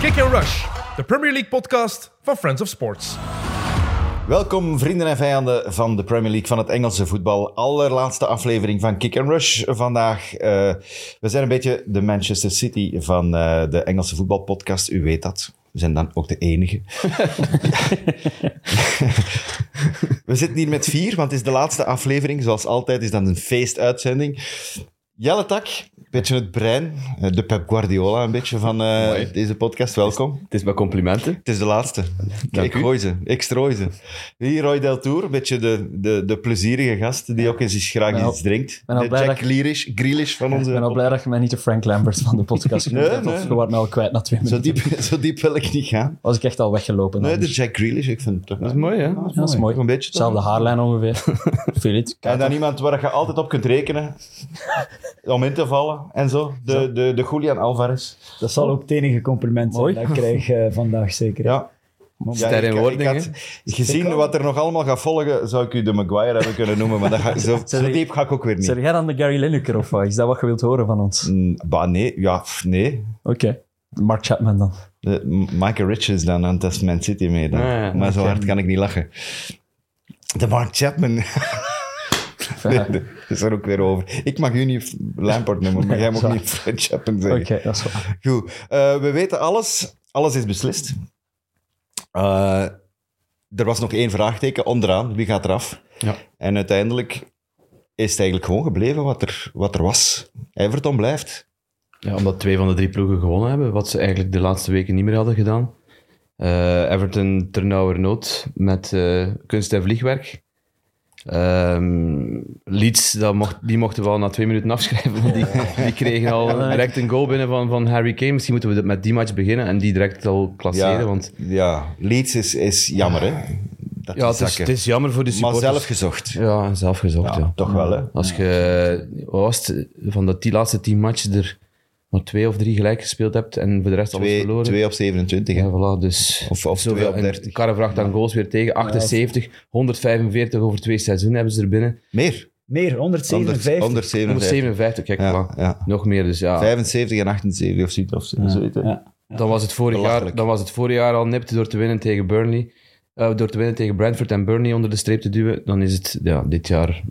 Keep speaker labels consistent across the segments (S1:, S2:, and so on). S1: Kick and Rush, de Premier League podcast van Friends of Sports.
S2: Welkom vrienden en vijanden van de Premier League van het Engelse voetbal. Allerlaatste aflevering van Kick and Rush vandaag. eh, we zijn een beetje de Manchester City van eh, de Engelse voetbalpodcast. U weet dat. We zijn dan ook de enige. we zitten hier met vier, want het is de laatste aflevering. Zoals altijd is dat een feestuitzending. Jelle Tak, een beetje het brein, eh, de Pep Guardiola een beetje van eh, deze podcast. Welkom.
S3: Het is maar complimenten.
S2: Het is de laatste.
S3: Dank
S2: ik
S3: u.
S2: gooi ze. Ik strooi ze. Hier, Roy Del Tour, een beetje de, de, de plezierige gast die ook eens iets graag
S4: Ben al-
S2: iets drinkt.
S4: ben al
S2: de
S4: blij
S2: Jack
S4: dat ik-
S2: Grealish, Grealish van onze...
S4: Ik ben al blij dat je mij niet de Frank Lambert van de podcast genoemd
S2: Nee,
S4: hebt.
S2: nee.
S4: Of we waren nou al kwijt na twee
S2: Zo
S4: minuten.
S2: diep, zo diep wil ik niet gaan.
S4: Was ik echt al weggelopen.
S2: Nee, de
S4: anders.
S2: Jack Grealish, ik vind het toch...
S3: Dat is mooi, hè?
S4: Ja, dus- dat is mooi.
S2: Een beetje
S4: Zelfde haarlijn ongeveer. Philip.
S2: En dan iemand waar je altijd op kunt rekenen om in te vallen en zo. De, de, de Julian Alvarez.
S5: Dat zal ook het enige compliment zijn
S4: Mooi.
S5: dat ik krijg eh, vandaag zeker.
S2: Ja.
S3: Ster in
S2: ik- ik
S3: wording,
S2: had- Gezien wat er nog allemaal gaat volgen, zou ik u de Maguire hebben kunnen noemen, maar dat ga, zo, zo
S4: Sorry.
S2: diep ga ik ook weer niet.
S4: Zeg jij dan de Gary Lineker of wat? Is dat wat je wilt horen van ons?
S2: Mm, Bah, nee. Ja, pff, nee.
S4: Oké. Mark Chapman dan.
S2: De- M- Michael Richards dan, aan het Man City mee dan.
S3: Ah, ja.
S2: maar zo hard kan ik niet lachen. De Mark Chapman.
S4: Ja.
S2: Dat is er ook weer over. Ik mag u niet Lampard noemen, maar jij mag
S4: zo.
S2: niet Fred Chapman zeggen.
S4: Oké, dat is waar.
S2: Goed. Eh, we weten alles. Alles is beslist. Eh, er was nog één vraagteken onderaan. Wie gaat eraf?
S3: Ja.
S2: En uiteindelijk is het eigenlijk gewoon gebleven wat er, wat er was. Everton blijft.
S3: Ja, omdat twee van de drie ploegen gewonnen hebben, wat ze eigenlijk de laatste weken niet meer hadden gedaan. Eh, Everton ternauwernood met eh, kunst en vliegwerk. Ehm, Leeds, dat mocht, die mochten we al na twee minuten afschrijven. want Die, die kregen al direct een goal binnen van, van Harry Kane. Misschien moeten we met die match beginnen en die direct al klasseren. want
S2: ja. Leeds is, is jammer, hè? Dat
S3: ja,
S2: die
S3: het, is,
S2: zakken.
S3: het is jammer voor de
S2: Maar
S3: supporters.
S2: zelf gezocht.
S3: Ja, zelf gezocht,
S2: Ja,
S3: ja.
S2: toch wel, hè?
S3: Als je wat was het, van de tien- laatste tien matchen er maar twee of drie gelijk gespeeld hebt en voor de rest alles
S2: Twee,
S3: verloren.
S2: twee op 27,
S3: Ja,
S2: hè?
S3: voilà, dus
S2: Of- of twee op
S3: en
S2: 30.
S3: Karre vraagt aan goals weer tegen. 78, 145 over twee seizoenen hebben ze er binnen.
S2: Meer.
S5: Meer, 157.
S2: 157.
S3: 157, kijk,
S2: Ja,
S3: voilà.
S2: ja.
S3: Nog meer, dus ja.
S2: 75 en 78 of zoiets. Of zoiets, hè.
S3: Dan was het vorig jaar,
S2: Belachelijk.
S3: dan was het vorig jaar al nipt door te winnen tegen Burnley. Eh, door te winnen tegen Brentford en Burnley onder de streep te duwen. Dan is het ja, dit jaar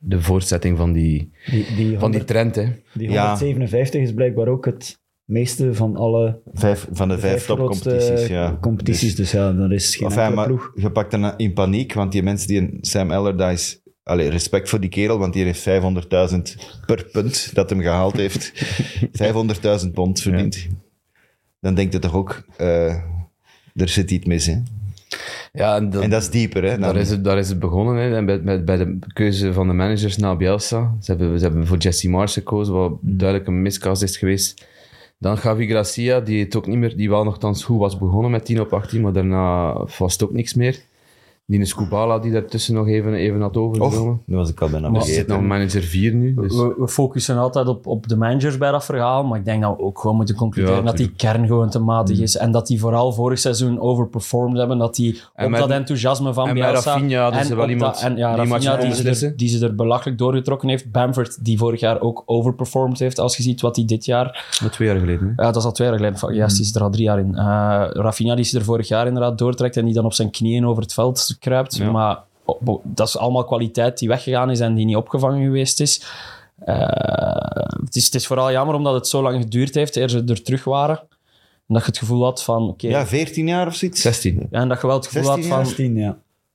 S3: de voortzetting van die,
S5: Die, die,
S3: van die
S5: 100
S3: trend, hè.
S5: die
S2: Ja.
S5: 157 is blijkbaar ook het meeste van alle
S2: Vijf, van de vijf,
S5: vijf
S2: topcompetities.
S5: grootste
S2: Ja.
S5: competities. Dus ja, er is geen
S2: Dus, enfin,
S5: enkele
S2: maar
S5: ploeg.
S2: je pakt dan in paniek, want die mensen die een Sam Allardyce. Allee, respect voor die kerel, want die heeft 500.000 per punt dat hem gehaald heeft. 500.000 pond verdiend. Dan denkt je toch ook, eh, er zit iets mis, hè?
S3: Ja, en dat,
S2: En dat is dieper, hè?
S3: daar,
S2: dan-
S3: is het, daar is het begonnen. Hè. En bij, bij, bij de keuze van de managers na Bielsa. Ze hebben, ze hebben voor Jesse Mars gekozen, wat duidelijk een miscast is geweest. Dan Gavi Gracia, die het ook niet meer, die wel nogthans goed was begonnen met 10 op 18, maar daarna was het ook niks meer. Die Scubala, die daartussen nog even, even had
S2: Och,
S3: overgenomen.
S2: nu was ik al bijna
S3: Dus zit nog
S2: vergeten.
S3: manager 4 nu. Dus.
S4: We, we focussen altijd op, op de managers bij dat verhaal, maar ik denk dat we ook gewoon moeten concluderen
S3: Ja, Mm.
S4: dat die kern gewoon te matig is en dat die vooral vorig seizoen overperformed hebben, dat die
S3: En
S4: op
S3: met-
S4: dat enthousiasme van
S3: en met
S4: Bielsa
S3: Rafinha hadden
S4: en
S3: ze wel
S4: op
S3: iemand
S4: dat- en ja,
S3: die match
S4: Rafinha
S3: kon
S4: die, ze
S3: beslissen.
S4: er, die ze er belachelijk doorgetrokken heeft, Bamford die vorig jaar ook overperformed heeft, als je ziet wat hij dit jaar
S3: Maar oh. twee jaar geleden. Hè.
S4: ja, dat is al twee jaar geleden. Fuck,
S2: Mm.
S4: Juist, die is er al drie jaar in. Eh Rafinha die ze er vorig jaar inderdaad doortrekt en die dan op zijn knieën over het veld kruipt.
S3: Ja.
S4: Maar oh, bo- dat is allemaal kwaliteit die weggegaan is en die niet opgevangen geweest is. Eh, het is. Het is vooral jammer omdat het zo lang geduurd heeft eer ze er terug waren. En dat je het gevoel had van... oké
S2: Ja, 14 jaar of zoiets?
S3: 16.
S4: ja, en dat je wel het gevoel had
S2: 16 jaar
S4: van...
S5: 16, ja.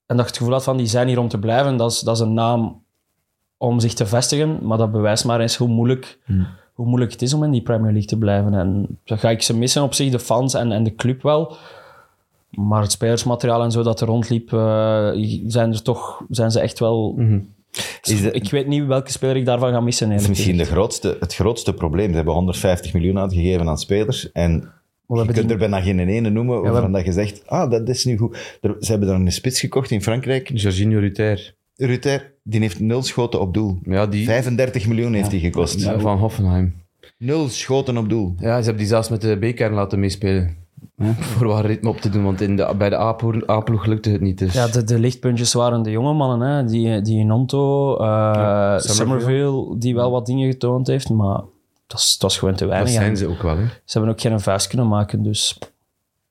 S4: En dat je het gevoel had van die zijn hier om te blijven, dat is, dat is een naam om zich te vestigen. Maar dat bewijst maar eens hoe moeilijk,
S2: Hmm.
S4: hoe moeilijk het is om in die Premier League te blijven. En dan ga ik ze missen op zich, de fans en, en de club wel. Maar het spelersmateriaal en zo dat er rondliep, eh, zijn, er toch, zijn ze echt wel.
S2: Mhm. Is de-
S4: Ik weet niet welke speler ik daarvan ga missen.
S2: Dat is
S4: eerlijk
S2: misschien de
S4: gezegd.
S2: grootste, het grootste probleem. Ze hebben 150 miljoen uitgegeven aan spelers. En
S4: we
S2: je
S4: hebben
S2: kunt
S4: die-
S2: er bijna geen ene noemen waarvan
S4: hebben-
S2: dat je zegt, ah, dat is nu goed. Er- ze hebben dan een spits gekocht in Frankrijk.
S3: Jorginho Ruter.
S2: Ruter, die heeft nul schoten op doel.
S3: Ja, die
S2: 35 miljoen heeft hij gekost.
S3: van Hoffenheim.
S2: Nul schoten op doel.
S3: Ja, ze hebben die zelfs met de B-kern laten meespelen. Voor wat ritme op te doen, want in de, bij de A-ploeg A-ploeg lukte het niet. Dus.
S4: Ja, de, de lichtpuntjes waren de jonge mannen, hè. die, die Nonto, eh, Somerville, die wel wat dingen getoond heeft, maar dat is, dat is gewoon te
S3: Dat
S4: weinig.
S3: zijn
S4: En
S3: ze ook wel, hè.
S4: ze hebben ook geen vuist kunnen maken, dus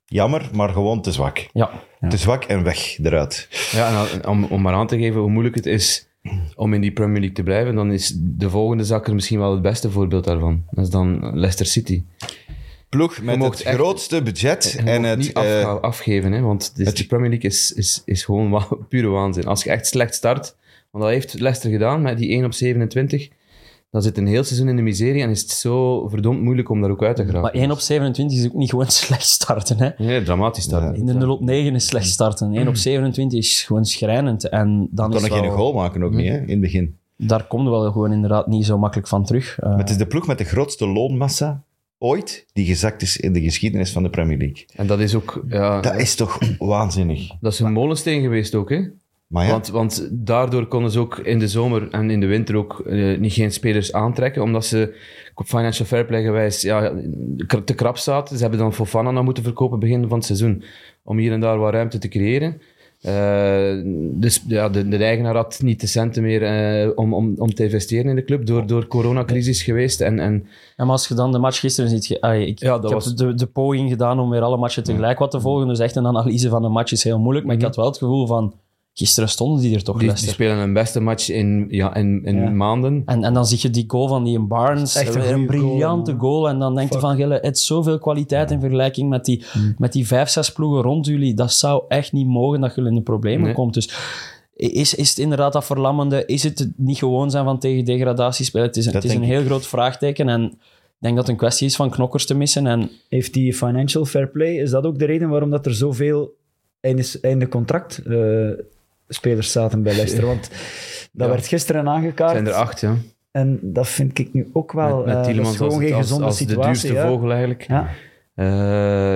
S2: Jammer, maar gewoon te zwak.
S4: ja.
S2: Te zwak en weg eruit.
S3: Ja, en om, om maar aan te geven hoe moeilijk het is om in die Premier League te blijven, dan is de volgende zakker misschien wel het beste voorbeeld daarvan. Dat is dan Leicester City.
S2: Ploeg met het
S3: mocht echt-
S2: grootste budget
S3: Je
S2: en
S3: mag
S2: het...
S3: niet
S2: eh,
S3: afga- afgeven, hè, want de,
S2: het-
S3: de Premier League is, is, is gewoon wa- pure waanzin. Als je echt slecht start, want dat heeft Leicester gedaan met die 1 op 27, dan zit een heel seizoen in de miserie en is het zo verdomd moeilijk om daar ook uit te geraken.
S4: Maar 1 op 27 is ook niet gewoon slecht starten, hè.
S3: Nee, dramatisch starten.
S4: In de 0 op 9 is slecht starten. 1 op 27 is gewoon schrijnend. En dan
S2: kon
S4: is
S2: er geen
S4: wel-
S2: goal maken ook niet, hè, in het begin.
S4: Daar komt wel gewoon inderdaad niet zo makkelijk van terug. Eh,
S2: Maar het is de ploeg met de grootste loonmassa ooit die gezakt is in de geschiedenis van de Premier League.
S3: En dat is ook... Ja,
S2: Dat is toch waanzinnig.
S3: dat is een molensteen geweest ook, hè?
S2: Maar Ah, ja,
S3: Want, want daardoor konden ze ook in de zomer en in de winter ook eh, niet geen spelers aantrekken, omdat ze financial fair play gewijs ja, k- te krap zaten. Ze hebben dan Fofana nog moeten verkopen begin van het seizoen, om hier en daar wat ruimte te creëren. Eh, dus ja, de, de eigenaar had niet de centen meer eh, om, om, om te investeren in de club, door, door coronacrisis geweest. En, en
S4: En maar als je dan de match gisteren ziet... ge- ah, ik
S3: Ja, dat
S4: ik
S3: was-
S4: heb de, de poging gedaan om weer alle matchen tegelijk wat te volgen. Dus echt een analyse van een match is heel moeilijk. Maar ik had wel het gevoel van... Gisteren stonden die er toch,
S3: die, die
S4: Leicester.
S3: spelen hun beste match in, ja, in, in
S5: Ja.
S3: maanden.
S4: En, en dan zie je die goal van die in Barnes.
S5: Echt een
S4: Weer
S5: goeie goal,
S4: briljante
S5: man.
S4: goal. En dan denk je
S5: Fuck.
S4: van, Gille, het is zoveel kwaliteit in vergelijking met die, met die vijf, zes ploegen rond jullie. Dat zou echt niet mogen dat jullie in de problemen
S3: Nee.
S4: komt. Dus is, is het inderdaad dat verlammende? Is het het niet gewoon zijn van tegen degradatie spelen? Het is, een-
S2: Dat
S4: het is een
S2: denk
S4: heel groot vraagteken. En ik denk dat het een kwestie is van knokkers te missen. En
S5: Heeft die financial fair play, is dat ook de reden waarom dat er zoveel einde, einde contract eh, spelers zaten bij Leicester? Want dat
S3: Ja.
S5: werd gisteren aangekaart.
S3: zijn er acht, ja.
S5: En dat vind ik nu ook wel...
S3: met met
S5: eh, dat
S3: Tielemans
S5: is gewoon
S3: als, het-
S5: geen
S3: als,
S5: gezonde
S3: als de
S5: situatie.
S3: duurste
S5: hè.
S3: vogel eigenlijk.
S5: Ja.
S3: Eh,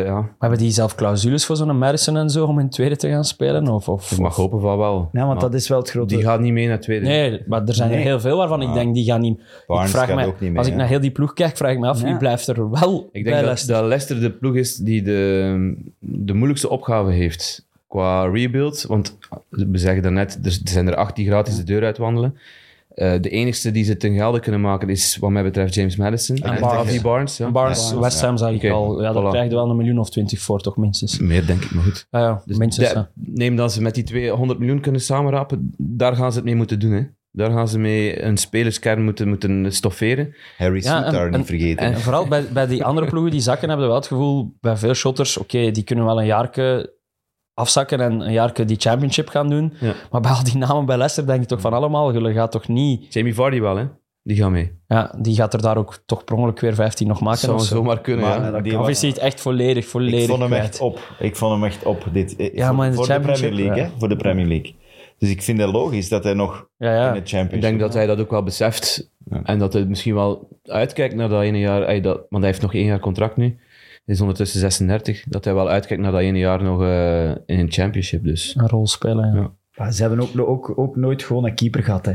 S3: ja,
S4: maar hebben die zelf clausules voor zo'n Madison en zo om in tweede te gaan spelen? Of, of,
S3: Ik mag hopen van wel.
S5: Ja, want
S3: Maar
S5: dat is wel het grote...
S3: Die gaat niet Ah. mee naar tweede.
S4: Nee, maar er zijn er
S5: Nee.
S4: heel veel waarvan ik denk, die gaan niet...
S2: Barnes
S4: ik vraag
S2: gaat
S4: mij,
S2: ook niet mee,
S4: als ik
S2: hè?
S4: naar heel die ploeg kijk, vraag ik me af, wie
S5: Ja.
S4: blijft er wel
S3: Ik
S4: bij
S3: denk dat,
S4: Leicester?
S3: dat Leicester de ploeg is die de, de moeilijkste opgave heeft qua rebuild. Want we zeggen daarnet, er zijn er acht die gratis de deur uitwandelen. Eh, de enigste die ze ten gelde kunnen maken is, wat mij betreft, James Madison. En,
S4: Barnes.
S3: Harvey Barnes. Ja.
S4: En Barnes,
S5: Ja,
S4: West Ham zag ik
S3: Oké,
S4: al. Ja,
S3: voilà.
S4: daar krijg je wel een miljoen of twintig voor, toch minstens. Ah
S3: Meer denk ik, maar goed.
S4: Ja, ja,
S3: Dus
S4: minstens.
S3: de-
S4: ja.
S3: neem dat ze met die 200 miljoen kunnen samenrapen, daar gaan ze het mee moeten doen. Hè. Daar gaan ze mee een spelerskern moeten, moeten stofferen.
S2: Harry
S4: Ja,
S2: Sweet
S4: en-
S2: daar
S4: en-
S2: niet vergeten.
S4: En vooral bij, bij die andere ploegen die zakken, hebben we wel het gevoel, bij veel shotters, oké, die kunnen wel een jaarke afzakken en een jaarke die championship gaan doen.
S3: Ja.
S4: Maar bij al die namen bij Leicester denk ik toch van allemaal, jullie gaat toch niet...
S3: Jamie Vardy wel, hè? Die gaat mee.
S4: Ja, die gaat er daar ook toch per ongeluk weer 15 nog maken
S3: zou
S4: of zo.
S3: zomaar kunnen,
S2: Maar
S3: ja.
S2: die
S4: Of
S2: wa-
S4: is hij het echt volledig, volledig
S2: ik vond hem
S4: kwijt?
S2: echt op. Ik vond hem echt op. Dit, eh,
S4: Ja,
S2: voor
S4: maar in de
S2: voor de Premier
S4: Championship,
S2: League,
S4: ja.
S2: hè? Voor de Premier League. Dus ik vind het logisch dat hij nog
S4: Ja, ja.
S2: in de Championship...
S3: Ik denk dat hij dat ook wel beseft.
S2: Ja.
S3: En dat hij misschien wel uitkijkt naar dat ene jaar. Hij dat, want hij heeft nog één jaar contract nu. Hij is ondertussen 36. Dat hij wel uitkijkt naar dat ene jaar nog eh, in een championship. Dus
S4: Een rol spelen, ja.
S3: Ja.
S5: Maar ze hebben ook, ook, ook nooit gewoon een keeper gehad. Hè.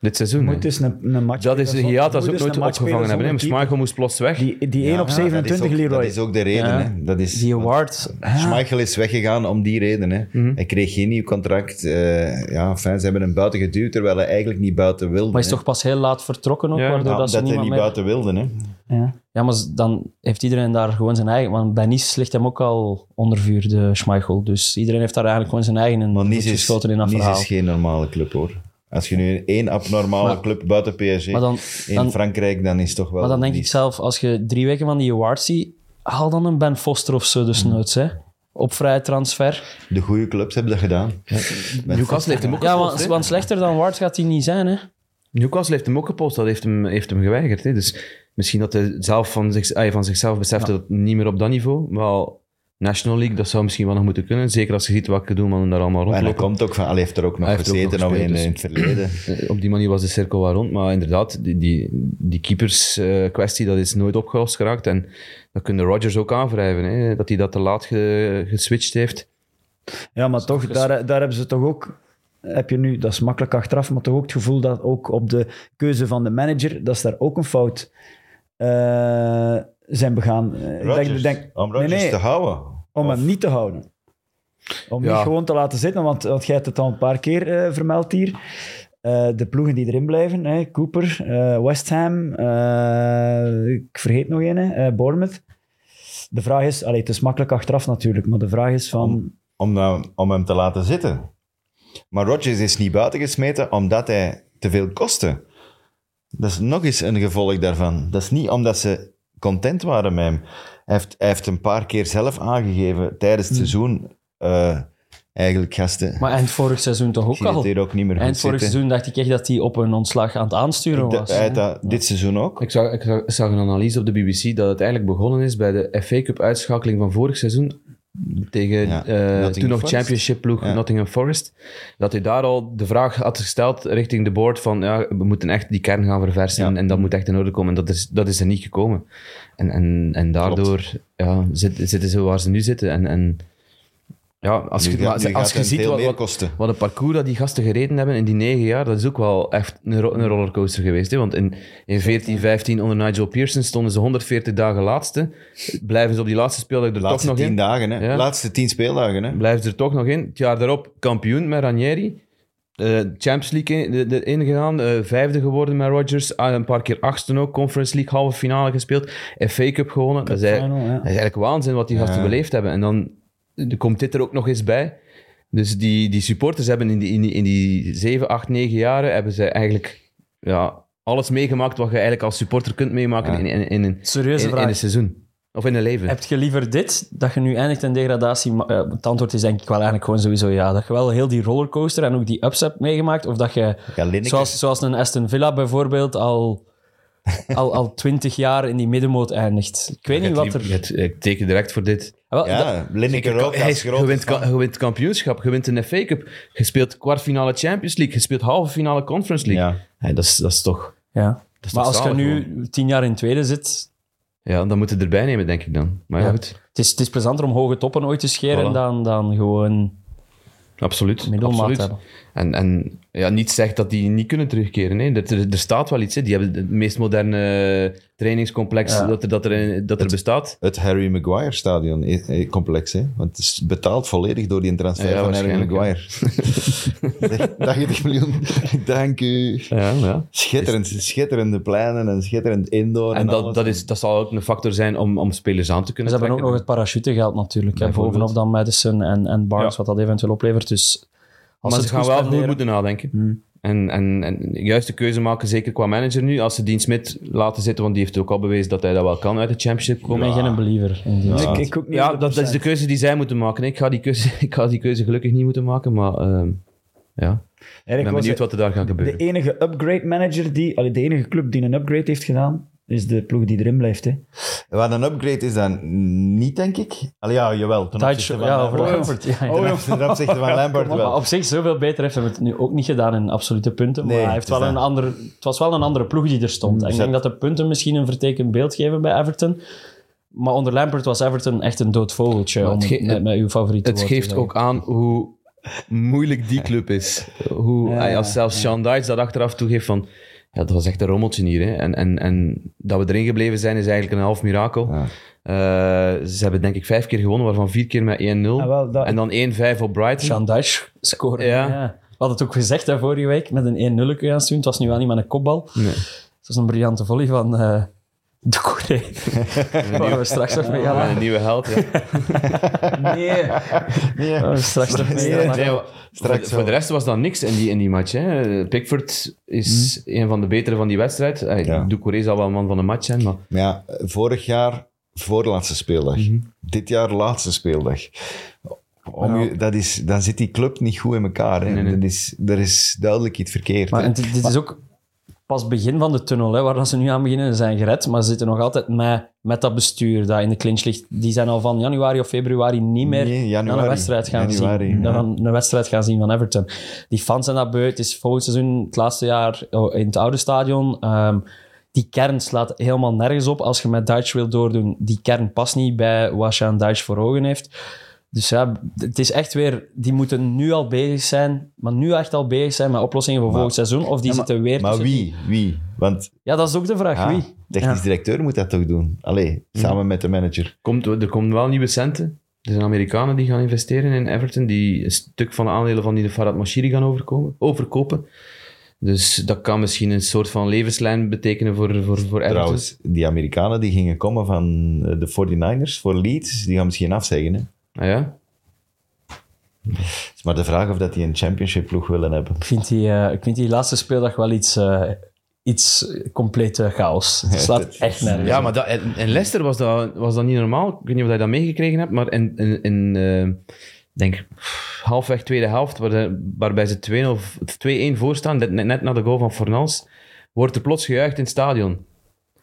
S3: dit seizoen.
S5: Moet
S3: hè.
S5: dus een, een match
S3: dat is de hiaat dat ze ook
S5: Moet dus
S3: nooit
S5: een matchspeler
S3: opgevangen hebben. hè.
S5: zonder
S3: Schmeichel moest plots weg.
S5: keeper. Die, die 1 op
S2: Ja,
S5: 27,
S2: dat is ook,
S5: Leroy.
S2: Dat is ook de reden,
S4: Ja.
S2: hè? Dat is,
S4: Die Ah.
S2: want
S4: award,
S2: Schmeichel is weggegaan om die reden, hè?
S5: Mhm.
S2: Hij kreeg geen nieuw contract. eh, ja, fijn, ze hebben hem buiten geduwd, terwijl hij eigenlijk niet buiten wilde.
S4: maar is
S2: hè.
S4: toch pas heel laat vertrokken ook,
S3: Ja,
S4: waardoor
S2: Ja,
S4: dat ze
S2: omdat hij
S4: niemand
S2: niet
S4: meer...
S2: buiten wilde, hè?
S5: Ja.
S4: Ja, maar dan heeft iedereen daar gewoon zijn eigen... Want bij Nice ligt hem ook al onder vuur, de Schmeichel. Dus iedereen heeft daar eigenlijk gewoon zijn eigen
S2: Maar
S4: voet
S2: Nice is,
S4: geschoten in dat
S2: Nice
S4: verhaal.
S2: is geen normale club, hoor. Als je nu één abnormale
S4: Maar-
S2: club buiten PSG
S4: Maar dan,
S2: in
S4: dan,
S2: Frankrijk, dan is het toch wel...
S4: maar dan denk ik
S2: Nice.
S4: zelf, als je drie weken van die awards ziet, haal dan een Ben Foster of
S2: Mm.
S4: zo dus noods, hè. Op vrije transfer.
S2: De goede clubs hebben dat gedaan. Met-
S3: Newcastle heeft hem ook
S4: Ja,
S3: gepost,
S4: want,
S3: hè.
S4: want slechter dan Ward gaat hij niet zijn, hè.
S3: Newcastle heeft hem ook gepost. Dat heeft hem, heeft hem geweigerd. Hè. Dus misschien dat hij zelf van, zich, ah, van zichzelf beseft dat het niet meer op dat niveau. Wel, National League, dat zou misschien wel nog moeten kunnen. Zeker als je ziet welke doelmannen daar allemaal
S2: En
S3: rondlopen.
S2: hij komt ook van... Allee, heeft er ook nog
S3: Hij heeft ook
S2: gezeten
S3: nog
S2: nog in,
S3: gespeeld,
S2: in het verleden.
S3: Eh, op die manier was de cirkel wel rond. Maar inderdaad, die, die, die keepers-kwestie dat is nooit opgelost geraakt. En dat kunnen Rodgers ook aanwrijven, hè, dat hij dat te laat ge- geswitcht heeft.
S5: Ja, maar toch, daar, daar hebben ze toch ook... Heb je nu, dat is makkelijk achteraf, maar toch ook het gevoel dat ook op de keuze van de manager, dat is daar ook een fout eh, zijn begaan. Eh, ik denk-
S2: Rodgers,
S5: denk,
S2: om Rodgers
S5: nee, nee,
S2: te houden.
S5: om
S2: Of-
S5: hem niet te houden. Om
S3: Ja.
S5: niet gewoon te laten zitten, want, want jij hebt het al een paar keer eh, vermeld hier. eh, de ploegen die erin blijven, hè, Cooper, eh, West Ham, eh, ik vergeet nog een, hè, eh, Bournemouth. De vraag is, allee, het is makkelijk achteraf natuurlijk, maar de vraag is van...
S2: om, eh, om hem te laten zitten. Maar Rodgers is niet buiten gesmeten omdat hij te veel kostte. Dat is nog eens een gevolg daarvan. Dat is niet omdat ze content waren met hem. Hij heeft, hij heeft een paar keer zelf aangegeven tijdens
S3: Hm.
S2: het seizoen. eh, eigenlijk, gasten.
S4: Maar eind vorig seizoen toch
S2: ik
S4: ook
S2: zie het
S4: al?
S2: hier ook niet meer goed
S4: Eind vorig
S2: zitten.
S4: seizoen dacht ik echt dat hij op een ontslag aan het aansturen
S2: Ik dacht,
S4: was.
S3: eh,
S2: hij had dat dit seizoen ook.
S3: Ik zag, ik, zag, ik zag een analyse op de BBC dat het eigenlijk begonnen is bij de FA Cup uitschakeling van vorig seizoen tegen
S2: Ja,
S3: eh,
S2: Nottingham
S3: toen nog
S2: Forest.
S3: championship ploeg
S2: Ja.
S3: Nottingham Forest. Dat hij daar al de vraag had gesteld richting de board van ja, we moeten echt die kern gaan verversen
S2: Ja.
S3: en dat moet echt in orde komen. En dat is, dat is er niet gekomen. En, en, en daardoor ja, zit, zitten ze waar ze nu zitten. En, en ja, als
S2: Nu
S3: je,
S2: gaat-
S3: maar
S2: nu
S3: als,
S2: gaat
S3: je
S2: hem
S3: ziet
S2: veel
S3: wat,
S2: meer
S3: wat-
S2: kosten.
S3: wat een parcours dat die gasten gereden hebben in die negen jaar, dat is ook wel echt een, ro- een rollercoaster geweest. Hè? Want in, in 14, 15 onder Nigel Pearson stonden ze 140 dagen laatste. Blijven ze op die laatste speeldag er
S2: De laatste
S3: toch nog
S2: tien
S3: in.
S2: dagen, hè?
S3: Ja.
S2: Laatste tien speeldagen, hè?
S3: Blijven ze er toch nog in. Het jaar daarop kampioen met Ranieri. Eh, Champions League in- de- de- ingegaan, eh, vijfde geworden met Rodgers. Ah, een paar keer achtste ook. Conference League halve finale gespeeld. FA Cup gewonnen. Dat is, eigenlijk-
S5: Final, ja.
S3: dat is eigenlijk waanzin wat die gasten
S2: Ja.
S3: beleefd hebben. En dan eh, komt dit er ook nog eens bij. Dus die, die supporters hebben in die, in, die, in die 7, 8, 9 jaren hebben ze eigenlijk ja, alles meegemaakt wat je eigenlijk als supporter kunt meemaken
S2: Ja.
S3: in, in, in, een-
S4: Serieuze
S3: in, in
S4: vraag.
S3: een seizoen. Of in een leven.
S4: Heb je liever dit, dat je nu eindigt in degradatie? maar, eh, het antwoord is denk ik wel eigenlijk gewoon sowieso ja. Dat je wel heel die rollercoaster en ook die ups hebt meegemaakt. Of dat je,
S2: Ja, Lineker.
S4: zoals, zoals een Aston Villa bijvoorbeeld, al, al, al twintig jaar in die middenmoot eindigt. Ik weet niet wat er... Ah,
S3: Het- Ik teken direct voor dit.
S4: Wel, dat-
S2: Ja, Lineker ook.
S3: Hij
S2: als
S3: is-
S2: grote
S3: je, wint,
S2: fan.
S3: ka- je wint kampioenschap, je wint een FA Cup, je speelt kwartfinale Champions League, je speelt halve finale Conference League.
S2: Ja.
S3: Hey, dat, is, dat is toch...
S4: ja.
S3: is
S4: Maar
S3: toch
S4: als je
S3: zalig,
S4: nu tien jaar in tweede zit,
S3: Ja, dan moeten we erbij nemen, denk ik dan. Maar ja,
S4: Ja.
S3: goed.
S4: het is, het is plezanter om hoge toppen ooit te scheren
S3: Voilà.
S4: dan, dan gewoon...
S3: Absoluut.
S4: Middelmaat
S3: absoluut.
S4: hebben.
S3: En, en ja, niet zegt dat die niet kunnen terugkeren. Nee. Dat Er, er staat wel iets. Hè. Die hebben het meest moderne trainingscomplex
S4: Ja.
S3: dat er, dat er, dat er bestaat.
S2: het Harry Maguire stadion eh, eh, complex. Hè? Want het is betaald volledig door die transfer
S3: Ja,
S2: van Harry
S3: waarschijnlijk,
S2: Maguire. Zeg, 80 miljoen, dank u.
S3: Ja, ja.
S2: Schitterend, schitterende pleinen en schitterend indoor. En,
S3: En dat,
S2: alles.
S3: dat, is, dat zal ook een factor zijn om, om spelers aan te kunnen
S4: Ze hebben ook nog
S3: trekken.
S4: het parachutegeld natuurlijk. hè,
S3: Bijvoorbeeld.
S4: bovenop dan Madison en, en Barnes,
S3: Ja.
S4: wat dat eventueel oplevert. Dus als
S3: maar
S4: het
S3: ze gaan
S4: goed
S3: wel
S4: spenderen-
S3: goed moeten nadenken. En, en, en juist de keuze maken, zeker qua manager nu. Als ze Dean Smit laten zitten, want die heeft ook al bewezen dat hij dat wel kan uit de championship
S4: Ik
S3: komen.
S4: ben geen believer in die.
S5: Ik, ik ook niet
S3: Ja, dat, dat is de keuze die zij moeten maken. Ik ga die keuze, ik ga die keuze gelukkig niet moeten maken, maar ehm, ja. ik ben benieuwd wat er daar gaat
S5: De
S3: gebeuren.
S5: enige upgrade manager die, allee, de enige club die een upgrade heeft gedaan, is de ploeg die erin blijft. Hè.
S2: Wat een upgrade is dat niet, denk ik. Allee, ja, jawel. Ten opzichte
S4: Tijdje,
S2: van
S4: ja, over
S2: Lambert.
S4: Lambert, ja, ja.
S3: oh,
S2: Ten opzichte- ten opzichte van Lambert
S4: Maar
S2: wel.
S4: op zich, zoveel beter heeft hij het nu ook niet gedaan in absolute punten. Maar
S2: Nee,
S4: hij heeft
S2: het is
S4: wel een
S2: dat.
S4: ander, het was wel een andere ploeg die er stond. En ik
S2: Dus
S4: denk
S2: dat-
S4: dat de punten misschien een vertekend beeld geven bij Everton. Maar onder Lampert was Everton echt een dood vogeltje,
S3: Maar
S4: om
S3: het
S4: het
S3: ge-
S4: met, met uw favoriete
S3: Het
S4: woord te
S3: geeft
S4: zeggen.
S3: ook aan hoe moeilijk die club is. Hoe,
S5: Ja,
S3: als zelfs Sean Dyche dat achteraf toegeeft van... Ja, dat was echt een rommeltje hier. Hè. En, en, en dat we erin gebleven zijn, is eigenlijk een half mirakel.
S2: Ja.
S3: Eh, ze hebben denk ik vijf keer gewonnen, waarvan vier keer met 1-0.
S5: Ah, wel, dat-
S3: En dan 1-5 op Brighton.
S4: Sean Dyche scoren.
S3: Ja.
S4: Ja. We hadden het ook gezegd hè, vorige week met een 1-0 gaan sturen. Het was nu wel niet met een kopbal.
S3: Nee.
S4: Het was een briljante volley van eh de Korea. Waar we straks nog mee gaan
S3: Met
S4: lachen.
S3: een nieuwe held. ja.
S5: Nee.
S2: Nee.
S4: Waar we straks nog mee gaan lachen.
S3: Nee, maar
S2: Straks
S3: voor,
S2: wel.
S3: voor de rest was dat niks in die, in die match. Hè. Pickford is
S5: Hmm.
S3: een van de betere van die wedstrijd. Hey,
S2: Ja.
S3: Doucouré zal wel een man van de match zijn, maar...
S2: Maar ja, vorig jaar voorlaatste speeldag.
S4: Mhm.
S2: Dit jaar laatste speeldag. Om
S4: Nou.
S2: u- dat is, dan zit die club niet goed in elkaar. Hè.
S3: Nee, nee.
S2: Dat is, er is duidelijk iets verkeerd.
S4: Maar
S2: hè.
S4: en dit, dit is ook pas begin van de tunnel, hè, waar dat ze nu aan beginnen. Ze zijn gered, maar ze zitten nog altijd met, met dat bestuur dat in de clinch ligt. Die zijn al van januari of februari niet meer
S2: Nee, januari.
S4: naar een wedstrijd gaan
S2: Januari,
S4: zien.
S2: ja.
S4: Naar een, een wedstrijd gaan zien van Everton. Die fans zijn dat beu. Het is volgend seizoen, het laatste jaar oh, in het oude stadion. Ehm, die kern slaat helemaal nergens op. Als je met Duits wil doordoen, die kern past niet bij wat Sean Duits voor ogen heeft. Dus ja, het is echt weer... Die moeten nu al bezig zijn, maar nu echt al bezig zijn met oplossingen voor volgend seizoen. Of die zitten weer
S2: Maar
S4: tussen-
S2: wie? Wie? Want
S4: Ja, dat is ook de vraag.
S2: ja,
S4: wie?
S2: technisch
S4: Ja. Mhm.
S2: directeur moet dat toch doen? Allee, samen met de manager.
S3: Komt, er komen wel nieuwe centen. Er zijn Amerikanen die gaan investeren in Everton, die een stuk van de aandelen van die de Farad Mashiri gaan overkomen, overkopen. Dus dat kan misschien een soort van levenslijn betekenen voor, voor, voor Everton.
S2: Trouwens, die Amerikanen die gingen komen van eh, de 49ers voor Leeds, die gaan misschien afzeggen. Hè?
S3: Ah, ja?
S2: Het is maar de vraag of dat die een championship ploeg willen hebben.
S4: Ik vind die, eh, ik vind die laatste speeldag wel iets, eh iets complete chaos. Het slaat echt nergens
S3: Ja, maar dat, in in Leicester was dat, was dat niet normaal. Ik weet niet of je dat meegekregen hebt, maar in, in, in eh, denk pff, halfweg tweede helft, waar de- waarbij ze 2-0 of 2-1 voorstaan, net, net- net na de goal van Fornals, wordt er plots gejuicht in het stadion.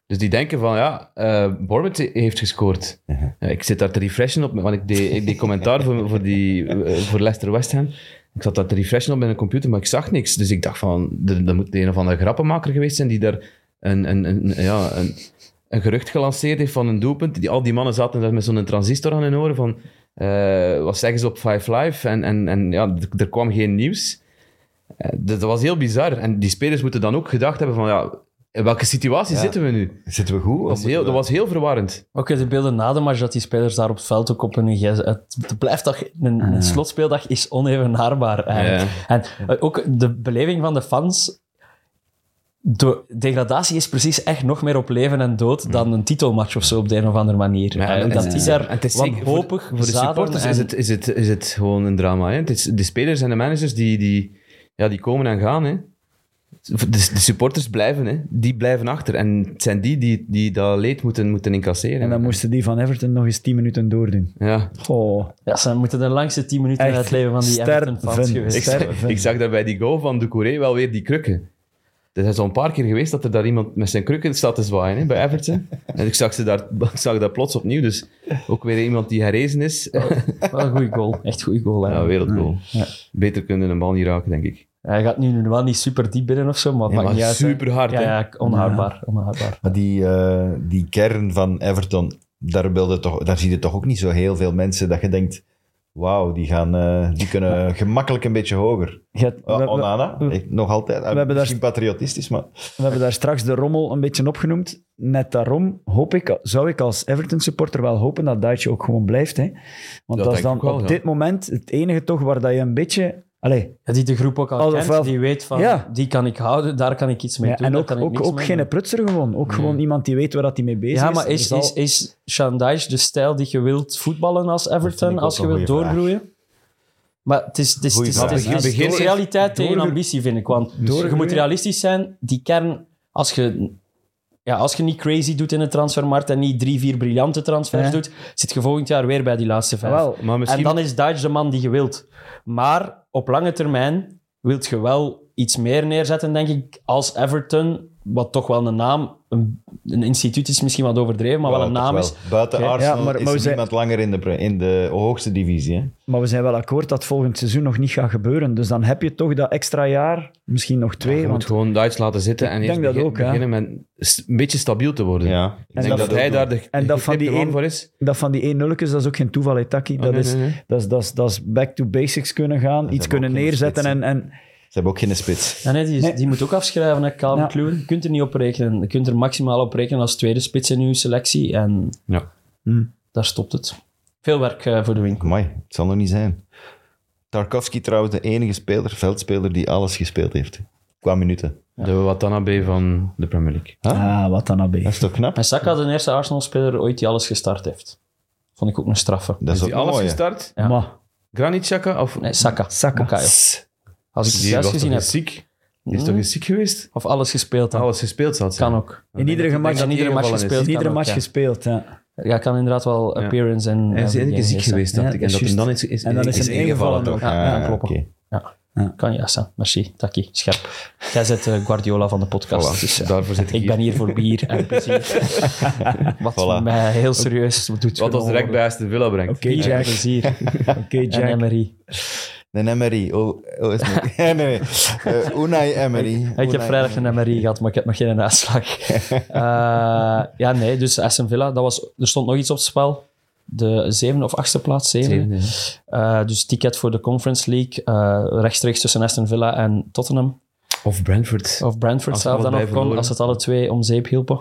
S3: Dus die denken van, ja, eh Bournemouth heeft gescoord. Eh, ik zit daar te refreshen op, want ik deed, ik deed commentaar voor, voor, die, eh, voor Leicester West Ham. Ik zat daar te refreshen op mijn computer, maar ik zag niks. Dus ik dacht van, er, er moet een of andere grappenmaker geweest zijn die daar een, een, een, ja, een, een gerucht gelanceerd heeft van een doelpunt. Die, al die mannen zaten daar met zo'n transistor aan hun oren van... eh, wat zeggen ze op Five Live? En, en, en ja, d- er kwam geen nieuws. Eh, dat, dat was heel bizar. En die spelers moeten dan ook gedacht hebben van... Ja, in welke situatie zitten we nu?
S2: Zitten we goed?
S3: Dat was, heel, dat was heel verwarrend.
S4: Ook de beelden na de match dat die spelers daar op het veld ook op hun gs- Het, het blijft toch... Een,
S3: Ah.
S4: een slotspeeldag is onevenaarbaar eigenlijk. En eh, ook de beleving van de fans... De degradatie is precies echt nog meer op leven en dood dan een titelmatch of zo op de een of andere manier.
S3: Mm. Ja,
S4: Eh,
S3: en
S4: dat
S3: het-
S4: is
S3: en
S4: daar
S3: het is zeker voor-
S4: wanhopig
S3: Voor de
S4: zaden
S3: supporters
S4: en-
S3: is, het, is, het, is het gewoon een drama. Hè? Het is, de spelers en de managers die, die, ja, die komen en gaan. Hè? De, de supporters blijven, hè? die blijven achter. En het zijn die die, die dat leed moeten, moeten incasseren.
S5: En dan moesten die van Everton nog eens 10 minuten doordoen.
S3: ja.
S5: Oh,
S4: Ja, ze moeten de langste 10 minuten
S5: Echt
S4: uit het leven van die Everton-fans
S5: sterven.
S3: Ik,
S4: geweest.
S5: Sterven.
S3: zag- ik zag daar bij die goal van de Couré wel weer die krukken. Er is al een paar keer geweest dat er daar iemand met zijn krukken staat te zwaaien hè, bij Everton. En ik zag, ze daar, ik zag dat plots opnieuw. Dus ook weer iemand die herrezen is.
S4: Oh, Wel een goede goal. Echt goede goal. hè.
S3: Ja, wereldgoal. Beter kunnen een bal niet raken, denk ik.
S4: Hij gaat nu wel niet super diep binnen of zo, maar het
S3: Ja,
S4: maakt
S3: maar
S4: niet uit. hè.
S3: super hard.
S4: Ja, ja, onhoudbaar. onhoudbaar.
S2: Maar die, eh, die kern van Everton, daar, wilde toch, daar zie je toch ook niet zo heel veel mensen dat je denkt... Wauw, die, gaan, eh, die kunnen gemakkelijk een beetje hoger.
S5: je hebt-
S2: Eh,
S3: Oh,
S5: we- we-
S2: Onana,
S5: we-
S2: ik- nog altijd. eh,
S5: we hebben daar-
S2: misschien patriotistisch, maar...
S5: We hebben daar straks de rommel een beetje opgenoemd. Net daarom hoop ik, zou ik als Everton-supporter wel hopen dat Duitje ook gewoon blijft. Hè? Want
S3: Dat
S5: dat is
S3: denk
S5: dan
S3: ik wel,
S5: op
S3: ja.
S5: dit moment het enige toch waar dat je een beetje... Allee,
S4: Ja, die de groep ook al
S5: Oh,
S4: kent,
S5: ofwel-
S4: die weet van,
S5: Ja.
S4: die kan ik houden, daar kan ik iets mee
S5: ja,
S4: doen,
S5: en
S4: daar
S5: ook,
S4: kan ik
S5: ook,
S4: niks
S5: ook
S4: mee
S5: geen dus
S4: doen.
S5: prutser gewoon. Ook gewoon iemand die weet waar dat hij mee bezig
S4: Ja,
S5: is.
S4: maar
S5: Er
S4: is,
S5: zal-
S4: is, is Shandaish de stijl die je wilt voetballen als Everton,
S2: ook
S4: als je
S2: een
S4: wilt
S2: goeie vraag.
S4: doorgroeien? Maar het is, het is, het
S2: Goeie
S4: is, het is,
S2: vraag.
S4: het is
S3: Begin-
S4: realiteit tegen
S5: doorgro-
S4: ambitie, vind ik.
S2: Dus-
S4: Want je moet
S5: doorgroeien.
S4: realistisch zijn. Die kern, als je, ja, als je niet crazy doet in de transfermarkt en niet drie, vier briljante transfers
S5: Ja.
S4: doet, zit je volgend jaar weer bij die laatste vijf.
S5: Wel,
S3: Maar misschien...
S4: En dan is Duits de man die je wilt. Maar op lange termijn wilt je wel iets meer neerzetten, denk ik, als Everton, wat toch wel een naam, een, een instituut is misschien wat overdreven, maar wel, een
S2: toch
S4: naam
S2: wel.
S4: is.
S2: Buiten
S4: Ja,
S2: Arsenal
S5: maar- maar
S2: is
S5: we
S2: er
S5: zijn-
S2: niemand langer in de, pre- in de hoogste divisie. Hè?
S5: Maar we zijn wel akkoord dat volgend seizoen nog niet gaat gebeuren. Dus dan heb je toch dat extra jaar, misschien nog twee.
S3: je moet
S5: want
S3: gewoon Duits laten zitten en
S5: Ik
S3: eerst
S5: denk dat
S3: begin-
S5: ook, ja.
S3: beginnen met s- een beetje stabiel te worden.
S2: Ja, Dus ik
S5: En
S3: Ik denk dat, hij daar de
S5: En dat van
S3: geknipte
S5: die
S3: man
S5: één-
S3: voor is.
S5: dat van die 1 0 dat is ook geen toeval, hè, Taki. dat,
S3: Oh, nee,
S5: is,
S3: nee, nee.
S5: Dat, is, dat, is, dat is back to basics kunnen gaan, iets
S2: hebben
S5: kunnen
S2: ook geen
S5: neerzetten. En,
S2: spitsen.
S5: en,
S2: Ze hebben ook geen spits.
S4: Ja, nee, die, is-
S5: Nee.
S4: die moet ook afschrijven, hè, Calvin
S5: Ja.
S4: Kluwen. Je kunt er niet op rekenen. Je kunt er maximaal op rekenen als tweede spits in uw selectie. En
S3: Ja.
S4: daar stopt het. Veel werk eh, voor de winkel.
S2: Amai, het zal nog niet zijn. Tarkovsky trouwens de enige speler, veldspeler die alles gespeeld heeft. Qua minuten.
S3: De Watanabe van de Premier League.
S5: Ah, wat dan
S2: Dat
S5: AB.
S2: is toch knap?
S4: En Saka, de eerste Arsenal-speler ooit die alles gestart heeft. Vond ik ook een straffe.
S2: Dat is
S3: Is
S2: ook
S3: die alles
S2: mooi. hè?
S3: gestart?
S4: Ja.
S5: Maar,
S3: Granit Xhaka? Of...
S4: Nee, Saka.
S5: Saka.
S4: Bukayo. Als
S3: Die
S4: ik het
S3: was
S4: juist
S3: toch
S4: gezien heb.
S3: eens ziek? Die is toch eens ziek geweest?
S4: Of alles gespeeld had.
S3: Alles gespeeld zat.
S4: Kan ook.
S5: in iedere match,
S4: dat
S5: in
S4: niet iedere match gespeeld. kan
S5: iedere
S4: ook,
S5: match
S4: ja.
S5: gespeeld. Ja.
S4: Ja, kan inderdaad wel
S3: Ja.
S4: appearance en...
S3: Hij is
S4: en-
S3: één keer ziek
S4: ja,
S3: geweest, dacht
S5: Ja,
S3: ik. En
S5: dat
S3: dat
S5: is
S3: hem dan
S5: juist.
S3: is, is,
S5: En dan is
S3: is
S5: hem
S3: ingevallen
S5: ingevallen
S3: toch.
S5: ook.
S4: Ja,
S2: Ah,
S4: ja, klopt.
S2: oké.
S4: Ja, kan juist zijn. Merci, Taki. Scherp. Jij zet de Guardiola van de podcast.
S3: Voilà,
S4: dus, ja.
S3: Daarvoor zit ik
S4: Ik
S3: hier.
S4: ben hier voor bier en plezier. Wat
S2: Voilà.
S4: mij heel serieus doet
S3: Wat ons
S4: genomen
S3: direct bij Aston Villa brengt.
S5: Oké,
S4: worden. Bier en
S5: Jack.
S4: plezier.
S5: Oké, Jack.
S4: En MRI.
S2: Een Emery. Oh, oh, is het niet. nee, nee. Eh, Unai Emery.
S4: Ik heb vrijdag een MRI gehad, maar ik heb nog geen uitslag. Eh, ja, nee, dus Aston Villa, dat was, er stond nog iets op het spel. De zevende of achtste plaats, zevende.
S3: Zevende,
S4: Eh, dus ticket voor de Conference League, eh, rechtstreeks tussen Aston Villa en Tottenham.
S3: Of Brentford.
S4: Of Brentford
S3: Als
S4: zelf dan
S3: allebei
S4: nog kon,
S3: verloren.
S4: als het alle twee om zeep hielpen.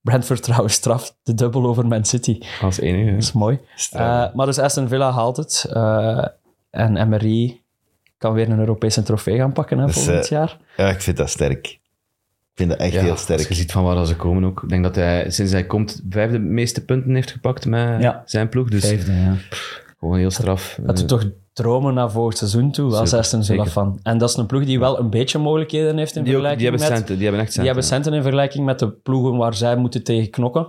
S4: Brentford trouwens straft de dubbel over Man City.
S3: Als enige.
S4: Dat is mooi. Eh, maar dus Aston Villa haalt het. Eh, en Emery kan weer een Europese trofee gaan pakken hè,
S2: Dus,
S4: volgend
S2: eh,
S4: jaar.
S2: Ja, ik vind dat sterk. Ik vind dat echt
S3: Ja,
S2: heel
S3: Als je
S2: sterk.
S3: ziet van waar ze komen ook. Ik denk dat hij sinds hij komt vijfde meeste punten heeft gepakt met
S5: Ja.
S3: zijn ploeg. Dus
S5: Vijfde, ja.
S3: gewoon heel straf.
S4: Had
S3: Eh,
S4: u toch dromen naar volgend seizoen toe als
S3: Zeker,
S4: Aston Villa
S3: zeker.
S4: fan. En dat is een ploeg die wel een beetje mogelijkheden heeft in
S3: die, ook- die
S4: vergelijking
S3: hebben
S4: met...
S3: centen, die hebben echt
S4: Die
S3: centen.
S4: hebben centen in vergelijking met de ploegen waar zij moeten tegen knokken.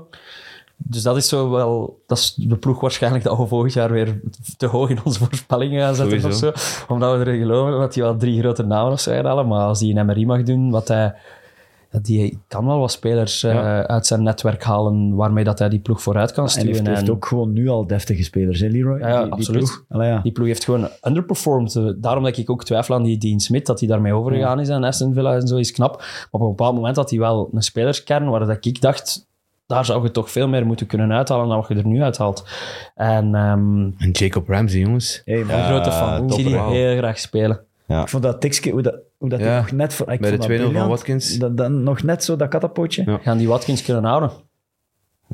S4: Dus dat is zo wel... Dat is de ploeg waarschijnlijk dat we volgend jaar weer te hoog in onze voorspellingen gaan zetten
S3: Sowieso.
S4: of zo. Omdat we erin geloven dat hij wel drie grote namen of zo gaat halen. Maar als hij een MRI mag doen, wat hij... ja, Die kan wel wat spelers eh,
S3: Ja.
S4: uit zijn netwerk halen waarmee dat hij die ploeg vooruit kan
S5: En
S4: sturen.
S5: heeft, heeft ook gewoon nu al deftige spelers, hè, Leroy?
S4: Ja, ja, absoluut.
S5: ploeg. Allee, ja.
S4: Die ploeg heeft gewoon underperformed. Eh, Daarom dat ik ook twijfel aan die Dean Smit, dat hij daarmee overgegaan is aan Aston Villa en zo, is knap. Maar op een bepaald moment had hij wel een spelerskern waar dat ik dacht, daar zou je toch veel meer moeten kunnen uithalen dan wat je er nu uithaalt. En ehm
S3: En Jacob Ramsey, jongens.
S5: Hey, maar
S4: een grote fan. Ik zie die
S3: topper.
S4: heel graag spelen.
S5: Ik vond dat tikske, hoe dat, hoe dat
S3: Ja.
S5: hij nog net... Voor, ik
S3: Bij de
S5: vond dat
S3: 2-0 van
S5: briljant.
S3: Watkins.
S5: Dat, dat, nog net zo, dat katapotje.
S3: Ja.
S4: Gaan die Watkins kunnen houden?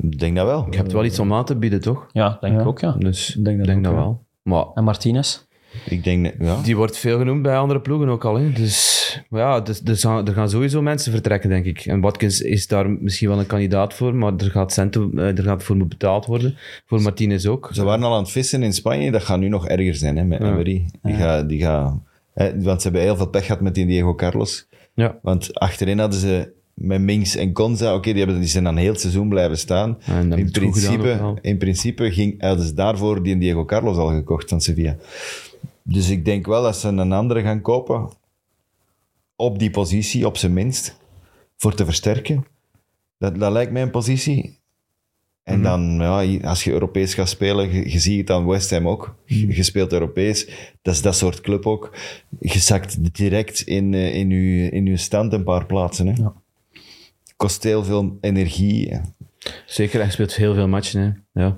S2: Ik denk dat wel.
S3: Je hebt wel iets om aan te bieden, toch?
S4: Ja, denk
S5: Ja.
S4: ik ook, ja.
S3: Dus
S5: Ik denk dat ook, ja.
S3: wel. Maar
S4: En Martinez?
S2: Ik denk, dat- ja.
S3: die wordt veel genoemd bij andere ploegen ook al. Hè. Dus maar ja, dus, er, gaan, er gaan sowieso mensen vertrekken, denk ik. En Watkins is daar misschien wel een kandidaat voor, maar er gaat, centen, eh, er gaat voor moeten betaald worden. Voor Martinez ook.
S2: Ze waren al aan het vissen in Spanje. Dat gaat nu nog erger zijn hè, met Emery. Die gaat... Die gaat hè, want ze hebben heel veel pech gehad met die Diego Carlos.
S3: Ja.
S2: Want achterin hadden ze met Minks en Konza, oké, die, hebben- die zijn dan heel het seizoen blijven staan.
S3: Ja, en dat
S2: in,
S3: moet goed gedaan ook
S2: principe,
S3: wel.
S2: in principe ging, hadden ze daarvoor die Diego Carlos al gekocht van Sevilla. Dus ik denk wel dat ze een andere gaan kopen. Op die positie, op zijn minst. Voor te versterken. Dat, dat lijkt mij een positie. En
S4: Mhm.
S2: dan, ja, je- als je Europees gaat spelen, je, je ziet het aan West Ham ook. Je,
S4: Mhm.
S2: je speelt Europees, dat is dat soort club ook. Je zakt direct in, eh, in, je, in je stand een paar plaatsen. Hè.
S4: Ja.
S2: Kost heel veel energie.
S3: Zeker, hij speelt heel veel matchen. Hè. Ja.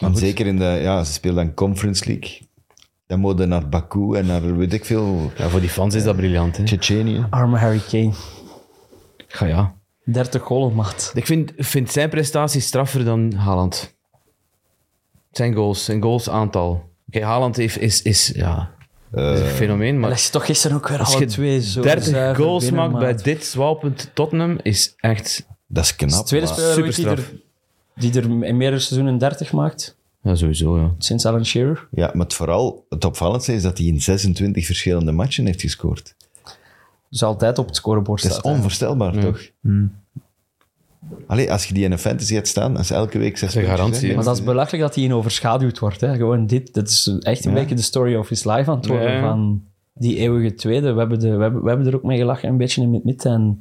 S2: En zeker in de, ja, ze spelen dan Conference League. Dan moet je naar Baku en naar, weet ik veel,
S3: ja, voor die fans is dat briljant. Hè.
S2: Tsjetsjenië.
S4: Arme Harry Kane.
S3: Ja, ja.
S4: 30 golen, maat.
S3: Ik vind, vind zijn prestaties straffer dan Haaland. Zijn goals, zijn goals aantal. Oké, Haaland heeft, is, is, ja, is een fenomeen,
S4: En
S3: maar
S4: dat is toch gisteren ook weer
S3: als
S4: alle
S3: je
S4: twee zo
S3: 30
S4: zuiver
S3: goals
S4: binnen,
S3: maakt bij
S4: maat.
S3: dit zwalpend Tottenham is echt
S2: Dat is
S4: Dat is
S2: knap.
S4: de tweede
S2: maar-
S4: speler ooit die
S3: Ah, superstraf.
S4: er, die er in meerdere seizoenen 30 maakt,
S3: ja, sowieso. Ja.
S4: sinds Alan Shearer.
S2: Ja, maar het vooral het opvallendste is dat hij in 26 verschillende matchen heeft gescoord.
S4: Dus altijd op het scorebord
S2: Dat is
S4: staat. hè.
S2: onvoorstelbaar, toch? Allee, als je die in een fantasy hebt staan, dat is elke week zes
S3: Dat is een
S2: puntjes,
S3: garantie,
S2: hè.
S3: hè.
S4: Maar dat is belachelijk dat hij in overschaduwd wordt. Hè. Gewoon dit, dat is echt een beetje de story of his life aan het worden.
S3: Ja.
S4: Van die eeuwige tweede. We hebben, de, we, hebben, we hebben er ook mee gelachen, een beetje in het midden. En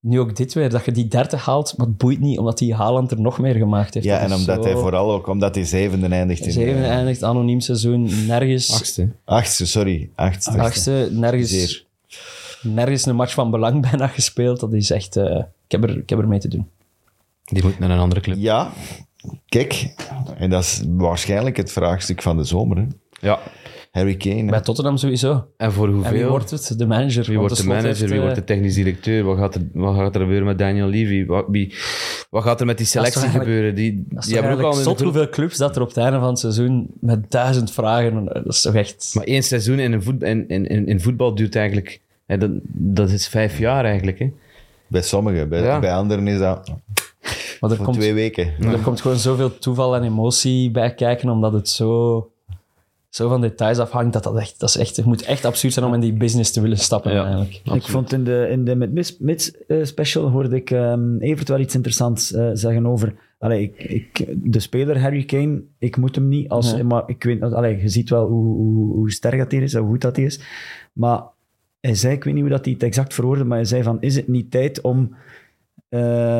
S4: nu ook dit weer, dat je die 30 haalt, maar het boeit niet, omdat die Haaland er nog meer gemaakt heeft.
S2: Ja,
S4: Dat
S2: en
S4: is
S2: omdat
S4: zo-
S2: hij vooral ook, omdat hij zevende eindigt in...
S4: Zeven
S2: eh,
S4: eindigt, anoniem seizoen, nergens...
S3: Achtste.
S2: Achtste, sorry. Achtste.
S4: achtste, nergens,
S2: Zeer.
S4: nergens een match van belang bijna gespeeld. Dat is echt... eh, ik, heb er, ik heb er mee te doen.
S3: Die moet naar een andere club.
S2: Ja, kijk. En dat is waarschijnlijk het vraagstuk van de zomer. Hè.
S3: Ja.
S2: Harry Kane.
S4: Bij Tottenham sowieso.
S3: En voor hoeveel?
S4: En wie wordt het? De manager.
S3: Wie
S4: Want
S3: wordt de
S4: slot
S3: manager?
S4: heeft,
S3: Wie
S4: eh,
S3: wordt de technisch directeur? Wat gaat er, wat gaat er gebeuren met Daniel Levy? Wat, wie, wat gaat er met die selectie
S4: eigenlijk-
S3: gebeuren? Die,
S4: Dat is
S3: die
S4: toch
S3: hebben ook al
S4: eigenlijk
S3: een
S4: zot
S3: groep-
S4: hoeveel clubs dat er op het einde van het seizoen met duizend vragen... Dat is toch echt...
S3: Maar één seizoen in, een voet, in, in, in, in voetbal duurt eigenlijk... Hè, dat, dat is vijf jaar eigenlijk. Hè.
S2: Bij sommigen. Bij,
S3: Ja.
S2: bij anderen is dat
S4: Maar er,
S2: voor
S4: komt,
S2: twee weken.
S4: er komt gewoon zoveel toeval en emotie bij kijken, omdat het zo, zo van details afhangt. Dat dat echt, dat is echt, het moet echt absurd zijn om in die business te willen stappen,
S3: Ja.
S4: eigenlijk.
S5: Ik vond in de, in de Met Mis, Mits eh, special hoorde ik ehm Evert wel iets interessants eh, zeggen over. Allee, ik, ik, de speler Harry Kane, ik moet hem niet. Als,
S4: Nee.
S5: Maar ik weet, allee, je ziet wel hoe, hoe, hoe sterk dat hij is, hoe goed dat hij is. Maar hij zei, ik weet niet hoe dat hij het exact verwoordde, maar hij zei van, is het niet tijd om eh,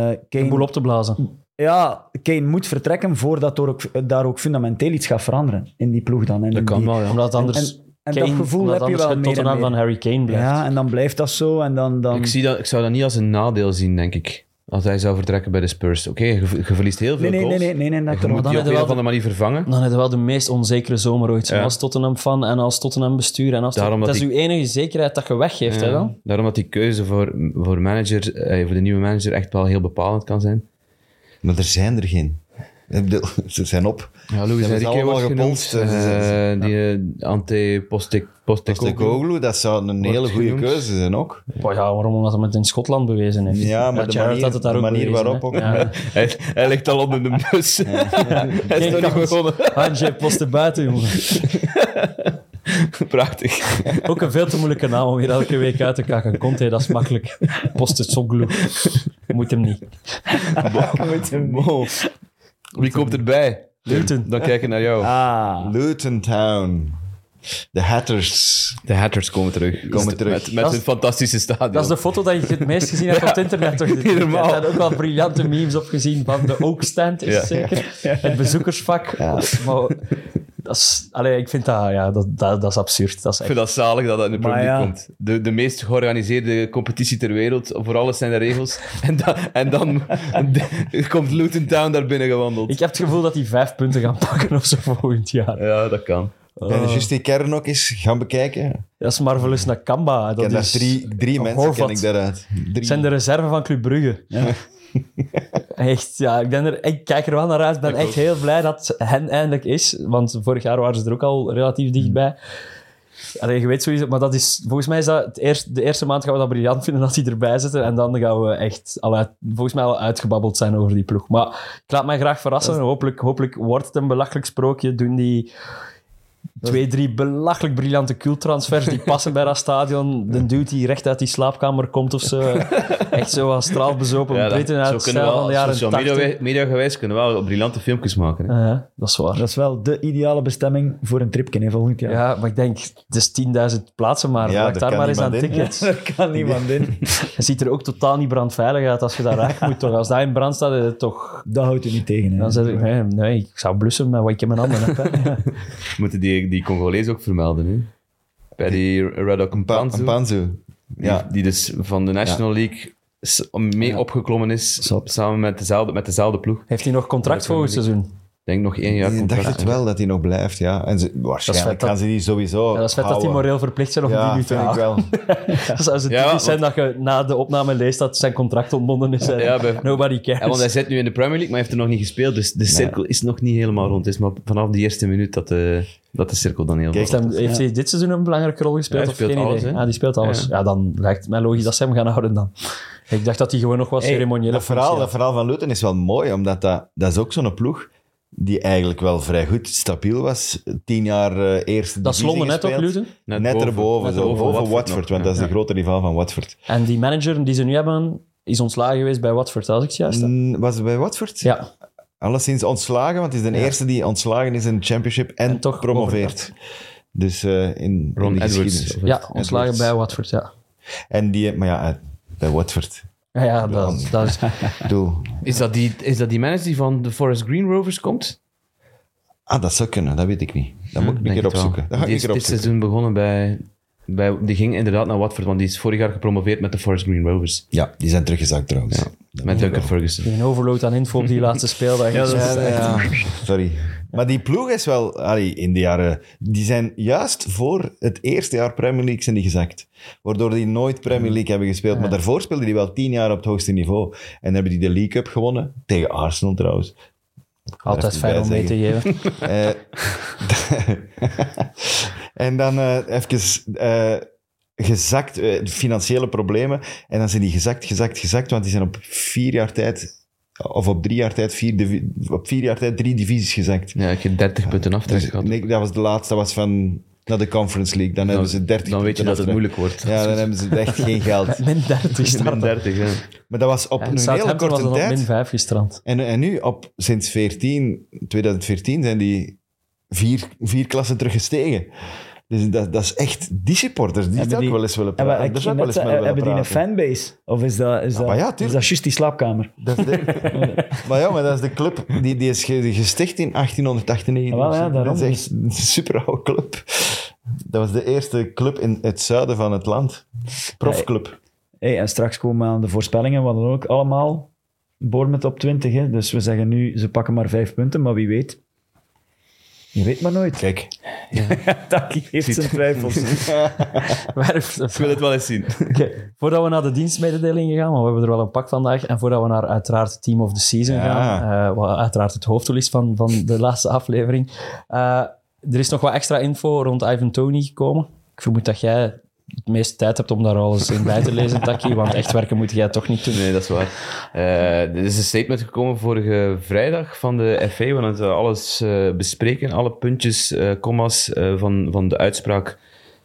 S4: Een
S5: Kane
S4: boel op te blazen.
S5: ja, Kane moet vertrekken voordat er ook, daar ook fundamenteel iets gaat veranderen in die ploeg dan. En in die-
S4: Omdat het anders...
S5: En, en dat
S4: Kane-
S5: gevoel
S4: omdat
S5: heb je
S4: anders
S5: wel
S4: het
S5: meer en
S4: Tottenham
S5: meer.
S4: van Harry Kane blijft.
S5: Ja, en dan blijft dat zo en dan... dan
S3: Ik, zie dat, ik zou dat niet als een nadeel zien, denk ik. Als hij zou vertrekken bij de Spurs. Oké, je, je verliest heel veel
S5: nee, nee, nee,
S3: goals.
S5: nee, nee, nee,
S3: En
S5: dat
S3: Je
S5: er-
S3: moet
S4: dan
S3: die op een
S4: hebben we
S3: of
S4: wel
S3: andere manier vervangen.
S4: Dan heb je wel de meest onzekere zomer ooit.
S3: Ja.
S4: Als Tottenham-fan en als Tottenham-bestuur. En als
S3: Daarom
S4: dat,
S3: dat
S4: is uw enige zekerheid dat je weggeeft, hè
S3: Ja,
S4: dan?
S3: Daarom dat die keuze voor, voor, manager, eh, voor de nieuwe manager echt wel heel bepalend kan zijn.
S2: Maar er zijn er geen. Ik bedoel, Ze zijn op.
S3: Ja, Louis
S2: Ze hebben ze
S3: Enrique
S2: allemaal
S3: wordt
S2: gepolst,
S3: genoemd.
S2: hè, ze zijn-
S3: Eh, die eh, Ante Postek,
S2: Dus de
S3: Postekoglu.
S2: Koglu, dat zou een hele goede
S3: genoemd.
S2: keuze zijn ook.
S4: Boah, ja, waarom? Omdat hij het in Schotland bewezen heeft.
S2: Ja, maar de
S4: Gerrard
S2: manier-
S4: had het daar
S2: de
S4: ook
S2: manier
S4: bewezen,
S2: waarop
S4: hè.
S2: ook.
S4: Ja.
S3: Hij, hij ligt al op in de bus. hij is
S4: Geen
S3: nog niet
S4: kans.
S3: begonnen.
S4: Hanjé Post buiten, jongen.
S3: Prachtig.
S4: Ook een veel te moeilijke naam om hier elke week uit te kakken. Komt hij, dat is makkelijk. Post het Moet hem niet.
S3: Wow. Wie komt erbij?
S4: Luton.
S3: Dan kijken naar jou.
S5: Ah,
S2: Luton Town. De Hatters.
S3: De Hatters komen terug.
S2: Komen terug.
S3: Met, met
S4: Dat is-
S3: hun fantastische stadion.
S4: Dat is de foto dat je het meest gezien hebt op het internet. Toch?
S3: niet normaal.
S4: Er zijn ook wel briljante memes op gezien van de Oakstand, is
S3: Ja.
S4: het zeker. Het bezoekersvak. Maar dat is, allee, ik vind dat, ja, dat, dat, dat is absurd. Dat is
S3: Ik
S4: echt,
S3: vind dat zalig dat dat in de Premier
S5: Maar
S3: League
S5: ja.
S3: komt. De, de meest georganiseerde competitie ter wereld. Voor alles zijn er regels. En, dan en dan komt Luton Town daar binnen gewandeld.
S4: ik heb het gevoel dat die vijf punten gaan pakken of zo volgend jaar.
S3: Ja, dat kan.
S2: Ben je juist die kern ook eens gaan bekijken?
S4: Dat is Marvelous Nakamba.
S2: Ik
S4: Dat
S2: ken daar
S4: is
S2: drie, drie mensen
S4: Horvat.
S2: ken ik daaruit. Drie.
S4: zijn de reserve van Club Brugge. echt, ja, ik, ben er, ik kijk er wel naar uit. Ik ben echt heel blij dat hen eindelijk is. Want vorig jaar waren ze er ook al relatief dichtbij. Allee, je weet sowieso, maar dat is, volgens mij is dat het eerst, de eerste maand gaan we dat briljant vinden dat die erbij zitten. En dan gaan we echt al uit- volgens mij al uitgebabbeld zijn over die ploeg. Maar ik laat mij graag verrassen. Hopelijk, hopelijk wordt het een belachelijk sprookje. Doen die twee, drie belachelijk briljante cultransfers die passen bij dat stadion. De dude die recht uit die slaapkamer komt of zo. Echt zo als straalbezopen
S3: Ja,
S4: ja,
S3: dat-
S4: Britten uit het stijl van de jaren
S3: social media,
S4: 80.
S3: wij- media gewijs kunnen we wel briljante filmpjes maken. hè.
S4: Ja, Eh, dat is waar.
S5: dat is wel de ideale bestemming voor een tripje hè, volgend jaar.
S4: Ja, maar ik denk, het is 10.000 plaatsen, maar
S2: Ja,
S4: maak
S2: daar
S4: daar
S2: kan
S4: maar eens aan
S2: niemand in.
S4: tickets.
S5: Daar kan niemand in.
S4: Je ziet er ook totaal niet brandveilig uit als je daar raak moet. Toch? Als dat in brand staat, is het toch...
S5: Dat houdt u niet tegen. Hè.
S4: Dan zeg ik, nee, nee, ik zou blussen met wat ik in mijn handen heb. hè.
S3: We moeten die, die Congolees ook vermelden. Hè? Bij die Radok
S2: Pa-
S3: Mpanzu.
S2: een Panzu.
S3: Ja.
S2: Ja.
S3: Die dus van de National League s- mee opgeklommen is.
S5: Zot.
S3: Samen met dezelfde, met dezelfde ploeg. Ik
S4: Heeft hij nog contract
S3: Dat kan
S4: volgend seizoen?
S3: denk nog één
S2: Ik
S3: jaar
S2: dacht
S3: contract.
S2: het wel dat hij nog blijft, ja. En ze, waarschijnlijk
S4: vet dat-
S2: gaan ze die sowieso
S4: Ja, dat is vet dat die
S2: houden.
S4: moreel verplicht zijn om
S2: ja,
S4: die nu te
S2: vind ik
S4: houden.
S2: wel.
S4: Dat zou ze
S3: Ja,
S4: typisch zijn dat je na de opname leest dat zijn contract ontbonden is. en
S3: Ja, bij-
S4: Nobody cares.
S3: Ja, want hij zit nu in de Premier League, maar hij heeft er nog niet gespeeld. Dus de cirkel is nog niet helemaal rond. Het is maar vanaf die eerste minuut dat de, dat de cirkel dan heel
S2: Kijk,
S4: Heeft, hem- heeft hij dit seizoen een belangrijke rol gespeeld?
S3: Ja, hij
S4: of
S3: speelt
S4: geen
S3: alles,
S4: idee?
S3: hè?
S4: Ja, die speelt alles. Ja. dan lijkt het mij logisch dat ze hem gaan houden dan. Ik dacht dat hij gewoon nog wat ceremoniële
S2: Dat verhaal,
S4: functie
S2: dat
S4: had.
S2: verhaal van Luton is wel mooi, omdat dat, dat is ook zo'n ploeg die eigenlijk wel vrij goed stabiel was. Tien jaar eh, eerste
S4: Dat is
S2: divisie
S4: Londen net ook,
S2: gespeeld.
S4: Luton.
S2: Net, erboven,
S3: net
S2: zo,
S3: erboven
S2: boven Watford,
S3: nog.
S2: want dat is de grote rivaal van Watford.
S4: En die manager die ze nu hebben, is ontslagen geweest bij Watford, als ik het juist heb.
S2: Mm, Was het bij Watford?
S4: Ja,
S2: Alleszins ontslagen, want het is de eerste die ontslagen is in de championship en,
S4: En toch
S2: toch promoveert. Dus eh, in,
S3: Ron
S2: in de
S3: Edwards.
S2: geschiedenis.
S4: ja ontslagen bij Watford, ja.
S2: En die, maar ja, eh, bij Watford.
S4: Ja, ja dat, dat is...
S2: Ik bedoel,
S3: Is dat, die, is dat die manager die van de Forest Green Rovers komt?
S2: ah, dat zou kunnen, dat weet ik niet. Dat moet ik een
S3: Hm, Denk
S2: keer
S3: het wel.
S2: opzoeken. Dat ga ik
S3: Die
S2: een
S3: is
S2: keer opzoeken.
S3: dit seizoen begonnen bij, bij... Die ging inderdaad naar Watford, want die is vorig jaar gepromoveerd met de Forest Green Rovers.
S2: Ja, die zijn teruggezakt trouwens.
S3: met Duncan Ferguson.
S4: Een overload aan info op die laatste speeldag. ja,
S2: Sorry. Maar die ploeg is wel, allee, in de jaren, die zijn juist voor het eerste jaar Premier League zijn die gezakt. Waardoor die nooit Premier League hebben gespeeld. Maar daarvoor speelden die wel tien jaar op het hoogste niveau. En hebben die de League Cup gewonnen. Tegen Arsenal trouwens.
S4: Altijd fijn om mee te geven.
S2: Eh, en dan eh, even eh, gezakt, eh, financiële problemen. En dan zijn die gezakt, gezakt, gezakt, want die zijn op vier jaar tijd, of op drie jaar tijd, vier, divi- op vier jaar tijd drie divisies gezakt.
S3: Ja, ik heb 30 punten aftrek
S2: Dus,
S3: gehad.
S2: nee, dat was de laatste, dat was van naar de Conference League. Dan, hebben ze 30
S3: dan weet je
S2: punten
S3: dat het
S2: aftrek.
S3: moeilijk wordt.
S2: Ja, dan hebben ze echt geen geld.
S4: Min 30
S3: Min
S4: starten.
S3: 30, ja.
S2: Maar dat was op
S4: En
S2: een hele
S4: Southampton was
S2: korte
S4: dan op
S2: tijd.
S4: min 5 gestrand.
S2: En, en nu, op, sinds 14, 2014, zijn die vier, vier klassen teruggestegen. Dus dat, dat is echt die supporters. Die
S5: Hebben
S2: zou ik
S5: die-
S2: wel eens willen
S5: Hebben,
S2: praten. Daar
S5: ik
S2: zou ik
S5: net
S2: wel eens
S5: zei,
S2: mee willen
S5: eh, hebben die een
S2: praten.
S5: fanbase? Of is dat, is dat,
S2: maar ja,
S5: is
S2: tuurlijk.
S5: dat juist die slaapkamer?
S2: Dat is de- maar ja, maar dat is de club. Die, die is ge- gesticht in 1898.
S5: Ah, wel, ja, daarom.
S2: dat is echt een super oude club. Dat was de eerste club in het zuiden van het land. Profclub.
S5: Hey, en straks komen aan de voorspellingen, wat dan ook, allemaal Bournemouth op 20. Hè? Dus we zeggen nu, ze pakken maar vijf punten, maar wie weet. Je weet maar nooit.
S2: Kijk,
S5: Taki heeft zijn twijfels.
S4: Werf-
S3: Ik wil het wel eens zien.
S4: Oké, Voordat we naar de dienstmededelingen gaan, want we hebben er wel een pak vandaag. En voordat we naar uiteraard Team of the Season
S2: Ja.
S4: gaan, eh, wat uiteraard het hoofddoel is van, van de laatste aflevering. eh, er is nog wat extra info rond Ivan Tony gekomen. Ik vermoed dat jij het meeste tijd hebt om daar alles in bij te lezen, Taki. Want echt werken moet jij toch niet doen.
S3: Nee, dat is waar. Eh, er is een statement gekomen vorige vrijdag van de FA. We hadden het, eh, alles eh, bespreken. Alle puntjes, eh commas eh, van, van de uitspraak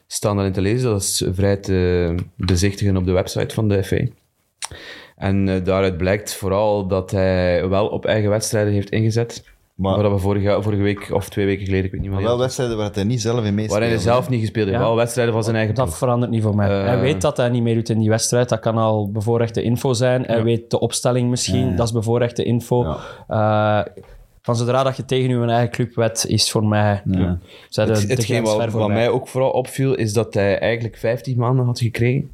S3: staan daarin te lezen. Dat is vrij te bezichtigen op de website van de FA. En eh, daaruit blijkt vooral dat hij wel op eigen wedstrijden heeft ingezet.
S2: Maar-
S3: Maar, dat we vorige, vorige week of twee weken geleden, ik weet niet meer.
S2: maar wel wedstrijden waar hij niet zelf in meespeelt.
S3: waarin hij zelf niet gespeeld heeft.
S4: Ja.
S3: Wel wedstrijden van zijn eigen
S4: Dat
S3: ploeg.
S4: verandert niet voor mij.
S3: Eh.
S4: hij weet dat hij niet meedoet in die wedstrijd. Dat kan al bevoorrechte info zijn. Hij weet de opstelling misschien. Dat is bevoorrechte info. Eh, van zodra dat je tegen je eigen club wet, is voor mij... Ja. Zij de,
S3: Het,
S4: de
S3: hetgeen
S4: grens ver
S3: wat, wat
S4: voorbij.
S3: mij ook vooral opviel, is dat hij eigenlijk 15 maanden had gekregen.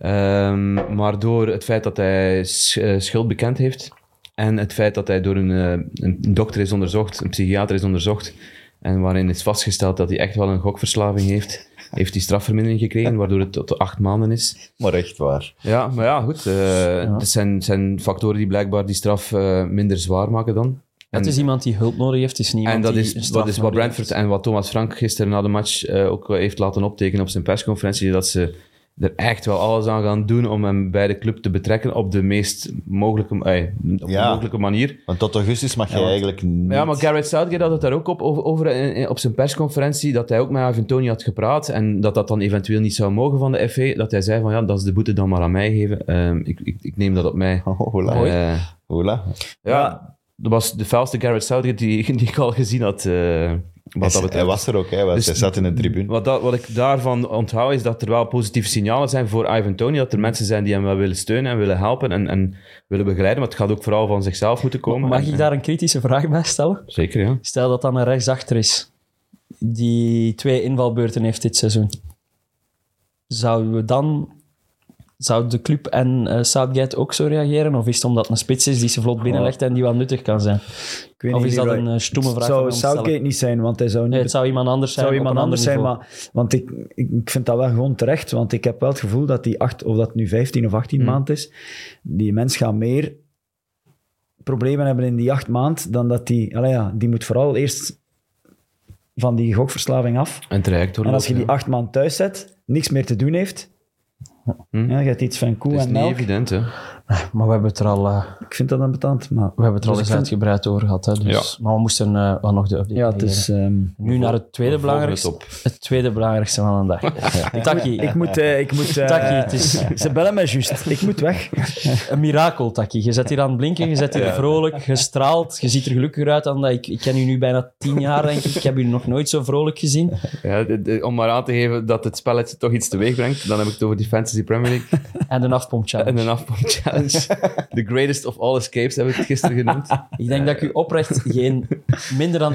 S3: Ehm, maar door het feit dat hij sch- eh, schuld bekend heeft en het feit dat hij door een, eh, een dokter is onderzocht, een psychiater is onderzocht, en waarin is vastgesteld dat hij echt wel een gokverslaving heeft, heeft hij strafvermindering gekregen, waardoor het tot acht maanden is.
S2: Maar echt waar.
S3: Ja, maar ja, goed. eh Het zijn, zijn factoren die blijkbaar die straf eh, minder zwaar maken dan.
S4: Het
S3: En-
S4: is iemand die hulp nodig heeft, het is niemand
S3: en dat
S4: die een
S3: is,
S4: straf
S3: dat is wat
S4: nodig
S3: Brentford en wat Thomas Frank gisteren na de match eh, ook heeft laten optekenen op zijn persconferentie, dat ze er echt wel alles aan gaan doen om hem bij de club te betrekken op de meest mogelijke, eh, op
S2: Ja.
S3: de mogelijke manier.
S2: Want tot augustus mag je eigenlijk niet...
S3: Ja, maar Garrett Southgate had het daar ook op, over, over in- in- op zijn persconferentie, dat hij ook met Ivan Tony had gepraat en dat dat dan eventueel niet zou mogen van de FA. Dat hij zei van, ja, dat is de boete dan maar aan mij geven. Ehm, ik, ik, ik neem dat op mij.
S2: Oh, hola.
S3: Eh,
S2: Hola.
S3: ja, dat was de vuilste Garrett Southgate die, die ik al gezien had. eh, wat dat
S2: Hij- hij
S3: betreft.
S2: was er ook, hè. hij, was,
S3: Dus-
S2: hij zat in de tribune.
S3: Wat, dat, wat ik daarvan onthoud is dat er wel positieve signalen zijn voor Ivan Tony. Dat er mensen zijn die hem wel willen steunen en willen helpen en, en willen begeleiden. Maar het gaat ook vooral van zichzelf moeten komen.
S4: heeft. Mag
S3: En-
S4: ik daar een kritische vraag bij stellen?
S3: Zeker, ja.
S4: Stel dat dan een rechtsachter is die twee invalbeurten heeft dit seizoen. Zouden we dan... Zou de club en eh Southgate ook zo reageren? Of is het omdat het een spits is die ze vlot binnenlegt en die wel nuttig kan zijn?
S5: Ik weet
S4: Of
S5: niet,
S4: is dat
S5: Leroy.
S4: een eh, stoeme vraag
S5: Het
S4: van mij om
S5: zou
S4: te
S5: Southgate
S4: stellen?
S5: niet zijn, want hij zou niet...
S4: Nee, het zou iemand anders
S5: het
S4: zijn.
S5: zou
S4: op
S5: iemand
S4: een
S5: anders
S4: ander
S5: zijn,
S4: niveau.
S5: maar... Want ik, ik, ik vind dat wel gewoon terecht, want ik heb wel het gevoel dat die acht... Of dat nu 15 of 18 maand is, die mens gaat meer problemen hebben in die acht maand dan dat die... Allee ja, die moet vooral eerst van die gokverslaving af.
S3: En traject
S5: En als je die acht maand thuis zet, niks meer te doen heeft...
S3: Hm.
S5: Ja, je hebt iets van koe
S3: Het is
S5: en
S3: niet
S5: melk.
S3: evident, hè.
S4: maar... we hebben het er al, eh,
S5: Ik vind dat dan betaald, maar...
S4: we hebben het er al
S5: Dus
S4: eens
S5: ik vind-
S4: uitgebreid over gehad. Hè, dus. Maar we moesten eh, wel nog de update
S5: Ja, het
S4: geven.
S5: is... ehm,
S4: Nu naar het tweede
S3: We volgen
S4: belangrijkste.
S3: het op.
S4: Het, tweede belangrijkste van de dag. Taki,
S5: Ik moet... eh, ik moet eh,
S4: Taki, het is-
S5: Ze bellen mij juist. Ik moet weg.
S4: een mirakel, Taki. Je zit hier aan het blinken, je zit hier vrolijk, je straalt, je ziet er gelukkiger uit dan dat ik... Ik ken u nu bijna tien jaar, denk ik. Ik heb u nog nooit zo vrolijk gezien.
S3: Ja, de- de- om maar aan te geven dat het spelletje toch iets teweeg brengt, dan heb ik het over die Fantasy Premier League
S4: En een afpomp
S3: en een afpomp challenge. The greatest of all escapes heb ik het gisteren genoemd.
S4: Ik denk dat ik u oprecht geen, minder dan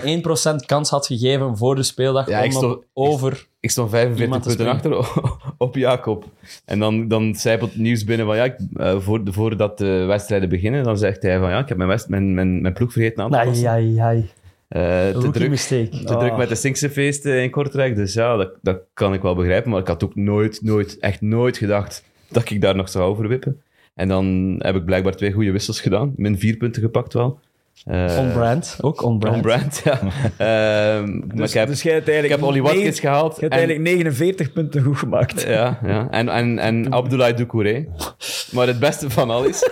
S4: 1% kans had gegeven voor de speeldag
S3: Ja,
S4: om
S3: ik
S4: nog
S3: stond- ik-
S4: over...
S3: Ik stond 45
S4: Iemand te
S3: punten achter op Jacob. En dan, dan zijpelt het nieuws binnen van ja, ik, eh, voor, voordat de wedstrijden beginnen, dan zegt hij van ja, ik heb mijn, west, mijn, mijn, mijn ploeg vergeten aan te
S4: Nee,
S3: passen.
S4: ja, ja.
S3: Eh, te
S4: Rookie
S3: druk,
S4: mistake.
S3: te
S5: Ah.
S3: druk met de Sinkse feesten in Kortrijk. Dus ja, dat, dat kan ik wel begrijpen. Maar ik had ook nooit, nooit, echt nooit gedacht dat ik daar nog zou overwippen. En dan heb ik blijkbaar twee goede wissels gedaan. Min vier punten gepakt wel. Eh,
S4: On brand, ook on brand.
S3: on brand, ja. Ehm, maar ik heb,
S5: dus jij hebt
S3: ik
S5: eigenlijk
S3: heb Ollie
S5: negen-
S3: Watkins gehaald.
S5: Je hebt
S3: en-
S5: eigenlijk 49 punten goed gemaakt.
S3: Ja, ja. En, en, en Abdoulaye Doucouré. Maar het beste van alles...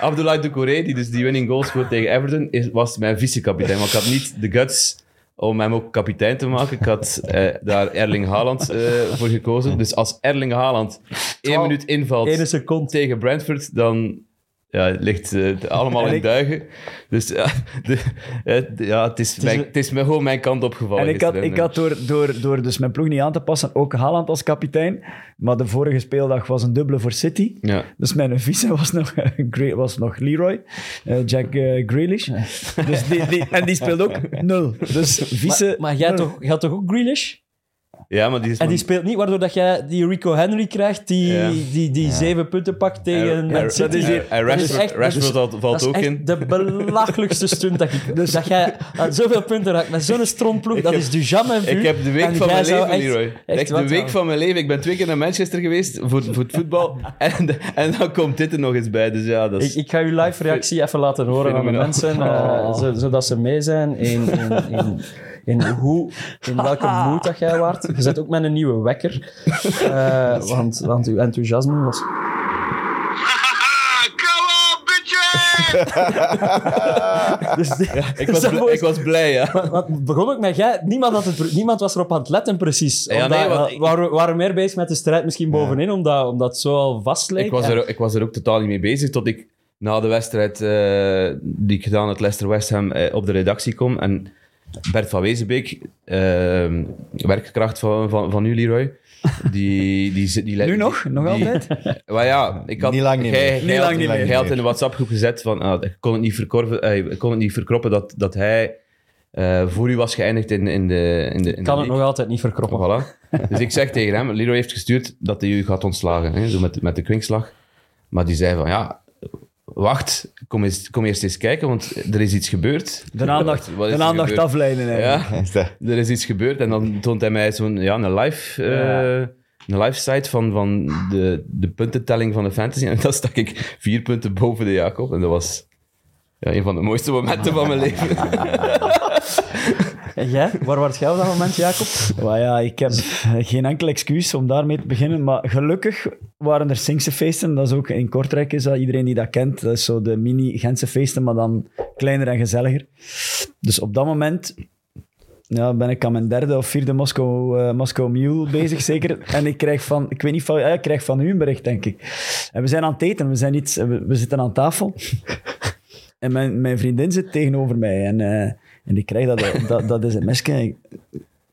S3: Abdoulaye Doucouré, die dus die winning goal scoort tegen Everton, is, was mijn vice-kapitein. Want ik had niet de guts om hem ook kapitein te maken. Ik had eh, daar Erling Haaland eh, voor gekozen. Dus als Erling Haaland één minuut invalt
S4: Ene seconde.
S3: tegen Brentford, dan ja, het ligt eh, het allemaal
S5: En
S3: in
S5: ik-
S3: duigen. Dus ja, de- het- ja, het is, mijn,
S4: een-
S3: het is me gewoon mijn kant opgevallen.
S5: En ik had,
S3: gisteren.
S5: ik had door, door, door dus mijn ploeg niet aan te passen ook Haaland als kapitein. Maar de vorige speeldag was een dubbele voor City.
S3: Ja.
S5: Dus mijn vice was nog, Gre- was nog Leroy, eh, Jack eh, Grealish. Dus die, die, en die speelde ook nul. Dus vice...
S4: Maar, maar jij,
S5: nul.
S4: toch, jij had toch ook Grealish?
S3: Ja, maar die is
S4: En
S3: maar-
S4: die speelt niet, waardoor dat jij die Rico Henry krijgt, die,
S3: Ja.
S4: die, die zeven punten pakt tegen
S3: En- en-
S4: Man City.
S3: dat is die- en
S4: Dat is
S3: Rashford-
S4: echt- dat
S3: Rashford
S4: is-
S3: valt- valt
S4: dat is
S3: ook
S4: echt
S3: in.
S4: de belachelijkste stunt dat, ik, dat jij aan zoveel punten raakt met zo'n stromploeg.
S3: Ik
S4: Dat
S3: heb-
S4: is Dujam en
S3: Ik heb de week
S4: Hm? En
S3: van
S4: jij
S3: mijn
S4: zou
S3: leven,
S4: echt-
S3: Leroy.
S4: echt
S3: Echt de
S4: wat
S3: week
S4: aan-
S3: van mijn leven. Ik ben twee keer naar Manchester geweest voor, voor het voetbal. En, en dan komt dit er nog eens bij. Dus ja, dat is...
S4: Ik, ik ga uw live reactie even laten horen aan de
S3: Fenomenaal.
S4: mensen, eh,
S5: Oh.
S4: zo- zodat ze mee zijn in, in, in, in hoe, in welke moed dat jij waart. Je zet ook met een nieuwe wekker, eh, want, want uw enthousiasme was... Dus die-
S3: Ik was,
S4: zo
S3: bl-
S4: mooi-
S3: ik was blij, ja.
S4: Want- want begon ook met jij, niemand, had het, niemand was erop aan het letten precies.
S3: Ja,
S4: Omdat-
S3: nee, want
S4: we
S3: ik-
S4: waren, we waren meer bezig met de strijd misschien bovenin, omdat, omdat het zo al vast leek.
S3: Ik was,
S4: En-
S3: er, ik was er ook totaal niet mee bezig tot ik na de wedstrijd eh, die ik gedaan had, Leicester West Ham, eh, op de redactie kom. En Bert van Wezenbeek, eh, werkkracht van, van, van u, Leroy, die, die, zit- die,
S5: Nu nog? Nog
S3: die-
S5: altijd?
S3: Maar ja, ik had...
S2: Niet lang niet
S3: hij-
S2: meer.
S3: hij
S5: Niet
S3: had-
S5: lang niet
S3: hij
S2: meer.
S3: had in de WhatsApp-groep gezet van... ah, ik, kon het niet verkorven, eh, ik kon het niet verkroppen dat, dat hij eh, voor u was geëindigd in, in de... In de in de
S4: kan het
S3: league.
S4: nog altijd niet
S3: Voilà.
S4: verkroppen.
S3: Dus ik zeg tegen hem, Leroy heeft gestuurd dat hij u gaat ontslagen, hè, zo met, met de kwinkslag. Maar die zei van, ja, wacht, kom, eens, kom eerst eens kijken, want er is iets gebeurd.
S5: De aandacht,
S3: Wat is
S5: de
S3: er
S5: aandacht
S3: gebeurd?
S5: afleiden. eigenlijk.
S3: Ja,
S2: Is dat-
S3: er is iets gebeurd. En dan toont hij mij zo'n, ja, een live... eh, Een live site van, van de, de puntentelling van de fantasy. En dan stak ik vier punten boven de Jacob. En dat was ja, een van de mooiste momenten van mijn leven.
S4: En jij? Waar was jij op dat moment, Jacob?
S5: Maar ja, ik heb geen enkel excuus om daarmee te beginnen. Maar gelukkig waren er Sinkse feesten. Dat is ook in Kortrijk, is dat iedereen die dat kent. Dat is zo de mini Gentse feesten, maar dan kleiner en gezelliger. Dus op dat moment ja, ben ik aan mijn derde of vierde Moskou, eh, Moskou Mule bezig, zeker. En ik krijg van, ik weet niet van, ja, ik krijg van u een bericht, denk ik. En we zijn aan het eten, we, zijn iets, we, we zitten aan tafel. En mijn, mijn vriendin zit tegenover mij. En, eh, en ik krijg dat, dat, dat sms. Ik,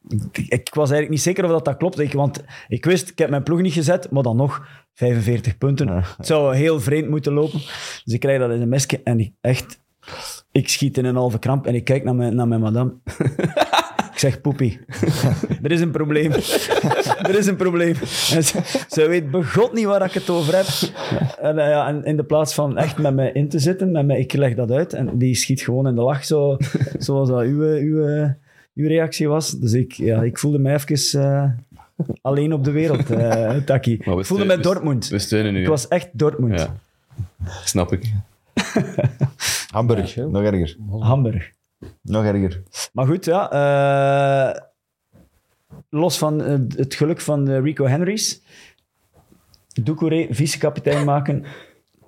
S5: ik, ik was eigenlijk niet zeker of dat, dat klopt. Ik, want ik wist, ik heb mijn ploeg niet gezet, maar dan nog 45 punten. Het zou heel vreemd moeten lopen. Dus ik krijg dat sms. En ik, echt, ik schiet in een halve kramp. En ik kijk naar mijn, naar mijn madame. Ik zeg, poepie, er is een probleem. er is een probleem. En ze, ze weet begot niet waar ik het over heb. En, eh, ja, en in de plaats van echt met mij in te zitten, met mij, ik leg dat uit. En die schiet gewoon in de lach, zo, zoals dat uw, uw, uw reactie was. Dus ik, ja, ik voelde mij even eh, alleen op de wereld, eh Taki. Ik
S3: Maar we
S5: voelde
S3: steunen-
S5: mij
S3: we-
S5: Dortmund.
S3: We steunen u.
S5: ik was echt Dortmund.
S3: Ja. Snap ik.
S2: Hamburg, nog erger.
S5: Hamburg.
S2: Nog erger.
S5: Maar goed, ja. eh, los van eh, het geluk van eh, Rico Henrys. Doucouré vice-kapitein maken.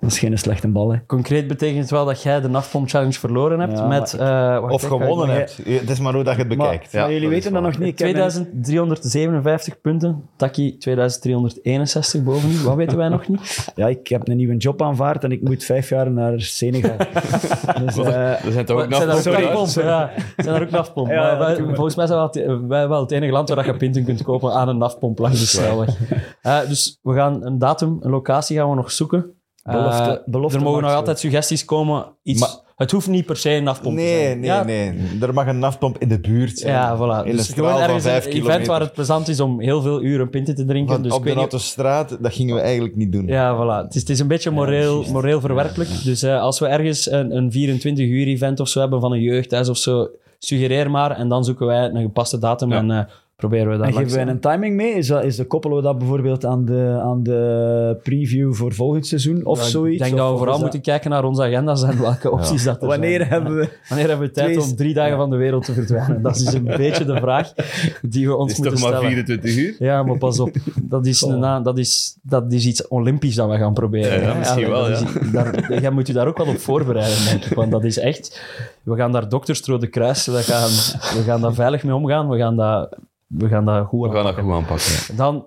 S5: Dat is geen slechte bal, hè.
S4: Concreet betekent het wel dat jij de nachtpomp challenge verloren hebt
S5: Ja,
S4: met... eh, wacht,
S2: Of
S4: ik ga
S2: gewonnen
S4: het
S2: hebt. Het is maar hoe dat je het
S5: Maar,
S2: bekijkt.
S5: maar jullie weten dat nog niet. Ik heb mijn-
S4: 2357 punten, Taki 2361 boven u, wat weten wij nog niet?
S5: ja, ik heb een nieuwe job aanvaard en ik moet vijf jaar naar Senegal. dus, eh,
S3: Er zijn toch ook
S4: zijn daar ook
S3: nachtpompen?
S4: nachtpompen? Ja, zijn daar ook nachtpompen?
S5: Ja,
S4: Maar wij-
S5: natuurlijk.
S4: volgens mij zijn wij, het- wij wel het enige land waar je pinten kunt kopen aan een nachtpomp langs de snelweg. Eh, dus we gaan een datum, een locatie gaan we nog zoeken. Eh,
S5: Belofte- belofte
S4: er mogen nog
S5: maakt
S4: altijd suggesties komen. Iets,
S2: Maar-
S4: het hoeft niet per se een nachtpomp te
S2: Nee,
S4: zijn.
S2: nee,
S4: Ja,
S2: nee. Er mag een naftpomp in de buurt zijn.
S4: Ja, voilà.
S2: eh, In een
S4: Dus gewoon
S2: straal van
S4: ergens een
S2: vijf
S4: event
S2: kilometer.
S4: waar het plezant is om heel veel uren pinten te drinken.
S2: Want
S4: dus
S2: op
S4: ik
S2: de
S4: weet niet-
S2: autostraat, dat gingen we eigenlijk niet doen.
S4: Ja, voilà. Het is, het is een beetje moreel, moreel verwerkelijk. Dus eh, als we ergens een, een 24-uur-event of zo hebben van een jeugdhuis of zo, suggereer maar en dan zoeken wij een gepaste datum en eh, proberen we dat
S5: en geven
S4: langs
S5: wij
S4: te-
S5: een timing mee? Is dat, is dat, koppelen we dat bijvoorbeeld aan de, aan de preview voor volgend seizoen of
S4: Ja, ik
S5: zoiets?
S4: denk
S5: Of-
S4: dat we
S5: of
S4: vooral
S5: is dat-
S4: moeten kijken naar onze agenda's en welke opties dat er zijn.
S5: Wanneer hebben we...
S4: Wanneer hebben we tijd
S5: Twee-
S4: om drie dagen van de wereld te verdwijnen? Dat is een beetje de vraag die we
S3: Het
S4: ons
S3: is
S4: moeten
S3: toch maar
S4: stellen.
S3: 24 uur?
S4: Ja, maar pas op. Dat is, een, na- dat is, dat is iets Olympisch dat we gaan proberen.
S3: Ja, ja,
S4: hè.
S3: misschien wel,
S4: dat is iets- daar, jij moet je daar ook wel op voorbereiden, denk ik. Want dat is echt... We gaan daar dokters Rode Kruis, we gaan, we gaan daar veilig mee omgaan. We gaan dat, we gaan dat goed
S3: We gaan dat
S4: aanpakken.
S3: goed aanpakken.
S4: Dan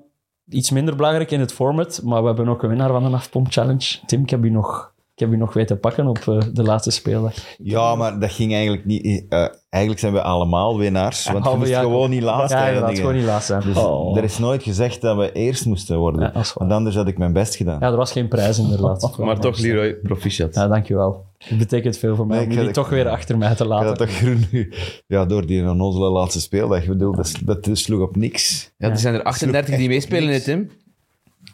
S4: iets minder belangrijk in het format, maar we hebben ook een winnaar van de Afpomp Challenge. Tim, ik heb u nog, ik heb u nog weten pakken op eh, de laatste speeldag.
S2: Ja, maar dat ging eigenlijk niet. eh, eigenlijk zijn we allemaal winnaars. Want je
S4: Halve
S2: moest
S4: Jacob.
S2: gewoon niet laatst
S4: Ja, inderdaad,
S2: eindigen.
S4: gewoon niet laatst zijn.
S2: Dus
S5: Oh.
S2: er is nooit gezegd dat we eerst moesten
S4: Ja,
S2: worden.
S4: dat is waar.
S2: want anders had ik mijn best gedaan.
S4: Ja, er was geen prijs inderdaad.
S3: Maar toch, Leroy, proficiat.
S4: Ja, dankjewel. Het betekent veel voor mij
S2: Nee,
S4: om
S2: ik
S4: jullie
S2: ga-
S4: toch weer achter mij te
S2: Ja,
S4: laten.
S2: dat groen nu. Ja, door die onnozele laatste speeldag. Ik bedoel, dat, dat sloeg op niks.
S3: Ja, er zijn er 38 die meespelen, hè, Tim.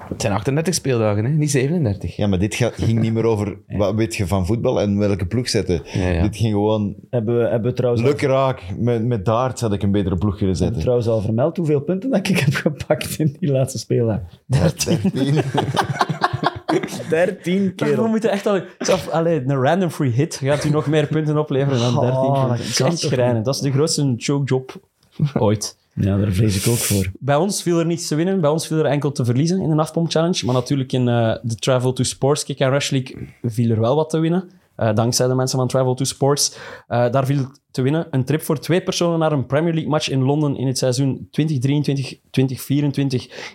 S3: Het zijn 38 speeldagen, hè? niet 37.
S2: Ja, maar dit ga- ging niet meer over wat weet je van voetbal en welke ploeg zetten.
S3: Ja, ja.
S2: Dit ging gewoon
S5: Hebben we, hebben we trouwens, al,
S2: luk raak. Met, met Daart had ik een betere ploeg kunnen
S5: hebben
S2: zetten.
S5: we trouwens al vermeld hoeveel punten dat ik heb gepakt in die laatste speeldag.
S2: 13.
S5: 13 keer.
S4: we moeten echt al... Zelf, allee, een random free hit gaat u nog meer punten opleveren dan 13
S5: Oh,
S4: punten.
S5: dat
S4: Dat is
S5: kan
S4: echt
S5: toch
S4: schrijnend. Dat is de grootste choke job ooit.
S5: Ja, daar vrees ik ook voor.
S4: Bij ons viel er niets te winnen. Bij ons viel er enkel te verliezen in de Afpomp Challenge. Maar natuurlijk in eh, de Travel to Sports Kick and Rush League viel er wel wat te winnen. Eh, dankzij de mensen van Travel to Sports. Eh, daar viel te winnen een trip voor twee personen naar een Premier League match in Londen in het seizoen 2023-2024.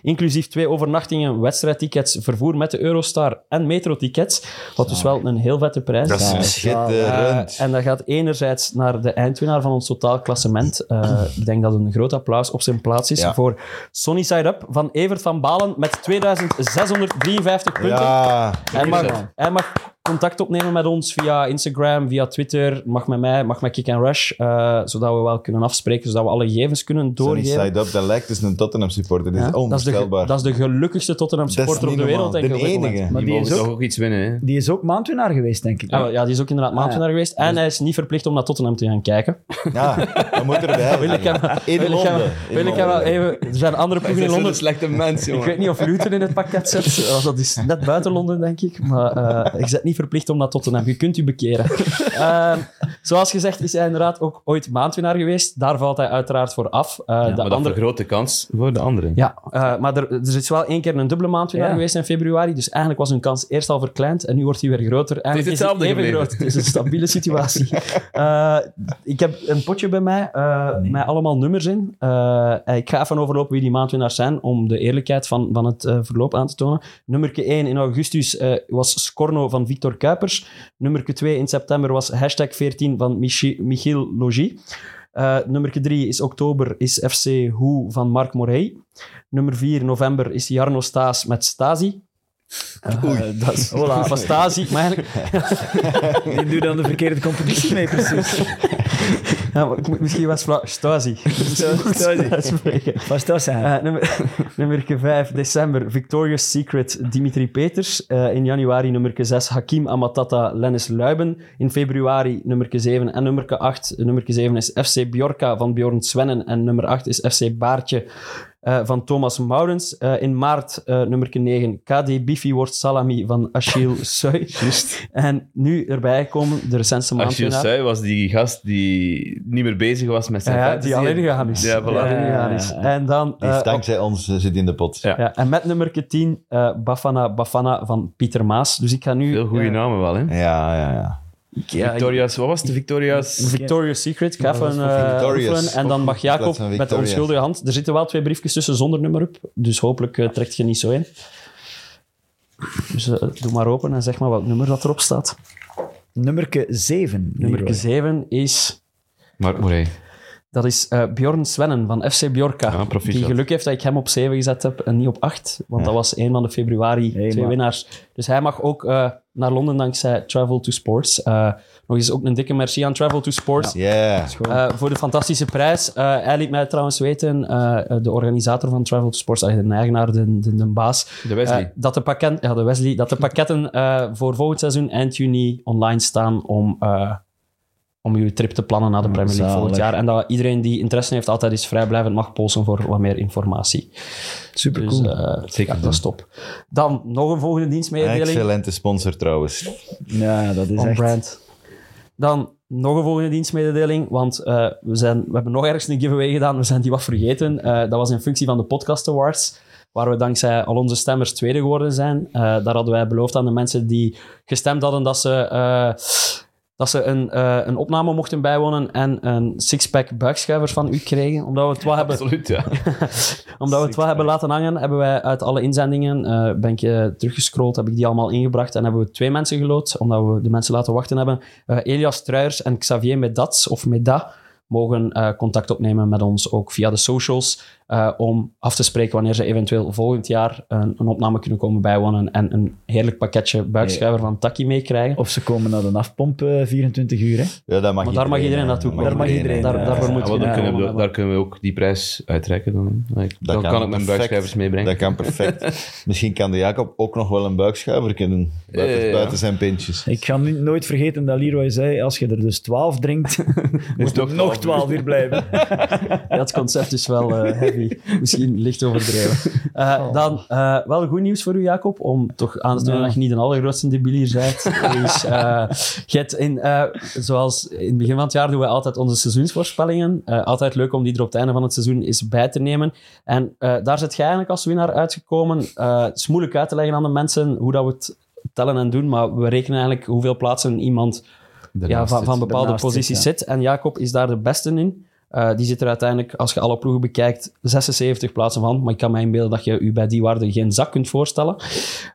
S4: Inclusief twee overnachtingen, wedstrijdtickets, vervoer met de Eurostar en metrotickets. Wat dus wel een heel vette prijs
S2: Dat
S5: Ja,
S2: is schitterend.
S4: eh, en dat gaat enerzijds naar de eindwinnaar van ons totaalklassement. Eh, ik denk dat een groot applaus op zijn plaats is
S2: Ja.
S4: voor Sunny Side Up van Evert van Balen met 2653 punten.
S2: Ja,
S4: Hij mag, hij mag contact opnemen met ons via Instagram, via Twitter, mag met mij, mag met Kick and Rush, eh, zodat we wel kunnen afspreken, zodat we alle gegevens kunnen
S2: Sunny
S4: doorgeven.
S2: Side Up, dat lijkt dus een Tottenham supporter. Dat is
S4: Ja, dat, is de,
S2: onvoorstelbaar.
S4: dat is de gelukkigste Tottenham
S2: Dat is
S4: supporter op
S2: niet
S4: de wereld,
S2: normaal.
S4: denk ik. op
S2: De
S4: dit moment.
S2: enige.
S5: Maar
S3: Die
S5: die
S3: mogen
S5: is
S3: toch
S5: ook,
S3: ook iets winnen, hè?
S5: die is ook maandwinnaar geweest, denk ik.
S4: Ja, Ah, wel, ja, die is ook
S2: Ah,
S4: inderdaad maandwinnaar geweest.
S2: Dus-
S4: En hij is niet verplicht om naar Tottenham te gaan kijken.
S2: Ja, dat moet erbij.
S4: Wil ik hem,
S2: In
S4: wil ik hem-
S2: Londen. In
S4: wil ik hem wel
S2: Londen.
S4: even... Er zijn andere ploegen in Londen.
S3: slechte mens,
S4: Ik weet niet of Luton in het pakket zit. Oh, dat is net buiten Londen, denk ik. Maar eh ik zit niet verplicht om naar Tottenham. Je kunt u bekeren. Ehm, zoals gezegd is hij inderdaad ook ooit maandwinnaar geweest. Daar valt hij uiteraard voor af. Eh,
S3: maar
S4: de
S3: dat
S4: andere...
S3: vergroot de kans voor de anderen.
S4: Ja, eh, maar er, er is wel één keer een dubbele maandwinnaar
S3: Ja.
S4: geweest in februari. Dus eigenlijk was hun kans eerst al verkleind en nu wordt die weer groter. Eigenlijk
S3: Het is hetzelfde
S4: even
S3: gebleven.
S4: groot. Het is een stabiele situatie. Eh, ik heb een potje bij mij eh, met allemaal nummers in. Eh, ik ga even overlopen wie die maandwinnaars zijn om de eerlijkheid van, van het eh, verloop aan te tonen. Nummer 1 in augustus eh, was Scorno van Victor Kuipers. Nummer 2 in september was hashtag 14 van Michi- Michiel Logie. Eh nummer 3 is oktober is FC Hoe van Marc Morey. Nummer 4 november is Jarno Staes met Stasi. Eh, dat is voilà, van Stasi. Maar eigenlijk,
S5: Die doet dan de verkeerde competitie mee, precies.
S4: ja, maar ik moet misschien wat vla- Stasi.
S5: Stasi.
S4: Uitspreken.
S5: Was dat zijn?
S4: Eh, nummer, nummer 5, december, Victoria's Secret, Dimitri Peters. Eh, in januari nummer 6, Hakim Amatata, Lennis Luiben. In februari nummer 7 en nummer 8. Nummer 7 is FC Bjorka van Bjorn Svennen. En nummer 8 is FC Baartje eh, van Thomas Maurens. Eh, in maart eh nummer 9, KD Bifi wordt salami van Achille Sui. En nu erbij komen de recentste maand.
S3: Achille Sui was die gast die niet meer bezig was met zijn
S4: Ja,
S3: fantasy.
S4: die alleen gegaan is.
S3: Ja, voilà.
S4: Die alleen gegaan is. En dan...
S2: Die
S4: eh,
S2: is
S4: op-
S2: dankzij ons eh, zit in de pot.
S3: Ja.
S4: Ja, en met nummer 10, eh, Bafana Bafana van Pieter Maas. Dus ik ga nu...
S3: Heel goede
S4: eh,
S3: namen wel, hè?
S2: Ja, ja, ja.
S4: ja,
S3: Victoria's, wat was het? De Victoria's...
S4: Victoria's Secret. Ik ga even eh,
S2: Victorious.
S4: oefenen. En dan mag
S2: In plaats
S4: Jacob
S2: van
S4: met de
S2: Victoria's.
S4: onschuldige hand... Er zitten wel twee briefjes tussen zonder nummer op. Dus hopelijk eh, trekt je niet zo in. Dus eh, doe maar open en zeg maar wat nummer dat erop staat.
S5: Nummer 7.
S4: Nummer 7 is...
S3: Mark Morey.
S4: Dat is eh, Bjorn Svennen van FC Bjorka.
S3: Ja, proficiat.
S4: die geluk heeft dat ik hem op 7 gezet heb en niet op 8. Want dat was een van de februari
S5: Hey,
S4: twee
S5: maar-
S4: winnaars. Dus hij mag ook eh, naar Londen dankzij Travel to Sports. Eh, nog eens ook een dikke merci aan Travel to Sports.
S2: Yeah.
S4: Eh, voor de fantastische prijs. Eh, hij liet mij trouwens weten, eh, de organisator van Travel to Sports, eh, de eigenaar, de, de, de baas.
S3: De Wesley.
S4: eh, dat, de pakket, ja, de Wesley dat de pakketten eh, voor volgend seizoen eind juni online staan om, eh, om uw trip te plannen naar de
S3: Mm,
S4: Premier League
S5: zalig.
S4: volgend jaar. En dat iedereen die interesse heeft altijd is vrijblijvend mag polsen voor wat meer informatie.
S5: Super
S4: Dus
S5: cool.
S4: eh,
S3: Zeker
S4: ja, dat is top. Dan nog een volgende dienstmededeling.
S2: Excellente sponsor trouwens.
S5: ja, dat is
S4: On
S5: echt...
S4: brand. Dan nog een volgende dienstmededeling, want eh, we, zijn, we hebben nog ergens een giveaway gedaan, we zijn die wat vergeten. Eh, dat was in functie van de Podcast Awards, waar we dankzij al onze stemmers tweede geworden zijn. Eh, daar hadden wij beloofd aan de mensen die gestemd hadden dat ze, eh, dat ze een, eh, een opname mochten bijwonen en een sixpack buikschuivers van u kregen, omdat we het wel hebben
S3: Absoluut, ja.
S4: omdat we het wel hebben laten hangen, hebben wij uit alle inzendingen, eh, ben ik eh, teruggescrolld, heb ik die allemaal ingebracht en hebben we twee mensen geloot, omdat we de mensen laten wachten hebben. Eh, Elias Truijers en Xavier Medats, of Meda, mogen eh, contact opnemen met ons, ook via de socials, eh, om af te spreken wanneer ze eventueel volgend jaar een, een opname kunnen komen bijwonen en een heerlijk pakketje buikschuiver van Taki meekrijgen.
S5: Of ze komen naar de afpomp eh, 24 uur. Hè?
S2: Ja, dat mag
S4: Maar daar mag iedereen naartoe
S2: hè.
S4: komen.
S5: Daar mag iedereen,
S4: Daar,
S5: eh,
S4: daarvoor
S5: ja,
S4: moet
S3: Ah, wel,
S4: je
S3: dan kunnen we,
S4: hebben.
S3: daar kunnen we ook die prijs uittrekken. Dan, dan kan,
S2: kan
S3: ik mijn
S2: perfect.
S3: buikschuivers meebrengen.
S2: Dat kan perfect. Misschien kan de Jacob ook nog wel een buikschuiver kunnen. Buiten,
S3: Ja, ja, ja.
S2: buiten zijn pintjes.
S5: Ik ga nu nooit vergeten dat Leroy zei, als je er dus 12 drinkt, moet
S3: nog
S5: je nog 12 uur blijven.
S4: Ja, het concept is wel eh, heavy. Misschien licht overdreven. Eh, Dan eh, wel goed nieuws voor u, Jacob, om toch aan te tonen
S5: Ja.
S4: dat je niet een allergrootste debielier bent. Dus, eh, je hebt in, eh, zoals in het begin van het jaar doen we altijd onze seizoensvoorspellingen. Eh, altijd leuk om die er op het einde van het seizoen eens bij te nemen. En eh, daar zit jij eigenlijk als winnaar uitgekomen. Eh, het is moeilijk uit te leggen aan de mensen hoe dat we het tellen en doen, maar we rekenen eigenlijk hoeveel plaatsen iemand ja,
S3: Daarnaast
S4: van, van
S3: zit-
S4: bepaalde
S5: daarnaast zit,
S4: posities
S5: ja.
S4: zit. En Jacob is daar de beste in. Eh, die zit er uiteindelijk, als je alle ploegen bekijkt, 76 plaatsen van. Maar ik kan mij inbeelden dat je u bij die waarde geen zak kunt voorstellen.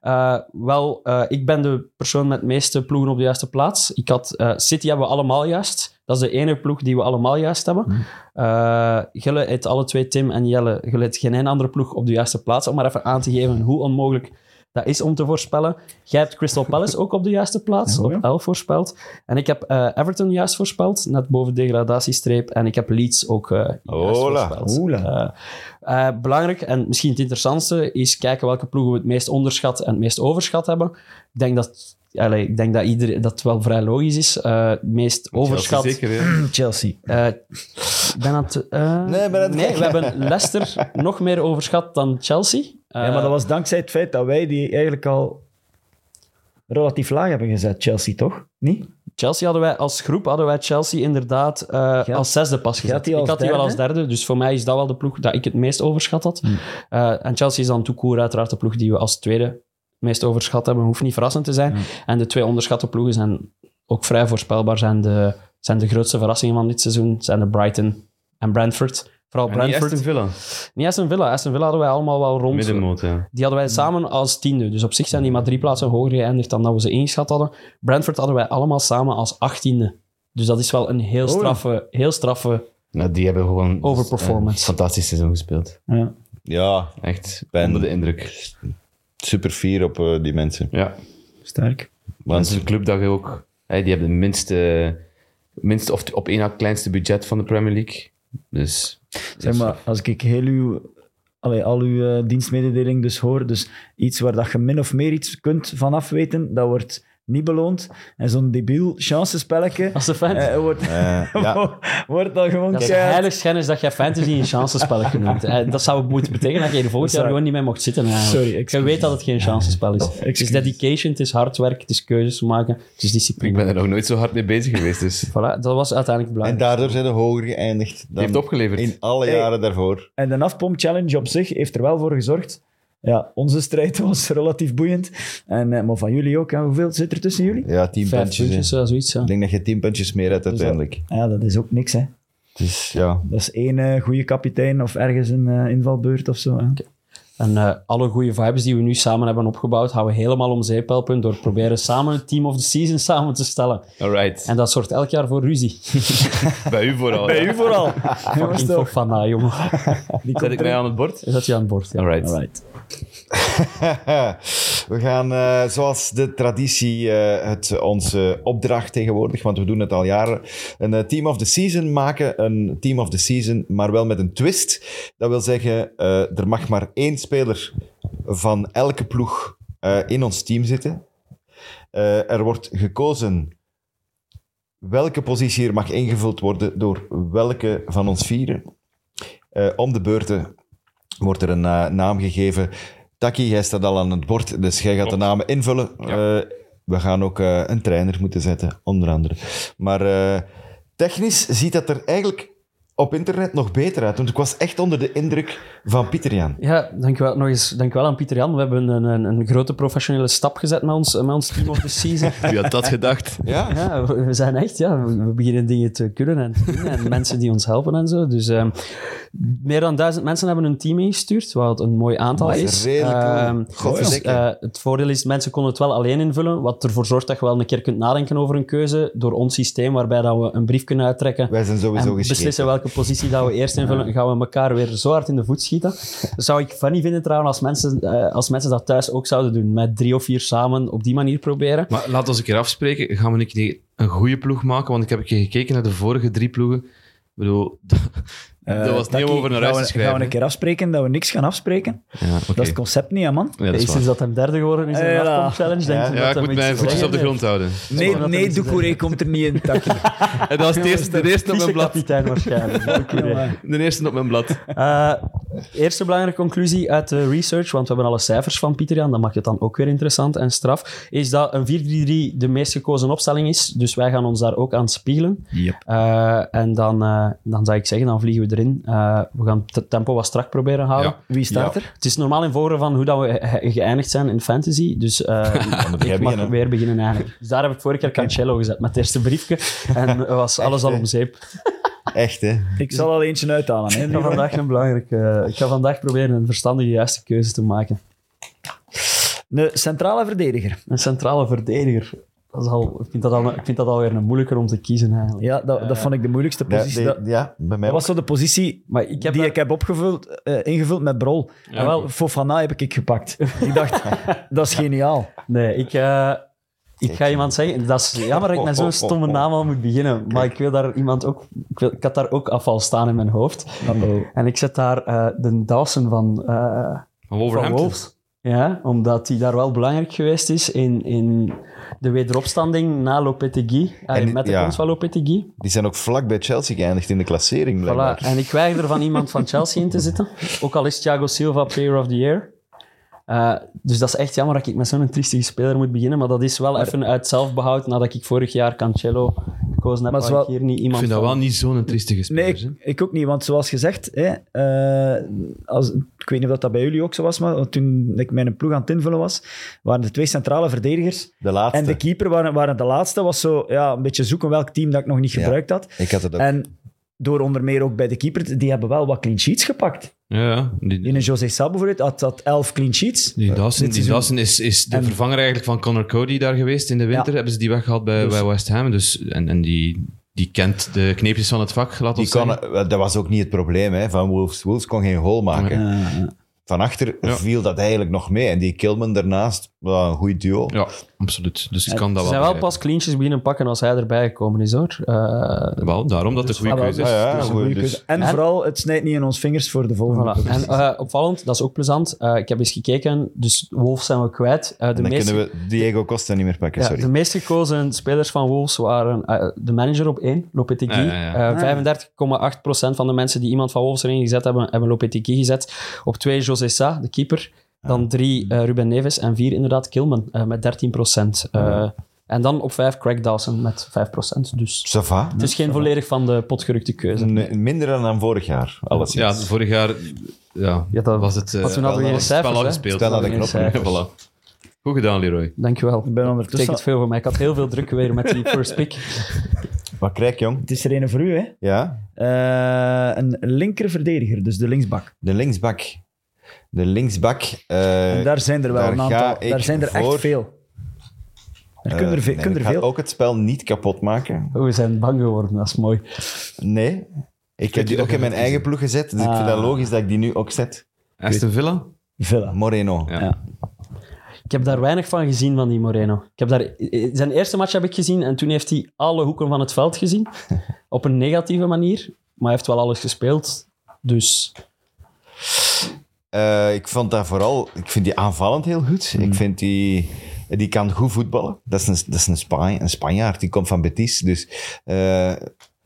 S4: Eh, wel, eh, ik ben de persoon met de meeste ploegen op de juiste plaats. Ik had, eh, City hebben we allemaal juist. Dat is de enige ploeg die we allemaal juist hebben. Eh Gille heeft alle twee, Tim en Jelle, Gille heeft geen één andere ploeg op de juiste plaats. Om maar even aan te geven hoe onmogelijk dat is om te voorspellen. Jij hebt Crystal Palace ook op de juiste plaats,
S5: Ja, hoor.
S4: op 11 voorspeld. En ik heb eh, Everton juist voorspeld, net boven degradatiestreep. En ik heb Leeds ook eh juist
S2: Hola.
S4: voorspeld.
S5: Hola.
S4: Eh, eh, belangrijk en misschien het interessantste is kijken welke ploegen we het meest onderschat en het meest overschat hebben. Ik denk dat, allee, ik denk dat, iedereen, dat het wel vrij logisch is. Eh, het meest overschat...
S3: Zeker, ja.
S5: Chelsea.
S4: Eh, ik ben aan het, eh,
S2: Nee, ben aan het
S4: we hebben Leicester nog meer overschat dan Chelsea. Eh,
S5: ja, maar dat was dankzij het feit dat wij die eigenlijk al relatief laag hebben gezet, Chelsea, toch? Niet?
S4: Chelsea hadden wij als groep, hadden wij Chelsea inderdaad eh, als zesde pas gezet.
S5: die als
S4: ik had die wel
S5: derde? Hmm.
S4: als derde, dus voor mij is dat wel de ploeg dat ik het meest overschat had. Eh, en Chelsea is dan toekoer uiteraard de ploeg die we als tweede het meest overschat hebben. Hoeft niet verrassend te
S5: Hmm.
S4: zijn. En de twee onderschatte ploegen zijn ook vrij voorspelbaar. Zijn de, zijn de grootste verrassingen van dit seizoen. Zijn de Brighton en Brentford. Vooral
S3: En die
S4: Brentford.
S3: Aston Villa.
S4: Niet Aston Villa. Aston Villa hadden wij allemaal wel rond.
S3: Middenmoot, ja.
S4: Die hadden wij samen als tiende. Dus op zich zijn die maar drie plaatsen hoger geëindigd dan dat we ze ingeschat hadden. Brentford hadden wij allemaal samen als achttiende. Dus dat is wel een heel straffe, heel straffe
S3: Nou, die hebben gewoon
S4: Overperformance.
S3: een fantastisch seizoen gespeeld.
S5: Ja.
S2: Ja,
S3: Echt
S2: Ben-
S3: onder de indruk.
S2: super fier op eh, die mensen.
S3: Ja.
S5: Sterk.
S3: Want het is
S2: Want
S3: een club dat je ook... hè, die hebben de minste, minste of op één na kleinste budget van de Premier League. Dus...
S5: Zeg maar, als ik heel uw, allee, al uw eh, dienstmededeling dus hoor, dus iets waar dat je min of meer iets kunt van afweten, dat wordt niet beloond. En zo'n debiel chancespelletje
S4: als de fan.
S5: eh, wordt,
S2: eh, ja,
S5: wordt dan gewoon
S4: dat is
S5: keihard-
S4: heilig schennis dat jij fantasy een chancenspel hebt genoemd. Eh, Dat zou moeten betekenen dat je er volgend
S5: Dat
S4: jaar
S5: zou-
S4: gewoon niet mee mocht zitten. eigenlijk.
S5: Sorry,
S4: Je
S5: excuus.
S4: weet dat het geen chancenspel is. Het is
S5: excuus.
S4: dedication, het is hard werk, het is keuzes maken, het is
S3: Ik
S4: discipline.
S3: ben er nog nooit zo hard mee bezig geweest, dus... Die
S4: Voilà, dat was uiteindelijk
S2: en
S4: belangrijk.
S2: daardoor zijn we hoger geëindigd dan
S3: heeft opgeleverd.
S2: in alle
S5: Hey.
S2: jaren daarvoor.
S5: En de afpomp challenge op zich heeft er wel voor gezorgd. Ja, onze strijd was relatief boeiend. En, eh, maar van jullie ook. hè. hoeveel zit er tussen jullie?
S2: Ja, tien
S4: Vijf
S2: puntjes. hè.
S4: puntjes, eh, zoiets. ja.
S2: Ik denk dat je tien puntjes meer hebt
S5: dat-
S2: uiteindelijk.
S5: Ja, dat is ook niks, hè.
S2: Dus ja,
S5: Dat is één eh, goede kapitein of ergens een eh, invalbeurt of zo. hè.
S4: En eh, alle goede vibes die we nu samen hebben opgebouwd, gaan we helemaal om zeepelpunt door proberen samen het team of the season samen te stellen.
S3: Alright.
S4: En dat zorgt elk jaar voor ruzie.
S3: Bij u vooral. Bij u
S5: vooral.
S4: Fucking Fofana, jongen.
S3: Zet ik mij aan het bord?
S4: Is dat je aan het bord? Ja.
S3: Alright.
S5: Alright.
S2: we gaan eh, zoals de traditie eh, het, onze opdracht tegenwoordig, want we doen het al jaren, een eh, team of the season maken. Een team of the season, maar wel met een twist. Dat wil zeggen, eh, er mag maar één speler van elke ploeg eh, in ons team zitten. Eh, er wordt gekozen welke positie er mag ingevuld worden door welke van ons vieren. Eh, om de beurten wordt er een eh, naam gegeven. Taki, jij staat al aan het bord, dus jij gaat de namen invullen. Eh, we gaan ook eh, een trainer moeten zetten, onder andere. Maar eh, technisch ziet dat er eigenlijk op internet nog beter uit. Want ik was echt onder de indruk van Pieter Jan.
S4: Ja, dankjewel, nog eens, dankjewel aan Pieter Jan. We hebben een, een, een grote professionele stap gezet met ons, eh, met ons team of the season.
S3: Wie had dat gedacht?
S2: Ja?
S4: Ja, we we zijn echt, ja, we we beginnen dingen te kunnen en te doen en mensen die ons helpen en zo. Dus ehm, Meer dan duizend mensen hebben hun team ingestuurd, wat een mooi aantal
S2: Dat
S4: is.
S2: is redelijk cool.
S4: Ehm,
S2: Godverdikke.
S4: dus, eh, het voordeel is, mensen konden het wel alleen invullen, wat ervoor zorgt dat je wel een keer kunt nadenken over een keuze door ons systeem, waarbij dat we een brief kunnen uittrekken.
S2: Wij zijn sowieso
S4: en beslissen
S2: geschreven.
S4: welke positie dat we eerst invullen, dan gaan we elkaar weer zo hard in de voet schieten. Dat zou ik funny vinden trouwens als mensen, eh, als mensen dat thuis ook zouden doen. Met drie of vier samen op die manier proberen.
S3: Maar laat ons een keer afspreken. Gaan we een keer een goede ploeg maken? Want ik heb een keer gekeken naar de vorige drie ploegen. Ik bedoel, dat, dat
S5: Eh,
S3: was niet om
S5: Taki,
S3: over naar
S5: gaan
S3: huis te
S5: we- Gaan
S3: schrijven.
S5: we een
S3: hè?
S5: keer afspreken dat we niks gaan afspreken?
S3: Ja, oké.
S5: Dat is het concept niet, hè, man.
S3: Ja, dat is
S4: is
S3: waar.
S4: sinds dat hem derde geworden is in de
S5: Ja.
S4: Afcon Challenge, denk
S2: Ja,
S4: ik.
S3: Ja, ik moet mijn voetjes op de grond houden.
S5: Nee,
S4: waar.
S5: nee Doucouré komt er niet in. Taki.
S3: En dat is de eerste, de eerste op mijn blad.
S4: kapitein waarschijnlijk. Dank u.
S3: De eerste op mijn blad.
S4: Eh, eerste belangrijke conclusie uit de research, want we hebben alle cijfers van Pieter Jan, dat maakt het dan ook weer interessant en straf, is dat een 4-3-3 de meest gekozen opstelling is. Dus wij gaan ons daar ook aan spiegelen. Eh, en dan, eh, dan zou ik zeggen, dan vliegen we erin. Eh, we gaan het tempo wat strak proberen houden.
S3: Ja.
S5: Wie staat
S2: Ja.
S5: er?
S4: Het is normaal in voren van hoe dat we ge- geëindigd zijn in fantasy. Dus eh,
S2: jij
S4: ik mag
S2: beginnen.
S4: weer beginnen eigenlijk. Dus daar heb ik vorige keer Cancelo gezet met het eerste briefje. En was alles al om zeep.
S2: Echt, hè?
S5: Ik zal al eentje uithalen. Hè.
S4: Ik ga vandaag een belangrijke... eh, Ik ga vandaag proberen een verstandige juiste keuze te maken.
S5: Een centrale verdediger.
S4: Een centrale verdediger. Dat is al, ik, vind dat al, ik vind dat alweer een moeilijker om te kiezen eigenlijk.
S5: Ja, dat, dat vond ik de moeilijkste
S2: Ja,
S5: positie.
S2: die-
S5: dat,
S2: ja, bij mij
S5: dat was zo de positie
S4: Maar ik heb
S5: die
S4: daar-
S5: ik heb opgevuld, eh, ingevuld met Brol. En wel, Fofana heb ik ik gepakt. Ik dacht, dat is geniaal.
S4: Nee, ik, eh, ik ga iemand zeggen. Dat is jammer dat ik met
S2: Oh,
S4: zo'n stomme naam al moet beginnen. Maar ik wil daar iemand ook. Ik, wil, ik had daar ook afval staan in mijn hoofd. En ik zet daar eh, de Dawson van, eh
S3: Van
S4: van
S3: Wolverhampton.
S4: Wolves. Ja, omdat die daar wel belangrijk geweest is in, in de wederopstanding na Lopetegui. Eh,
S2: En-
S4: met de
S2: ja.
S4: komst van Lopetegui.
S2: Die zijn ook vlak bij Chelsea geëindigd in de klassering,
S4: Voilà.
S2: blijkbaar.
S4: En ik weiger er van iemand van Chelsea in te zitten. Ook al is Thiago Silva Player of the Year. Eh, dus dat is echt jammer dat ik met zo'n triestige speler moet beginnen. Maar dat is wel even uit zelfbehoud nadat ik vorig jaar Cancelo gekozen heb.
S5: Maar
S4: Maar
S5: zowel-
S4: ik hier niet
S3: Ik
S4: iemand
S3: vind dat
S4: van-
S3: wel niet zo'n triestige speler.
S5: Nee,
S3: hè.
S5: ik, ik ook niet, want zoals gezegd, hè, eh, als, ik weet niet of dat bij jullie ook zo was, maar toen ik mijn ploeg aan het invullen was, waren de twee centrale verdedigers
S2: De laatste.
S5: en de keeper waren, waren de laatste. was zo ja, een beetje zoeken welk team dat ik nog niet
S2: Ja.
S5: gebruikt had.
S2: Ik had het ook.
S5: En door onder meer ook bij de keeper, die hebben wel wat clean sheets gepakt.
S3: Ja, ja. Die,
S5: In een José Sal bijvoorbeeld had dat elf clean sheets.
S3: die Dawson,
S5: dit
S3: die
S5: seizoen.
S3: Dawson is, is de
S5: En-
S3: vervanger eigenlijk van Connor Cody daar geweest in de winter.
S5: Ja.
S3: Hebben ze die weggehaald bij, bij West Ham. Dus, en en die, die kent de kneepjes van het vak, laat
S2: Die
S3: ons
S2: kon,
S3: zeggen.
S2: wel, dat was ook niet het probleem hè, van Wolves. Wolves kon geen goal maken. Van achter
S3: Ja.
S2: viel dat eigenlijk nog mee. En die Kilman daarnaast, wel een goed duo.
S3: Ja, absoluut. Dus ik kan dat
S4: Ze
S3: wel.
S4: zijn wel
S3: begrijpen.
S4: pas cleantjes beginnen pakken als hij erbij gekomen is hoor. Eh,
S3: Wel, daarom dat het een goede
S5: Ah, wel,
S3: keuze
S2: Ah
S3: is.
S2: ja,
S5: Dat is een
S2: goed,
S5: goede
S2: dus-
S5: keuze. En,
S4: En-
S5: vooral, het snijdt niet in ons vingers voor de volgende.
S4: voilà. En
S5: positie.
S4: eh, opvallend, dat is ook plezant. Eh, ik heb eens gekeken, dus Wolves zijn we kwijt. Eh, de
S2: En dan
S4: meeste
S2: kunnen we Diego Costa niet meer pakken,
S4: Ja,
S2: sorry.
S4: de meest gekozen spelers van Wolves waren eh, de manager op één, Lopetegui.
S3: Ja, ja, ja.
S4: Eh, 35,8% van de mensen die iemand van Wolves erin gezet hebben, hebben Lopetegui gezet. Op twee José Sa, de keeper. Dan drie
S3: Mm.
S4: eh, Ruben Neves en vier inderdaad Kilman eh, met 13%. Eh, En dan op vijf Craig Dawson met 5%. Dus
S2: Ça va?
S4: het is geen volledig van de pot gerukte keuze.
S2: Nee, minder dan, dan vorig jaar, alles
S3: Ja, vorig jaar ja,
S4: Ja, dat-
S3: was het eh,
S4: want toen hadden we
S2: wel,
S4: geen
S2: dat
S4: cijfers.
S3: spel al
S4: hè.
S3: gespeeld.
S2: Spel aan de
S4: Geen
S2: knop.
S4: cijfers.
S3: voilà. Goed gedaan, Leroy.
S4: Dankjewel.
S5: Ik ben
S4: Dat betekent
S5: ondertussen...
S4: veel voor mij. Ik had heel veel druk weer met die first pick.
S2: Wat krijg ik, jong?
S5: Het is er een voor u, hè?
S2: Ja,
S5: Eh, een linker verdediger, dus de linksbak.
S2: de linksbak. De linksbak. eh,
S5: En daar zijn er wel
S2: daar
S5: een
S2: ga
S5: aantal.
S2: ik
S5: Daar zijn er
S2: voor.
S5: echt veel. Er kunnen er,
S2: eh,
S5: ve-
S2: nee,
S5: kunnen
S2: ik
S5: er
S2: ga
S5: veel.
S2: ook het spel niet kapot maken.
S4: Oh, we zijn bang geworden, dat is mooi.
S2: Nee. Ik heb die ook in mijn eigen ploeg gezet, dus ik
S5: Ah.
S2: vind dat logisch dat ik die nu ook zet.
S3: Aston Villa?
S5: Villa.
S2: Moreno.
S3: Ja.
S4: Ik heb daar weinig van gezien van die Moreno. Ik heb daar, eh, zijn eerste match heb ik gezien en toen heeft hij alle hoeken van het veld gezien. Op een negatieve manier, maar hij heeft wel alles gespeeld. Dus
S2: Eh, ik vond dat vooral... Ik vind die aanvallend heel goed. Ik vind die... Die kan goed voetballen. Dat is een, dat is een, Span- een Spanjaard. Die komt van Betis. Dus eh,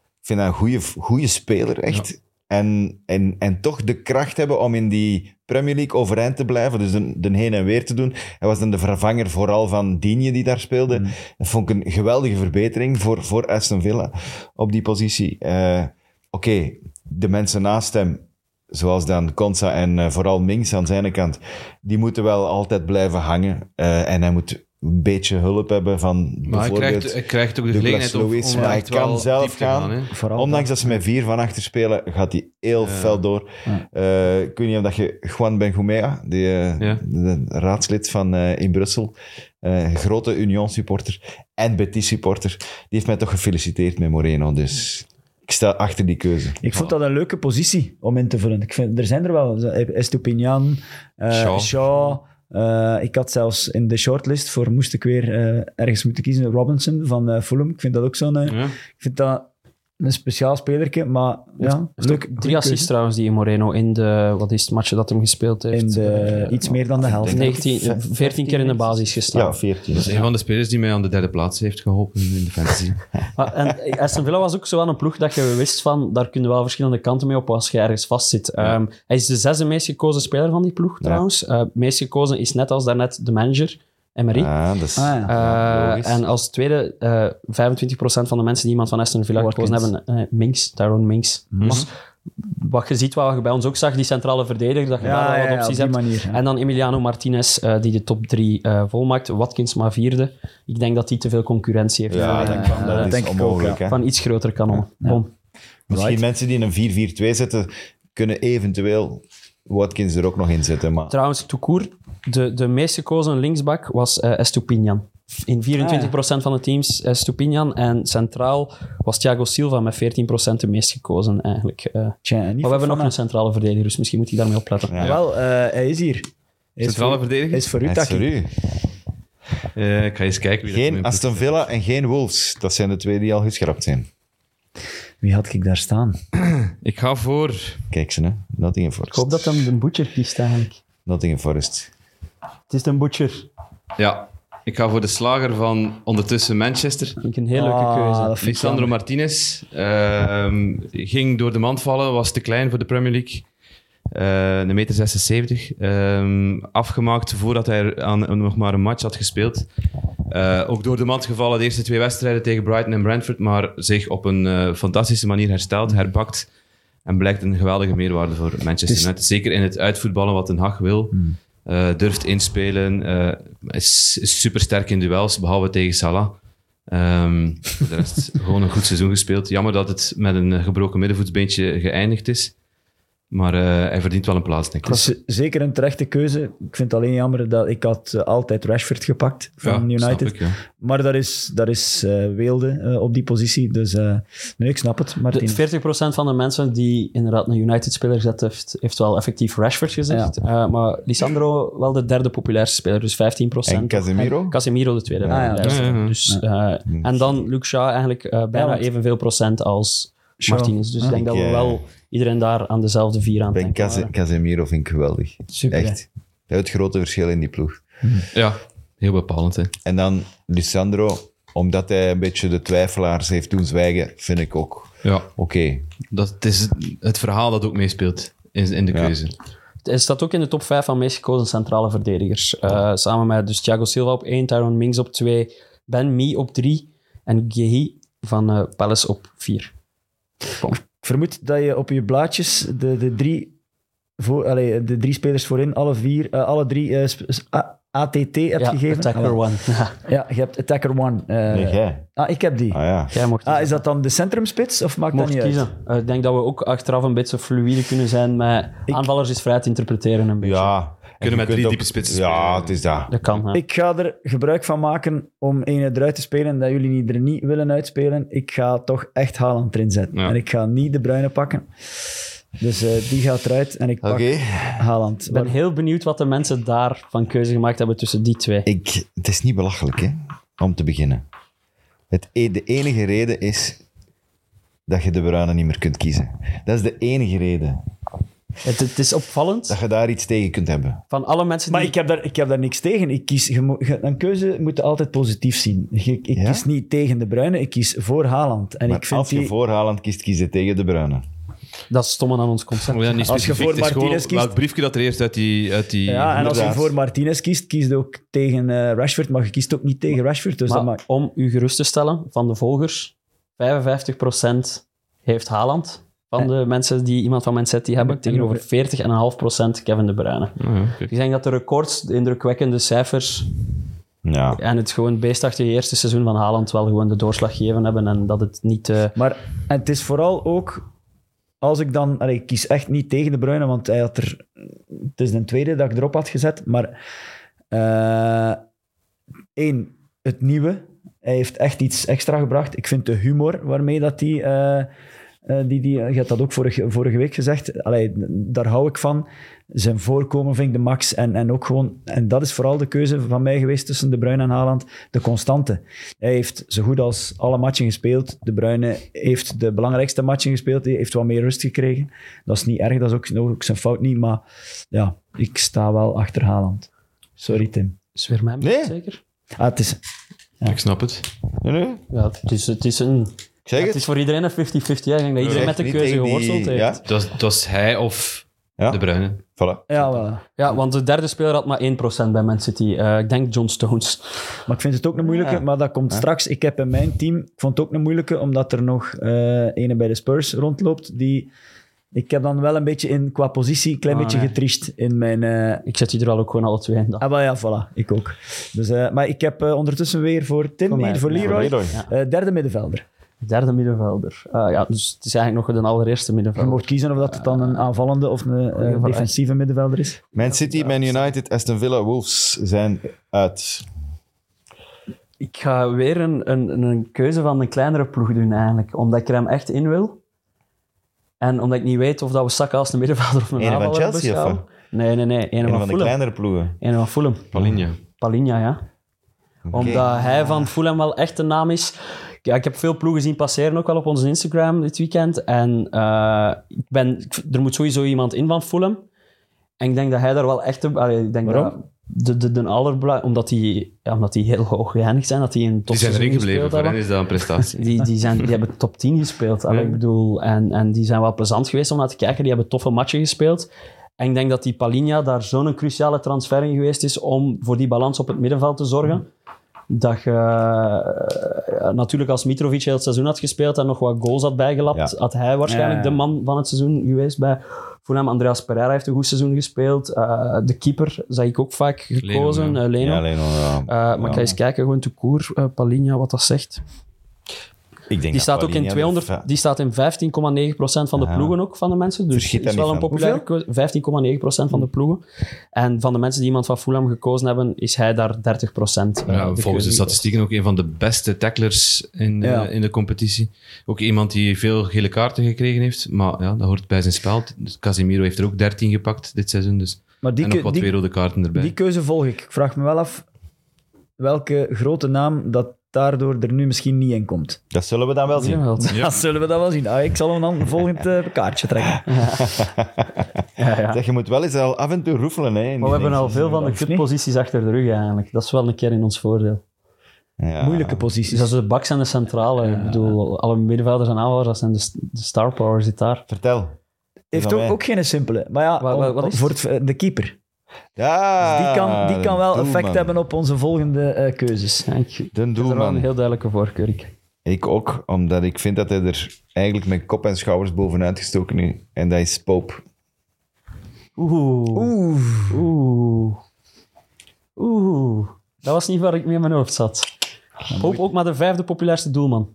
S2: ik vind dat een goede, goede speler, echt. En, en, en toch de kracht hebben om in die Premier League overeind te blijven. Dus de, de heen en weer te doen. Hij was dan de vervanger vooral van Digne die daar speelde.
S3: Mm.
S2: Dat vond ik een geweldige verbetering voor, voor Aston Villa op die positie. Eh, Oké, de mensen naast hem, zoals dan Konsa en eh, vooral Minks aan zijn kant, die moeten wel altijd blijven hangen. Eh, en hij moet een beetje hulp hebben van
S3: Maar hij
S2: bijvoorbeeld...
S3: krijgt, hij krijgt ook de
S2: Douglas
S3: gelegenheid om,
S2: Lewis,
S3: om
S2: maar hij
S3: echt
S2: kan
S3: wel
S2: zelf
S3: diep te
S2: gaan.
S3: hè.
S5: Vooral
S2: Ondanks dat ze met vier van achter spelen, gaat hij heel fel door. Eh, ik weet niet of dat je Juan Benjumea, die, eh,
S3: Ja.
S2: de raadslid van, eh, in Brussel, eh, grote Union-supporter en Betis-supporter, die heeft mij toch gefeliciteerd met Moreno. Dus ik sta achter die keuze.
S5: Ik vond dat een leuke positie om in te vullen. Ik vind, er zijn er wel. Estupinian, eh
S3: Shaw.
S5: Shaw. eh, ik had zelfs in de shortlist voor, moest ik weer eh, ergens moeten kiezen, Robinson van eh, Fulham. Ik vind dat ook zo'n... eh,
S3: Ja.
S5: Ik vind dat een speciaal spelerke, maar ja, leuk.
S4: Drie assists trouwens die Moreno in de, wat is het matje dat hem gespeeld heeft? Eh,
S5: In de, iets meer dan de helft.
S4: 19, 14 keer in de basis gestaan.
S2: Ja, 14.
S3: Dat is een van de spelers die mij aan de derde plaats heeft geholpen in de fantasy.
S4: Maar- En eh, Aston Villa was ook zo aan een ploeg dat je wist van, daar kunnen wel verschillende kanten mee op als je ergens vastzit. Ehm, hij is de zesde meest gekozen speler van die ploeg trouwens. Eh, meest gekozen is net als daarnet de manager, Emery.
S2: Ah, dat is...
S5: Ah, ja.
S4: Eh,
S2: logisch.
S4: en als tweede, eh 25% van de mensen die iemand van Aston Villa gekozen
S5: Watkins. Mhm.
S4: hebben, eh, Minks, Tyrone Minks. Dus Wat je ziet, wat je bij ons ook zag, die centrale verdediger, dat je
S5: Ja,
S4: daar wel
S5: ja, ja,
S4: wat
S5: op
S4: opties
S5: die
S4: hebt.
S5: manier, ja.
S4: En dan Emiliano Martinez, eh, die de top drie eh, volmaakt. Watkins maar vierde. Ik denk dat hij te veel concurrentie heeft.
S2: ja,
S4: Eh,
S2: dat, kan, dat
S5: dat
S2: is
S5: denk ik ook,
S2: onmogelijk. hè.
S4: van iets grotere kanon. Bon.
S2: Misschien mensen die in een 4-4-2 zetten, kunnen eventueel Watkins er ook nog in zetten. Maar
S4: Trouwens, Toucour, de, de meest gekozen linksbak was eh Estupinian. In 24% van de teams Estupinian. En centraal was Thiago Silva met 14% de meest gekozen eigenlijk. eh.
S5: Tja, en
S4: maar
S5: niet
S4: we hebben nog
S5: Fofana.
S4: een centrale verdediger, dus misschien moet hij daarmee opletten.
S2: Ja.
S5: Wel, eh, hij is hier. Hij is
S3: Centrale
S5: voor-
S3: verdediger?
S5: hij is voor u,
S2: dat is
S5: Taki.
S2: voor u.
S3: Eh, ik ga eens kijken wie dat
S2: Geen
S3: mijn ploeg-
S2: Aston Villa en geen Wolves. Dat zijn de twee die al geschrapt zijn.
S5: Wie had ik daar staan?
S3: Ik ga voor...
S2: Kijk ze, hè. Nottingham
S4: Ik
S2: Forest.
S4: hoop dat hem de butcher kiest eigenlijk.
S2: Nottingham Forest.
S4: Het is de butcher.
S3: Ja, ik ga voor de slager van ondertussen Manchester.
S4: Vind ik een heel leuke keuze.
S5: dat vind ik
S3: Lisandro
S5: jammer.
S3: Martinez ehm, ging door de mand vallen, was te klein voor de Premier League. Eh een meter 76. ehm, afgemaakt voordat hij aan, nog maar een match had gespeeld. Eh, ook door de mand gevallen de eerste twee wedstrijden tegen Brighton en Brentford, maar zich op een eh, fantastische manier hersteld, herbakt en blijkt een geweldige meerwaarde voor Manchester
S5: is-
S3: United. Zeker in het uitvoetballen wat Den Haag wil. Eh, durft inspelen, eh, is, is supersterk in duels, behalve tegen Salah. Ehm, voor de rest gewoon een goed seizoen gespeeld. Jammer dat het met een eh, gebroken middenvoetsbeentje geëindigd is. Maar eh, hij verdient wel een plaats, denk ik.
S5: Het is zeker een terechte keuze. Ik vind het alleen jammer dat ik had eh, altijd Rashford gepakt
S3: Ja,
S5: van
S3: snap
S5: United.
S3: ik, ja.
S5: Maar dat is, dat is eh, weelde eh, op die positie. Dus eh, nee, ik snap het, Martin.
S4: De 40% van de mensen die inderdaad een United-speler gezet heeft, heeft wel effectief Rashford gezegd. Eh, maar Lisandro wel de derde populairste speler, dus 15%.
S2: En Casemiro?
S4: En Casemiro de tweede
S5: Ah, ja.
S4: populairste.
S3: Ja, ja, ja.
S4: Dus, eh, En dan Luke Shaw eigenlijk eh,
S5: Ja,
S4: bijna
S5: want-
S4: evenveel procent als
S5: Shaw.
S4: Martinez. Dus ik denk dat we
S2: Ik, eh,
S4: wel iedereen daar aan dezelfde vier aan Eh,
S2: Ben
S4: denken
S2: Case-
S4: waren.
S2: Casemiro vind ik geweldig.
S5: Super, hè?
S2: Echt. Het grote verschil in die ploeg.
S3: Ja, heel bepalend. Hè.
S2: En dan Lissandro, omdat hij een beetje de twijfelaars heeft doen zwijgen, vind ik ook
S3: Ja,
S2: oké.
S3: dat het is het verhaal dat ook meespeelt in, in de
S2: Ja.
S3: keuze.
S4: Hij staat ook in de top 5 van meest gekozen centrale verdedigers. Eh, samen met dus Thiago Silva op 1, Tyrone Mings op 2, Ben Mee op 3 en Gehi van eh, Palace op 4.
S5: Ik vermoed dat je op je blaadjes de, de, drie, voor, allee, de drie spelers voorin, alle, vier, eh, alle drie eh, sp- s- A- ATT hebt gegeven.
S4: Attacker
S5: Ah,
S4: One.
S5: Ja, je hebt Attacker One. eh.
S2: Nee, jij.
S5: ah, ik heb die.
S2: Ah ja.
S4: Jij mocht
S5: Ah, is
S4: kiezen.
S5: dat dan de centrumspits of maakt dat
S4: mocht
S5: niet
S4: kiezen.
S5: uit?
S4: Eh, ik denk dat we ook achteraf een beetje fluïde kunnen zijn met aanvallers is vrij te interpreteren een beetje.
S2: Ja. En
S3: Kunnen
S2: je
S3: met
S2: kunt
S3: drie
S2: ook-
S3: diepe spitsen spelen.
S2: Ja, het is dat.
S4: Dat kan. hè.
S5: Ik ga er gebruik van maken om één eruit te spelen dat jullie er niet willen uitspelen. Ik ga toch echt Haaland erin zetten.
S3: Ja.
S5: En ik ga niet de bruine pakken. Dus eh, die gaat eruit en ik pak
S2: Oké.
S5: Haaland.
S4: Ik ben heel benieuwd wat de mensen daar van keuze gemaakt hebben tussen die twee.
S2: Ik, het is niet belachelijk, hè, om te beginnen. Het, e- de enige reden is dat je de bruine niet meer kunt kiezen. Dat is de enige reden.
S4: Het, het is opvallend
S2: Dat je daar iets tegen kunt hebben.
S4: van alle mensen
S5: Maar
S4: die...
S5: ik heb, daar, ik heb daar niks tegen. Ik kies, je moet- je- een keuze moet je altijd positief zien. Je- ik
S2: Ja?
S5: kies niet tegen de Bruine, ik kies voor Haaland. En
S2: Maar
S5: ik vind
S2: als je
S5: die-
S2: voor Haaland kiest, kies je tegen de bruine.
S4: Dat is stomme aan ons concept.
S3: Oh ja, niet
S5: Als je
S3: specifiek,
S5: voor
S3: het is gewoon
S5: Martinez kiest-
S3: Welk briefje dat er eerst uit die... Uit die
S5: ja, en als je
S2: inderdaad.
S5: voor Martinez kiest, kies je ook tegen eh, Rashford. Maar je kiest ook niet tegen Rashford. Dus dat
S4: Maar
S5: maakt...
S4: om u gerust te stellen, van de volgers, 55% heeft Haaland. Van de mensen die iemand van Man City hebben, tegenover 40,5% Kevin De Bruyne.
S3: Oh ja, oké.
S4: Ik denk dat de records, de indrukwekkende cijfers
S2: Ja.
S4: En het gewoon beestachtige eerste seizoen van Haaland wel gewoon de doorslag gegeven hebben en dat het niet... eh,
S5: Maar en het is vooral ook, als ik dan, allee, ik kies echt niet tegen de Bruyne, want hij had er, het is de tweede dat ik erop had gezet, maar eh, één, het nieuwe, hij heeft echt iets extra gebracht. Ik vind de humor waarmee dat die, eh, eh, die, die, je hebt dat ook vorige, vorige week gezegd, allee, daar hou ik van. Zijn voorkomen vind ik de max en, en ook gewoon, en dat is vooral de keuze van mij geweest tussen De Bruyne en Haaland, de constante. Hij heeft zo goed als alle matchen gespeeld. De Bruyne heeft de belangrijkste matchen gespeeld. Hij heeft wat meer rust gekregen. Dat is niet erg, dat is ook, ook zijn fout niet. Maar ja, ik sta wel achter Haaland. Sorry, Tim.
S4: is weer mijn
S2: Nee.
S4: zeker?
S5: Ah, het is,
S3: Ik snap het.
S2: Nee, nee.
S4: Ja, het is, het is een...
S2: Ik zeg
S4: Ja,
S2: het.
S4: het is voor iedereen een 50-50. hè. Ik denk dat iedereen
S2: Zeg
S4: met de
S2: niet
S4: keuze
S2: tegen die-
S4: geworsteld heeft.
S2: Ja,
S4: Ja?
S3: Het was, het was hij of
S2: Ja.
S3: de Bruine.
S2: voilà.
S5: ja, wel.
S4: want de derde speler had maar 1% bij Man City. Eh, ik denk John Stones.
S5: Maar ik vind het ook een moeilijke, maar dat komt straks. Ik heb in mijn team, ik vond het ook een moeilijke, omdat er nog eh ene bij de Spurs rondloopt. Die, ik heb dan wel een beetje in, qua positie een klein
S4: Ah,
S5: beetje
S4: nee.
S5: getriest in mijn, eh,
S4: Ik zet die er wel ook gewoon alle twee in. dan.
S5: Ah, maar ja, voilà. Ik ook. Dus, eh, maar ik heb eh, ondertussen weer voor Tim,
S4: Voor mij.
S5: hier voor
S4: Ja,
S5: Leroy,
S2: voor Leroy.
S5: eh, derde middenvelder.
S4: Derde middenvelder. Ah, ja, dus het is eigenlijk nog de allereerste
S5: Je
S4: middenvelder.
S5: mocht kiezen of dat het dan een aanvallende of een eh,
S4: Ja, voilà.
S5: defensieve middenvelder is.
S2: Man City, Man United, Aston Villa, Wolves zijn uit.
S4: Ik ga weer een, een, een keuze van een kleinere ploeg doen eigenlijk. Omdat ik er hem echt in wil. En omdat ik niet weet of dat we Saka als de middenvelder of een
S2: Ene van
S4: aanvaller
S2: Chelsea, of
S4: beschouwen. Nee, nee, nee. Een
S2: Een
S4: van
S2: van de
S4: Fulham.
S2: kleinere ploegen.
S4: Een van Fulham.
S3: Palinja.
S4: Palinja, ja.
S2: Oké.
S4: Omdat hij van Fulham wel echt de naam is. Ja, ik heb veel ploegen zien passeren, ook wel op onze Instagram dit weekend. En eh, ik ben, ik- er moet sowieso iemand in van Fulham. En ik denk dat hij daar wel echt... de- allee, ik denk
S5: Waarom?
S4: Dat de, de, de allerbela- omdat, die, ja, omdat die heel hoog geëindigd zijn. Dat die, een
S3: Die zijn
S4: topseizoen
S3: erin gebleven.
S4: gespeeld
S3: Voor hen
S4: hebben.
S3: is dat een prestatie.
S4: Die, die, zijn, die hebben top 10 gespeeld. Allee,
S3: Ja.
S4: ik bedoel, en, en die zijn wel plezant geweest om naar te kijken. Die hebben toffe matchen gespeeld. En ik denk dat die Palinha daar zo'n cruciale transfer in geweest is om voor die balans op het middenveld te zorgen. Dat je eh, ja, natuurlijk als Mitrovic heel het seizoen had gespeeld en nog wat goals had bijgelapt,
S2: Ja.
S4: had hij waarschijnlijk
S5: Ja.
S4: de man van het seizoen geweest bij Fulham. Andreas Pereira heeft een goed seizoen gespeeld. Eh, de keeper zag ik ook vaak gekozen,
S3: Leno,
S4: eh, Leno.
S2: Ja, alleen al, ja.
S4: Eh, maar ik ga eens kijken, gewoon te koer, eh Palinha, wat dat zegt.
S2: Ik denk
S4: Die
S2: dat
S4: staat ook in
S2: Paulinho er
S4: 200,
S2: va-
S4: die staat in 15,9% van de
S2: Ja.
S4: ploegen ook van de mensen. Dus
S2: Verschiet
S4: het is
S2: daar
S4: wel een
S2: niet Hm. van.
S4: populaire keuze. 15,9% van de ploegen. En van de mensen die iemand van Fulham gekozen hebben, is hij daar 30%. eh,
S3: Ja,
S4: de
S3: volgens
S4: keuze.
S3: de statistieken ook een van de beste tacklers in, eh,
S5: Ja.
S3: in de competitie. Ook iemand die veel gele kaarten gekregen heeft, maar ja, dat hoort bij zijn spel. Dus Casemiro heeft er ook 13 gepakt dit seizoen. Dus.
S5: Maar die,
S3: en nog
S5: keu-
S3: wat
S5: die,
S3: twee rode kaarten erbij.
S5: die keuze volg ik. Ik vraag me wel af welke grote naam dat daardoor er nu misschien niet in komt.
S2: Dat zullen we dan wel zien.
S4: Ja, wel.
S3: Ja.
S5: Dat zullen we dat wel zien. Ah, ik zal hem dan volgend eh, kaartje trekken.
S2: Zeg, je moet wel eens al af en toe roefelen. Hè, in
S4: Maar
S2: die
S4: we hebben al
S2: dingen.
S4: veel van de
S5: Of niet?
S4: kutposities achter de rug eigenlijk. Dat is wel een keer in ons voordeel.
S2: Ja.
S5: Moeilijke
S4: Dus
S5: posities.
S4: dat is de baks en de centrale. Ik bedoel, alle middenvelders en aanvallers, dat zijn de, st- de star power zit daar.
S2: Vertel.
S5: Heeft
S2: van
S5: ook,
S2: mij.
S5: ook geen simpele. Maar ja,
S4: Wat- wat- wat
S5: om-
S4: is
S5: voor het- eh, de keeper.
S2: Ja,
S5: Dus Die kan, die kan wel
S2: de
S5: effect
S2: doelman.
S5: hebben op onze volgende eh, keuzes.
S4: Ja, ik ik heb
S2: De
S4: er wel een
S2: doelman.
S4: heel duidelijke voorkeur. Ik-
S2: Ik ook, omdat ik vind dat hij er eigenlijk met kop en schouders bovenuit gestoken is. En dat is Pope.
S4: Oeh.
S5: Oeh.
S4: Oeh. Oeh. Dat was niet waar ik mee in mijn hoofd zat. Pope ook maar de vijfde populairste doelman.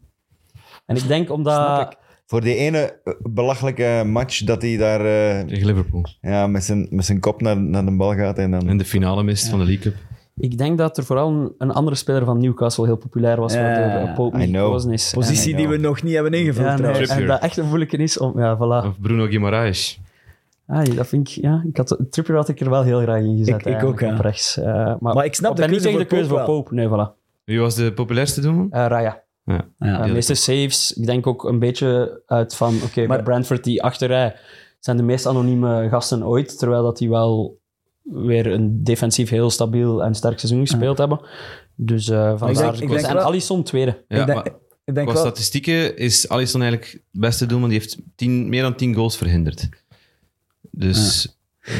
S4: En ik denk omdat...
S2: Voor die ene eh, belachelijke match dat hij daar eh,
S3: Tegen Liverpool.
S2: ja, met, zijn, met zijn kop naar, naar de bal gaat. En dan...
S3: En de finale mist van de League Cup.
S4: Ik, denk dat er vooral een, een andere speler van Newcastle heel populair was,
S5: Ja,
S4: waardoor eh, Pope
S2: I
S4: niet
S2: know.
S4: gekozen is.
S5: Positie
S2: Ja,
S5: die
S2: ja.
S5: we nog niet hebben
S4: En,
S5: ingevuld.
S4: ja, nee,
S5: trouwens.
S4: en
S3: Trippier.
S4: dat echt een moeilijke is om... Ja,
S5: Oh.
S4: voilà.
S3: Of Bruno Guimaraes.
S4: Ah, dat vind ik... Ja, ik had, Trippier had ik er wel heel graag in gezet.
S5: Ik- ik
S4: eigenlijk,
S5: ook, ja.
S4: op rechts. Eh, maar,
S5: Maar ik snap
S4: ik
S5: de
S4: ben niet
S5: keuze
S4: tegen de
S5: voor
S4: keuze
S5: Pope
S4: voor Pope. Nee, voilà.
S3: Wie was de populairste doelman?
S4: Eh, Raya.
S3: Ja.
S4: Ja, de meeste saves, ik denk ook een beetje uit van, oké, maar
S5: Maar-
S4: Brentford die achterrij zijn de meest anonieme gasten ooit, terwijl dat die wel weer een defensief heel stabiel en sterk seizoen gespeeld hebben. Dus eh vandaar.
S5: denk- ik
S4: en
S5: denk wel-
S4: Alisson tweede.
S3: Ja,
S5: ik denk,
S3: maar
S5: ik denk
S3: qua
S5: wel,
S3: statistieken is Alisson eigenlijk de beste doelman. Die heeft tien, meer dan 10 goals verhinderd. Dus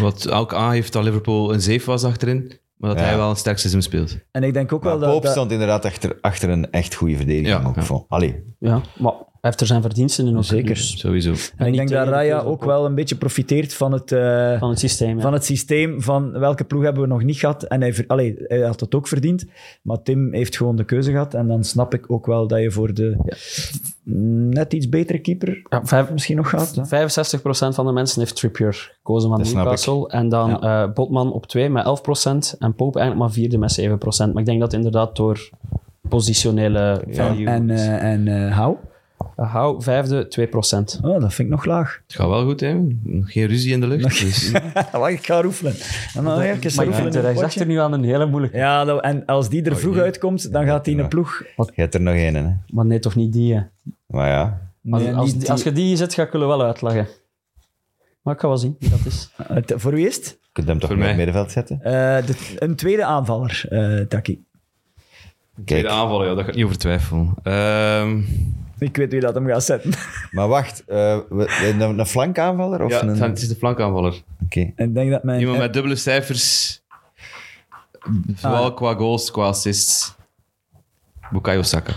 S3: wat ook A heeft dat Liverpool een zeef was achterin, maar dat
S2: Ja.
S3: hij wel een sterk seizoen speelt.
S5: en ik denk ook
S2: Maar
S5: wel dat...
S2: Pope
S5: dat
S2: stond inderdaad achter, achter een echt goede verdediging.
S3: Ja,
S2: ook
S3: ja.
S2: van. Allee,
S4: Ja, maar heeft er zijn verdiensten in ook.
S5: Zeker.
S4: dus.
S3: Sowieso.
S5: En ik
S4: niet
S5: denk dat
S4: tegen de
S5: Raya
S4: keuze
S5: ook wel een beetje profiteert van het, eh,
S4: Van het systeem, ja.
S5: van het systeem van welke ploeg hebben we nog niet gehad. En hij, ver- allee, hij had dat ook verdiend, maar Tim heeft gewoon de keuze gehad. En dan snap ik ook wel dat je voor de net iets betere keeper
S4: Ja, vijf-
S5: misschien nog gaat. hè.
S4: 65% van de mensen heeft Trippier gekozen van
S2: Dat snap
S4: Newcastle. En dan eh, Botman op 2 met 11%. En Pope eigenlijk maar vierde met 7%. Maar ik denk dat inderdaad door positionele value.
S5: En, eh en eh, Hou?
S4: Eh, Hou vijfde, 2%.
S5: Oh, dat vind ik nog laag.
S3: Het gaat wel goed, hè? Geen ruzie in de lucht. Dus,
S5: Wacht, ik ga roefelen. En dan even
S4: Maar ik
S5: roefelen
S4: vind
S5: in
S4: de
S5: het potje.
S4: rechtsachter nu aan een hele moeilijke.
S5: Ja, dat- en als die er vroeg
S3: jee.
S5: uitkomt, dan gaat die in de
S2: Ja.
S5: ploeg.
S2: Je hebt er nog één, hè?
S4: Maar nee, toch niet die, hè.
S2: Maar ja.
S4: Als,
S5: Nee,
S4: als,
S5: niet
S4: die- als je die zet, ga ik je wel uitleggen. Maar ik ga wel zien wie dat is.
S5: Het- eh, Voor wie is het?
S2: Je kunt hem toch
S3: Voor
S2: in het
S3: mij.
S2: middenveld zetten?
S5: Eh, de- een tweede aanvaller, eh Taki.
S3: de
S2: Kijk.
S3: aanval, ja, daar ga ik niet over twijfelen. Ehm,
S5: Ik weet wie dat hem gaat zetten.
S2: Maar wacht, eh, we- een, een flankaanvaller? Of
S3: ja,
S2: een...
S3: het zijn- het is de flankaanvaller.
S2: Oké.
S5: Ik denk dat mijn...
S3: Iemand met dubbele cijfers. Zowel
S2: Ah.
S3: qua goals, qua assists. Bukayo Saka.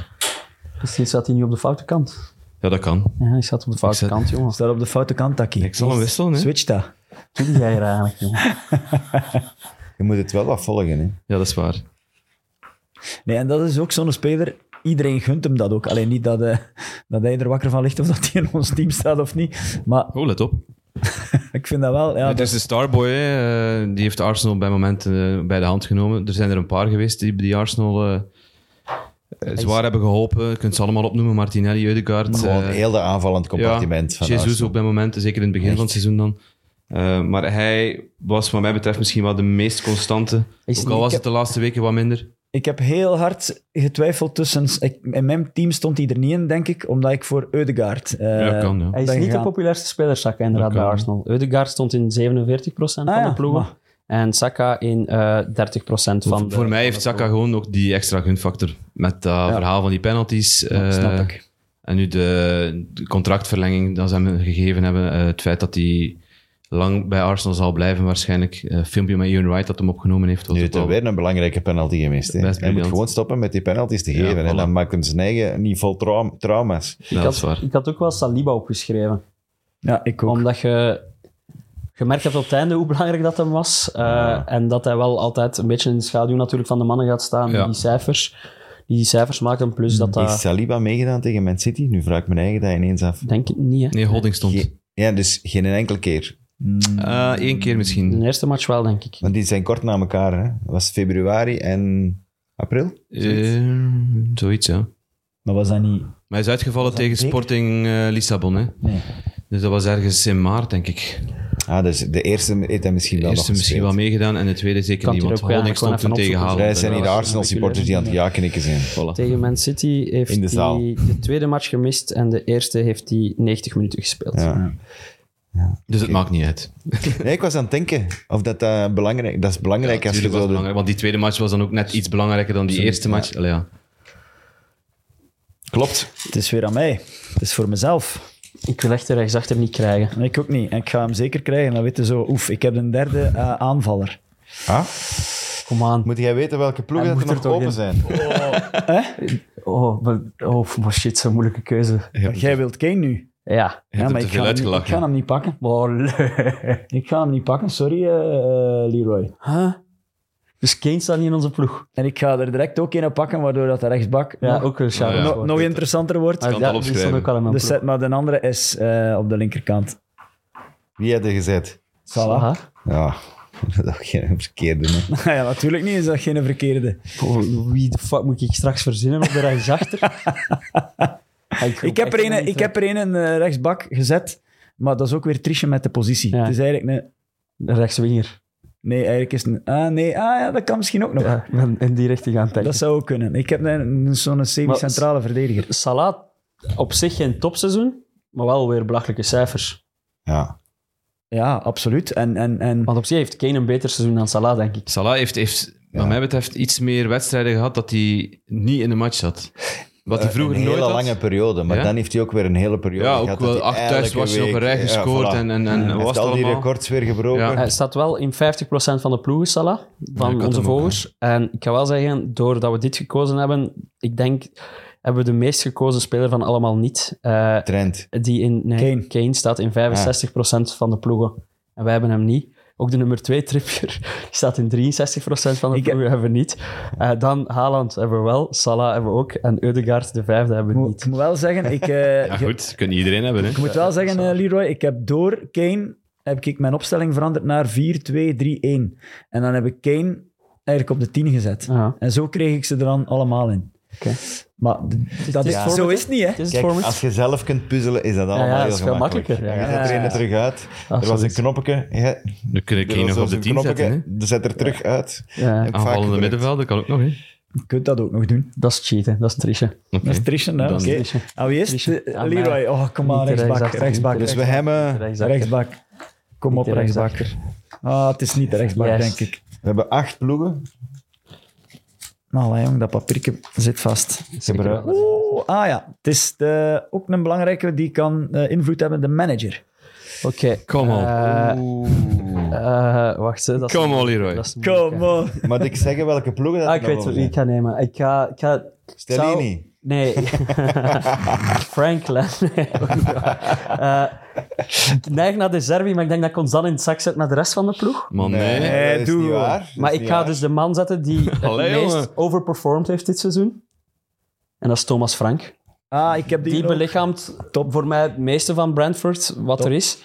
S4: Misschien staat hij nu op de foute kant.
S3: Ja, dat kan.
S4: Ja, hij staat op de foute
S3: zet-
S4: kant, jongen.
S5: Staat op de foute kant, Taki.
S3: Ik zal hem wisselen, hè.
S5: Switch dat.
S4: Wat doe jij hier eigenlijk, jongen?
S2: Je moet het wel wat volgen, hè?
S3: Ja, dat is waar.
S5: Nee, en dat is ook zo'n speler... Iedereen gunt hem dat ook. Alleen niet dat, eh, dat hij er wakker van ligt of dat hij in ons team staat of niet. Maar
S3: Oh, let op.
S5: ik vind dat wel... Ja,
S3: Het is de Starboy, hè. Eh, die heeft Arsenal bij momenten eh, bij de hand genomen. Er zijn er een paar geweest die, die Arsenal eh, eh, zwaar hebben geholpen. Je kunt ze allemaal opnoemen. Martinelli, Eudegaard.
S2: Gewoon
S3: eh,
S2: heel de aanvallend compartiment. van
S3: Jesus
S2: Arsenal.
S3: ook bij momenten, zeker in het begin van het seizoen dan. Eh, maar hij was wat mij betreft misschien wel de meest constante.
S5: Is
S3: ook
S5: niet-
S3: al was
S5: ik
S3: het de laatste weken wat minder.
S5: Ik heb heel hard getwijfeld tussen... Ik, in mijn team stond hij er niet in, denk ik, omdat ik voor Eudegaard... eh,
S3: Ja, kan, ja.
S4: Hij is
S5: ben
S4: niet de
S5: gegaan.
S4: populairste speler, Saka, inderdaad,
S3: Dat kan.
S4: bij Arsenal. Ødegaard stond in 47%
S5: Ah,
S4: van
S5: ja,
S4: de ploegen.
S5: maar-
S4: En Saka in eh 30% van de...
S3: Voor mij heeft Saka gewoon ook die extra gunfactor. Met dat verhaal van die penalties. eh,
S5: snap ik.
S3: En nu de, de contractverlenging dat ze hem gegeven hebben. eh, het feit dat hij lang bij Arsenal zal blijven waarschijnlijk. Eh, filmpje met Ian Wright dat hem opgenomen heeft. was
S2: Nu
S3: ook
S2: is er
S3: wel-
S2: weer een belangrijke penalty gemist. hè. Hij
S3: Best
S2: moet
S3: briljant.
S2: gewoon stoppen met die penalties te
S3: Ja,
S2: geven. En
S3: voilà.
S2: dan maken ze eigen niet vol trau- trauma's.
S3: Ja, dat is waar.
S4: Ik had ook wel Saliba opgeschreven.
S5: Ja, ik ook.
S4: Omdat je gemerkt hebt op het einde hoe belangrijk dat hem was. eh, En dat hij wel altijd een beetje in de schaduw natuurlijk van de mannen gaat staan.
S3: Ja.
S4: Die cijfers. Die cijfers maken plus dat
S2: Is
S4: dat...
S2: Saliba meegedaan tegen Man City? Nu vraag ik mijn eigen dat ineens af.
S4: Denk ik niet, hè.
S3: Nee, Holding stond.
S2: Ge- ja, dus geen enkele keer.
S3: Eh, Eén keer misschien.
S4: De eerste match wel, denk ik.
S2: Want die zijn kort na elkaar. Hè? Dat was februari en april.
S3: Eh, zoiets, ja.
S5: Maar was dat niet...
S3: Maar hij is uitgevallen tegen
S5: beker?
S3: Sporting eh, Lissabon, hè.
S5: Nee.
S3: Dus dat was ergens in maart, denk ik.
S2: Ah, dus de eerste heeft hij misschien
S3: De
S2: wel nog
S3: eerste misschien wel
S2: gespeeld.
S3: meegedaan en de tweede zeker
S4: Kan
S3: niet,
S4: hij
S3: want
S4: er ook
S3: Holding
S4: gewoon
S3: stond toen
S4: even
S3: tegen
S4: opzoeken?
S2: Wij
S3: Haaland.
S2: zijn hier de
S4: Ja,
S2: Arsenal-supporters die aan het ja-knikken zijn.
S3: Voilà.
S4: Tegen Man City heeft
S2: In de zaal.
S4: hij de tweede match gemist en de eerste heeft hij 90 minuten gespeeld.
S2: Ja.
S3: Dus het maakt niet uit.
S2: Nee, ik was aan het denken of dat eh, belangrijk Dat is belangrijk als je
S3: Natuurlijk was
S2: zo... de-
S3: het belangrijk, want die tweede match was dan ook net iets belangrijker dan die eerste match. Allee, ja.
S2: Klopt.
S5: Het is weer aan mij. Het is voor mezelf.
S4: Ik wil echt de rechtsachter niet krijgen.
S5: Ik ook niet. En ik ga hem zeker krijgen. Dan weten zo, oef, ik heb een derde eh, aanvaller.
S2: Ah,
S4: Kom aan.
S2: moet jij weten welke ploegen
S4: Hij
S2: dat er
S4: moet
S2: nog
S4: er toch
S2: open
S4: in.
S2: zijn?
S4: Oh, we- oh maar shit, zo'n moeilijke keuze.
S5: Maar Jij wilt Kane nu.
S4: Ja.
S3: hebt hem
S5: maar
S3: te
S5: ik
S3: veel
S5: ga, hem, niet- ik
S3: uitgelachen.
S5: ga hem niet pakken.
S4: Oh,
S5: Ik ga hem niet pakken, sorry eh, eh, Leroy.
S4: Huh? Dus Kane staat niet in onze ploeg.
S5: En ik ga er direct ook een pakken, waardoor dat de rechtsbak
S4: Ja,
S5: nog,
S4: ook een shout
S3: Ja.
S5: nog- nog interessanter wordt.
S3: kan het al
S4: Ah, die stond
S3: opschrijven.
S4: ook al in mijn
S5: dus
S4: ploeg.
S5: zet maar de andere is eh, op de linkerkant.
S2: Wie had er gezet?
S5: Salah.
S4: Aha.
S2: Ja, dat is ook geen verkeerde. Hè.
S5: ja, natuurlijk niet is dat geen verkeerde.
S4: Oh, wie de fuck moet ik straks verzinnen op de rechtsachter? Ah,
S5: Ik heb, er een, ik heb er een eh, rechtsbak gezet, maar dat is ook weer triche met de positie.
S4: Ja.
S5: Het is eigenlijk een...
S4: De rechtswinger.
S5: Nee, eigenlijk is het een... Ah, nee, ah, ja, dat kan misschien ook nog.
S4: Ja, ik ben in die richting aan het denken.
S5: Dat zou ook kunnen. Ik heb een- een- zo'n semi-centrale verdediger.
S4: Salah op zich geen topseizoen, maar wel weer belachelijke cijfers.
S2: Ja.
S5: Ja, absoluut. En, en, en
S4: Want op zich heeft Kane een beter seizoen dan Salah, denk ik.
S3: Salah heeft, heeft wat mij betreft, iets meer wedstrijden gehad dat hij niet in de match zat. Wat hij vroeger
S2: Eh, een hele
S3: nooit had.
S2: lange periode, maar
S3: Ja?
S2: dan heeft hij ook weer een hele periode
S3: Ja, ook
S2: gehad. dat
S3: wel
S2: hij
S3: acht thuis
S2: elke
S3: was op een
S2: week-
S3: rij
S2: ja,
S3: gescoord
S2: voilà.
S3: en, en, en
S2: Hij
S3: was
S2: heeft
S3: het
S2: al die
S3: allemaal.
S2: records weer gebroken.
S3: Ja.
S4: Hij staat wel in 50% van de ploegen, Salah,
S3: Ja, ik
S4: van
S3: had
S4: onze
S3: hem ook,
S4: volgers. En ik kan wel zeggen, doordat we dit gekozen hebben, ik denk... hebben we de meest gekozen speler van allemaal niet. Eh,
S2: Trent.
S4: die in nee,
S5: Kane.
S4: Kane. staat in 65% van de ploegen. En wij hebben hem niet. Ook de nummer 2 Trippier die staat in 63% van de
S5: Ik heb-
S4: ploegen, hebben we niet. Eh, dan Haaland hebben we wel, Salah hebben we ook en Eudegaard, de vijfde, hebben
S5: Ik
S4: we
S5: moet,
S4: niet.
S5: ik moet wel zeggen, ik, eh,
S3: Ja,
S5: ge-
S3: goed. Kun iedereen hebben, hè.
S5: ik moet wel zeggen, eh, Leroy, ik heb door Kane heb ik mijn opstelling veranderd naar 4-2-3-1. En dan heb ik Kane eigenlijk op de 10 gezet.
S4: Ja.
S5: En zo kreeg ik ze er dan allemaal in.
S4: Oké.
S5: Maar d- dat
S4: het
S5: is,
S4: format,
S5: zo
S4: hè?
S5: is het niet, hè?
S4: Het is het
S2: Kijk,
S4: voor me.
S2: als je zelf kunt puzzelen, is dat allemaal
S4: ja, dat
S2: heel
S4: is veel
S2: gemakkelijk.
S4: makkelijker, ja.
S2: Je zet er
S5: Ja.
S2: een terug uit. er was een
S4: Absoluut.
S2: knopje. Ja,
S3: Dan kun ik
S2: er
S3: één nog
S2: was
S3: op de
S2: een
S3: team
S2: knopje,
S3: zetten, hè.
S2: Zet er terug uit.
S4: Ja,
S2: Heb ik vaak
S3: Aanvallende
S2: gebruikt.
S3: middenvelder kan ook nog, hè.
S5: Je kunt dat ook nog doen.
S4: dat is cheaten, dat is triche.
S3: Oké.
S5: Dat is Trishan, hè?
S3: Dan-
S5: Oké. Ah, wie is het?
S4: Trishan. Ah,
S5: Leroy. Oh, kom maar,
S4: Niet de
S5: rechtsbak.
S4: rechtsachter,
S5: Rechtsbak.
S4: niet
S2: Dus we hebben, we
S4: Rechtsachter.
S5: Rechtsbak. Kom
S4: Niet
S5: op,
S4: de
S5: rechtsbak. Ah, het is niet de rechtsbak,
S4: Yes.
S5: denk ik.
S2: hebben acht ploegen.
S5: Maar allee, Nou, jong, dat papiertje zit vast.
S4: Zeker
S2: Gebruik.
S4: wel.
S5: Oeh, ah ja, het is de, ook een belangrijke die kan eh, invloed hebben, de manager.
S4: Oké.
S3: Come on.
S4: eh, eh, wacht, hè, dat is-
S3: Come on, Leroy.
S4: dat is moeilijk,
S5: Kom
S4: hè.
S5: on.
S2: Moet ik zeggen welke ploegen dat
S4: Ah,
S2: er
S4: ik
S2: nog
S4: weet
S2: over
S4: wie ik
S2: zijn?
S4: ga nemen. Ik ga... Ik ga ik zou-
S2: Stellini.
S4: Nee. Franklin. Nee, ook niet waar. Eh, ik neig naar de Zerbi, maar ik denk dat ik ons dan in het zak zet naar de rest van de ploeg.
S3: Man, nee.
S5: Nee,
S2: dat is
S5: doe
S2: niet
S5: gewoon.
S2: waar. Dat is
S4: maar ik
S2: niet
S4: ga
S2: waar.
S4: dus de man zetten die het
S3: Allee,
S4: meest
S3: jongen.
S4: overperformed heeft dit seizoen. En dat is Thomas Frank.
S5: Ah, ik heb die,
S4: Die
S5: ook.
S4: belichaamt
S5: Top.
S4: voor mij het meeste van Brentford, wat er is.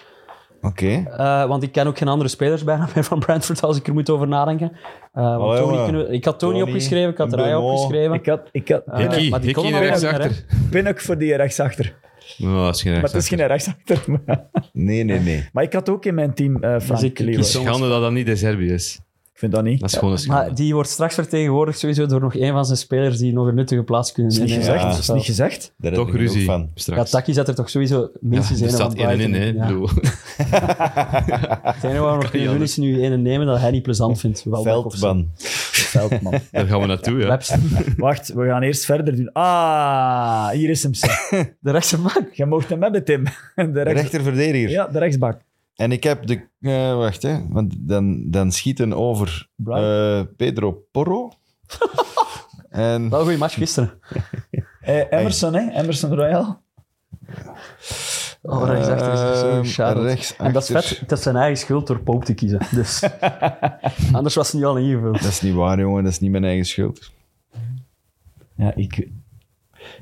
S2: Oké.
S4: Eh, want ik ken ook geen andere spelers bijna meer van Brentford als ik er moet over nadenken. Eh, want
S2: Allee,
S4: Tony
S2: jongen.
S4: kunnen we- ik had Tony,
S2: Tony,
S4: opgeschreven, ik had Raya
S2: Bemo.
S4: opgeschreven.
S5: Ik had, ik had
S4: Eh,
S5: Pinnock-
S3: Hikkie,
S4: maar die kon
S3: Hikkie
S4: er nog wel
S3: rechtsachter.
S5: Pinnock voor die rechtsachter.
S3: Oh, dat is geen
S5: Maar het is
S3: rechtsachter.
S5: geen rechtsachter. Maar,
S2: Nee, nee, nee.
S5: maar ik had ook in mijn team eh Frank
S4: ik kies
S5: Leroy.
S4: zo.
S3: Schande dat dat niet de Serbië is.
S5: Ik vind dat niet.
S3: Dat is gewoon een schande.
S4: Maar die wordt straks vertegenwoordigd sowieso door nog één van zijn spelers die nog een nuttige plaats kunnen
S5: Dat is niet
S4: nemen.
S5: gezegd.
S2: Ja.
S5: Dat is niet gezegd.
S2: Daar heb
S3: Toch
S2: ik genoeg
S3: ruzie
S2: van.
S4: Ja,
S3: straks.
S4: Taki zet er toch sowieso minstens
S3: er
S4: één van
S3: staat één en in,
S4: buiten.
S3: hè.
S4: Ja.
S3: Bedoel,
S4: Het enige wat we nog kunnen doen is nu één nemen dat hij niet plezant vindt. Wel
S2: Veldman.
S5: Veldman.
S3: Daar gaan we naartoe, ja.
S4: Webster.
S5: Wacht, we gaan eerst verder doen. Ah, hier is hem. zeg.
S4: De rechtse man.
S5: Je mocht hem hebben, Tim. De rechts-
S2: Rechterverdediger.
S5: Ja, de rechtsbak.
S2: En ik heb de... eh, wacht, hè. Want dan, dan schieten over eh, Pedro Porro. en...
S4: Wel een goede match gisteren.
S5: Eh, Emerson, hè? Emerson Royal. Eh,
S4: Oh, rechtsachter is echt zo
S2: Ehm,
S4: geshadowed.
S2: rechtsachter.
S4: En dat is vet. Dat is zijn eigen schuld door Pope te kiezen. Dus. Anders was hij niet al ingevuld.
S2: Dat is niet waar, jongen. Dat is niet mijn eigen schuld.
S5: Ja, ik,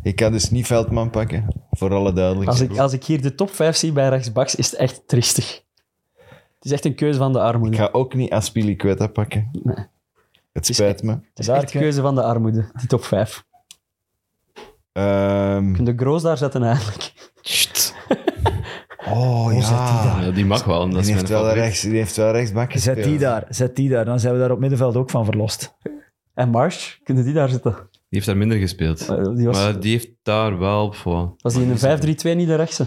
S2: Ik kan dus niet Veldman pakken. Voor alle duidelijkheid.
S4: Als ik, als ik hier de top 5 zie bij rechtsbacks, is het echt triestig. Het is echt een keuze van de armoede.
S2: Ik ga ook niet Aspilicueta pakken. Het
S4: is
S2: spijt me.
S4: Het is
S5: Daar
S4: echt
S5: kun-
S4: een keuze van de armoede, die top 5.
S2: Ehm,
S4: Kun je Groos daar zetten eigenlijk?
S2: oh ja.
S3: Ah, Ja, die mag wel, dat
S2: Die
S3: is mijn
S2: heeft, wel
S3: favoriet.
S2: rechts, die heeft wel rechtsbak
S5: Zet
S2: gespeeld.
S5: die daar, zet die daar. Dan zijn we daar op middenveld ook van verlost.
S4: En Marsh, kunnen die daar zitten?
S3: Die heeft daar minder gespeeld.
S4: Eh, Die was,
S3: Maar die heeft daar wel voor.
S4: was die in een 5-3-2 niet de rechtse?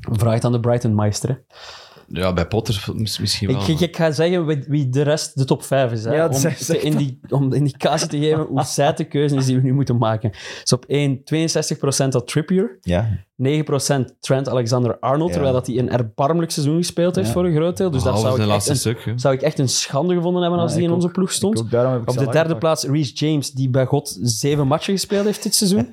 S4: Vraag het aan de Brighton-meister. hè.
S3: Ja, bij Potter mis- misschien wel.
S4: Ik, ik, ik ga zeggen wie- wie de rest de top 5 is. Hè,
S5: Ja,
S4: om,
S5: zeg- zeg
S4: te indi- om de indicatie te geven hoe zet de keuze is die we nu moeten maken. Dus op 1, 62% dat Trippier.
S2: Ja.
S4: 9% Trent Alexander-Arnold,
S2: Ja.
S4: terwijl dat hij een erbarmelijk seizoen gespeeld heeft voor een groot deel. Dus dat
S3: Behalve
S4: zou
S3: zijn
S4: ik, echt
S3: laatste
S4: een,
S3: stuk. hè.
S4: zou ik echt een schande gevonden hebben als
S5: Ja,
S4: die
S5: ik
S4: in onze
S5: ook.
S4: ploeg stond.
S5: Ook daarom heb ik
S4: Op de
S5: Salah
S4: derde
S5: gepakt.
S4: plaats Reece James, die bij God zeven matchen gespeeld heeft dit seizoen.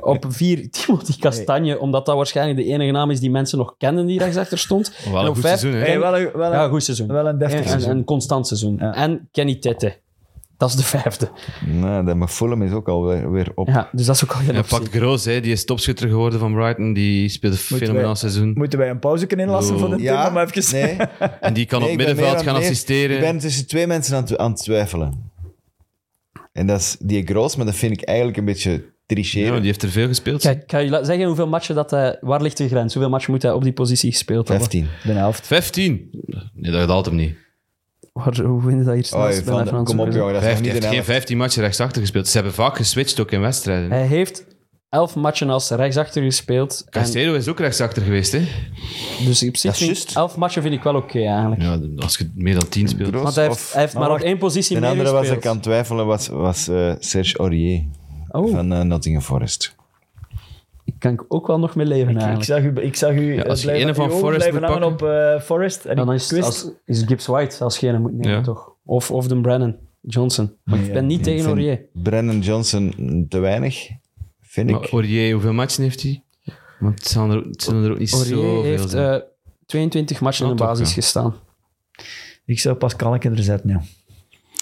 S4: Op vier Timothy Castagne, omdat dat waarschijnlijk de enige naam is die mensen nog kennen die rechtsachter stond.
S3: Wel
S4: En
S3: een
S4: op
S3: goed
S4: vijf-
S3: seizoen, hè.
S5: Hey, wel, een, wel,
S4: Ja,
S5: een,
S4: goed seizoen.
S5: wel een
S4: en,
S5: deftig
S4: en,
S5: seizoen.
S4: een constant seizoen.
S5: Ja.
S4: En Kenny Tette. Dat is de vijfde.
S2: Nou, dat, maar Fulham is ook alweer weer op.
S4: Ja, dus dat is ook al geen
S3: En
S4: optie.
S3: Pak Groos, hè, die is topschutter geworden van Brighton. Die speelde een fenomenaal
S5: wij-
S3: seizoen.
S5: Moeten wij een pauze kunnen inlassen
S3: Oeh.
S5: voor de Tim?
S2: Ja,
S5: Om even...
S2: nee.
S3: En die kan
S2: Nee,
S3: op
S2: ik ben meer
S3: middenveld
S2: aan-
S3: gaan
S2: nee,
S3: assisteren.
S2: Ik ben tussen twee mensen aan het, aan het twijfelen. En dat is die Groos, maar dat vind ik eigenlijk een beetje
S3: Ja,
S2: tricheren.
S3: die heeft er veel gespeeld.
S4: Kijk, kan je la- zeggen hoeveel matchen dat hij... Waar ligt de grens? Hoeveel matchen moet hij op die positie gespeeld hebben?
S2: 15.
S5: De helft.
S3: 15. Nee, dat haalt hem niet.
S4: Waar, hoe vind je dat hier
S2: Oei, Van
S4: snel?
S2: de- kom op, jongen. Dat is nog
S3: 15,
S2: niet
S3: hij
S2: een
S3: heeft geen
S2: helft.
S3: 15 matchen rechtsachter gespeeld. Ze hebben vaak geswitcht ook in wedstrijden.
S4: Hij heeft elf matchen als rechtsachter gespeeld. En
S3: Castero is ook rechtsachter geweest, hè?
S4: dus op zich
S2: is
S4: vind ik-
S2: juist.
S4: elf matchen vind ik wel oké eigenlijk.
S3: Ja, als je meer dan 10 speelt.
S2: Groos
S4: Want hij heeft,
S2: of-
S4: hij heeft maar op één positie
S2: De
S4: meer
S2: andere was ik aan
S4: gespeeld.
S2: het twijfelen was, was eh, Serge Aurier
S4: Oh,
S2: van eh, Nottingham Forest.
S4: ik kan ik ook wel nog mee leven
S5: Ik
S4: eigenlijk.
S5: zag u, ik zag u eh,
S3: als je
S5: blijven,
S3: ene van
S5: uw ogen
S3: Forrest
S5: blijven
S3: moet
S5: hangen op eh Forrest. En
S4: Ja,
S5: ik
S4: dan is,
S5: wist-
S4: als, is Gibbs White als gene moet nemen,
S3: Ja.
S4: toch? Of, of de Brennan. Johnson. Maar ik ben niet
S2: Ik
S4: tegen
S2: vind
S4: Aurier.
S2: Brennan Johnson te weinig, vind
S3: Maar
S2: ik.
S3: Aurier, hoeveel matchen heeft hij? Want het zijn er, het zullen er ook niet
S4: Aurier
S3: zoveel
S4: heeft
S3: zijn.
S4: eh, 22 matchen
S3: Ah,
S4: in de
S3: toch,
S4: basis
S3: ja.
S4: gestaan.
S5: Ik zou Pascalke er zetten, ja.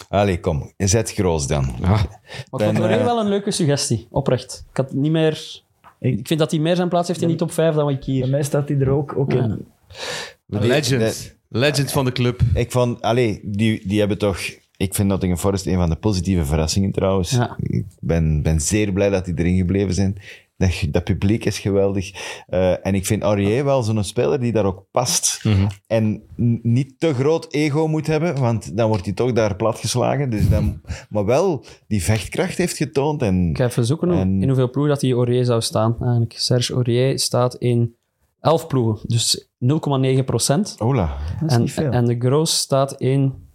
S2: Allee, kom. Zet groot dan.
S3: Ah,
S4: Maar ik vond
S2: Ben,
S4: Aurier
S2: eh,
S4: wel een leuke suggestie, oprecht. Ik, had niet meer,
S5: Ik-
S4: ik, vind dat hij meer zijn plaats heeft in die top 5 dan wat ik
S5: Bij
S4: hier...
S5: mij staat hij er ook, ook
S4: Ja.
S5: in.
S3: legend. Legend van de club.
S2: Ik vond, allee, die, die hebben toch... Ik vind Nottingham Forest een van de positieve verrassingen trouwens.
S4: Ja.
S2: Ik ben, ben zeer blij dat die erin gebleven zijn. Dat, dat publiek is geweldig. Eh, en ik vind Aurier wel zo'n speler die daar ook past.
S5: Mhm.
S2: En n- niet te groot ego moet hebben, want dan wordt hij toch daar platgeslagen. Dus dan, maar wel die vechtkracht heeft getoond. En
S4: Ik ga even zoeken hoe-
S2: En-
S4: in hoeveel ploegen dat hij Aurier zou staan. Eigenlijk. Serge Aurier staat in 11 ploegen, dus 0,9 procent.
S2: Ola,
S5: Dat is
S4: En,
S5: niet veel.
S4: en de Groos staat in...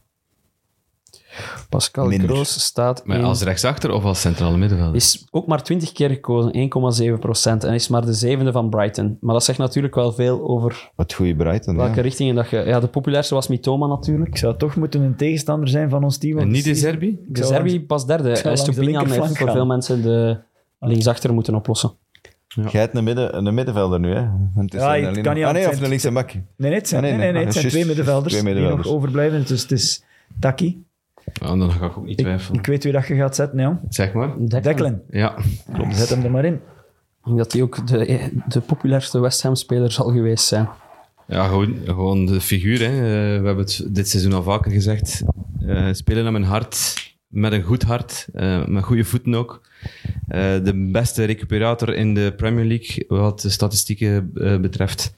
S4: Pascal
S2: Minder.
S4: Groos staat
S3: Maar
S4: in...
S3: als rechtsachter of als centrale middenvelder?
S4: Is ook maar 20 keer gekozen, 1,7 procent. En is maar de zevende van Brighton. Maar dat zegt natuurlijk wel veel over
S2: wat goede Brighton.
S4: welke
S2: ja.
S4: richtingen dat je... Ja, de populairste was Mitoma natuurlijk.
S5: Ik zou toch moeten een tegenstander zijn van ons team. want
S3: En niet in
S5: het is-
S3: Serbië?
S5: Ik
S4: De
S5: zou
S4: Serbi pas derde.
S5: zou
S4: En
S5: langs de
S4: Stupinian
S5: linkerflank
S4: heeft voor
S5: gaan.
S4: veel mensen de linksachter moeten oplossen.
S2: Jij hebt een, midden, een middenvelder nu, hè? Want het is
S5: Ja,
S2: alleen
S5: het
S2: nog-
S5: kan niet
S2: ah, nee,
S5: aan-
S2: of een linkse bak.
S5: Nee, nee, het zijn,
S2: Ah,
S5: nee,
S2: nee,
S5: nee,
S2: nee.
S5: nee, het zijn
S2: Juist,
S5: twee middenvelders,
S2: twee
S5: die
S2: middenvelders.
S5: nog overblijven. Dus het is Taki.
S3: Ja, Ah, dan ga ik ook niet
S5: Ik,
S3: twijfelen.
S5: ik weet wie dat je gaat zetten, ja.
S3: Zeg maar.
S4: Declan.
S5: Declan.
S3: Ja.
S5: Zet hem er maar in.
S4: Ik denk Dat hij ook de, de populairste West Ham-speler zal geweest zijn.
S3: Ja, gewoon, gewoon de figuur. Hè. Eh, we hebben het dit seizoen al vaker gezegd. Eh, spelen naar mijn hart, met een goed hart, eh, met goede voeten ook. Eh, de beste recuperator in de Premier League, wat de statistieken eh, betreft.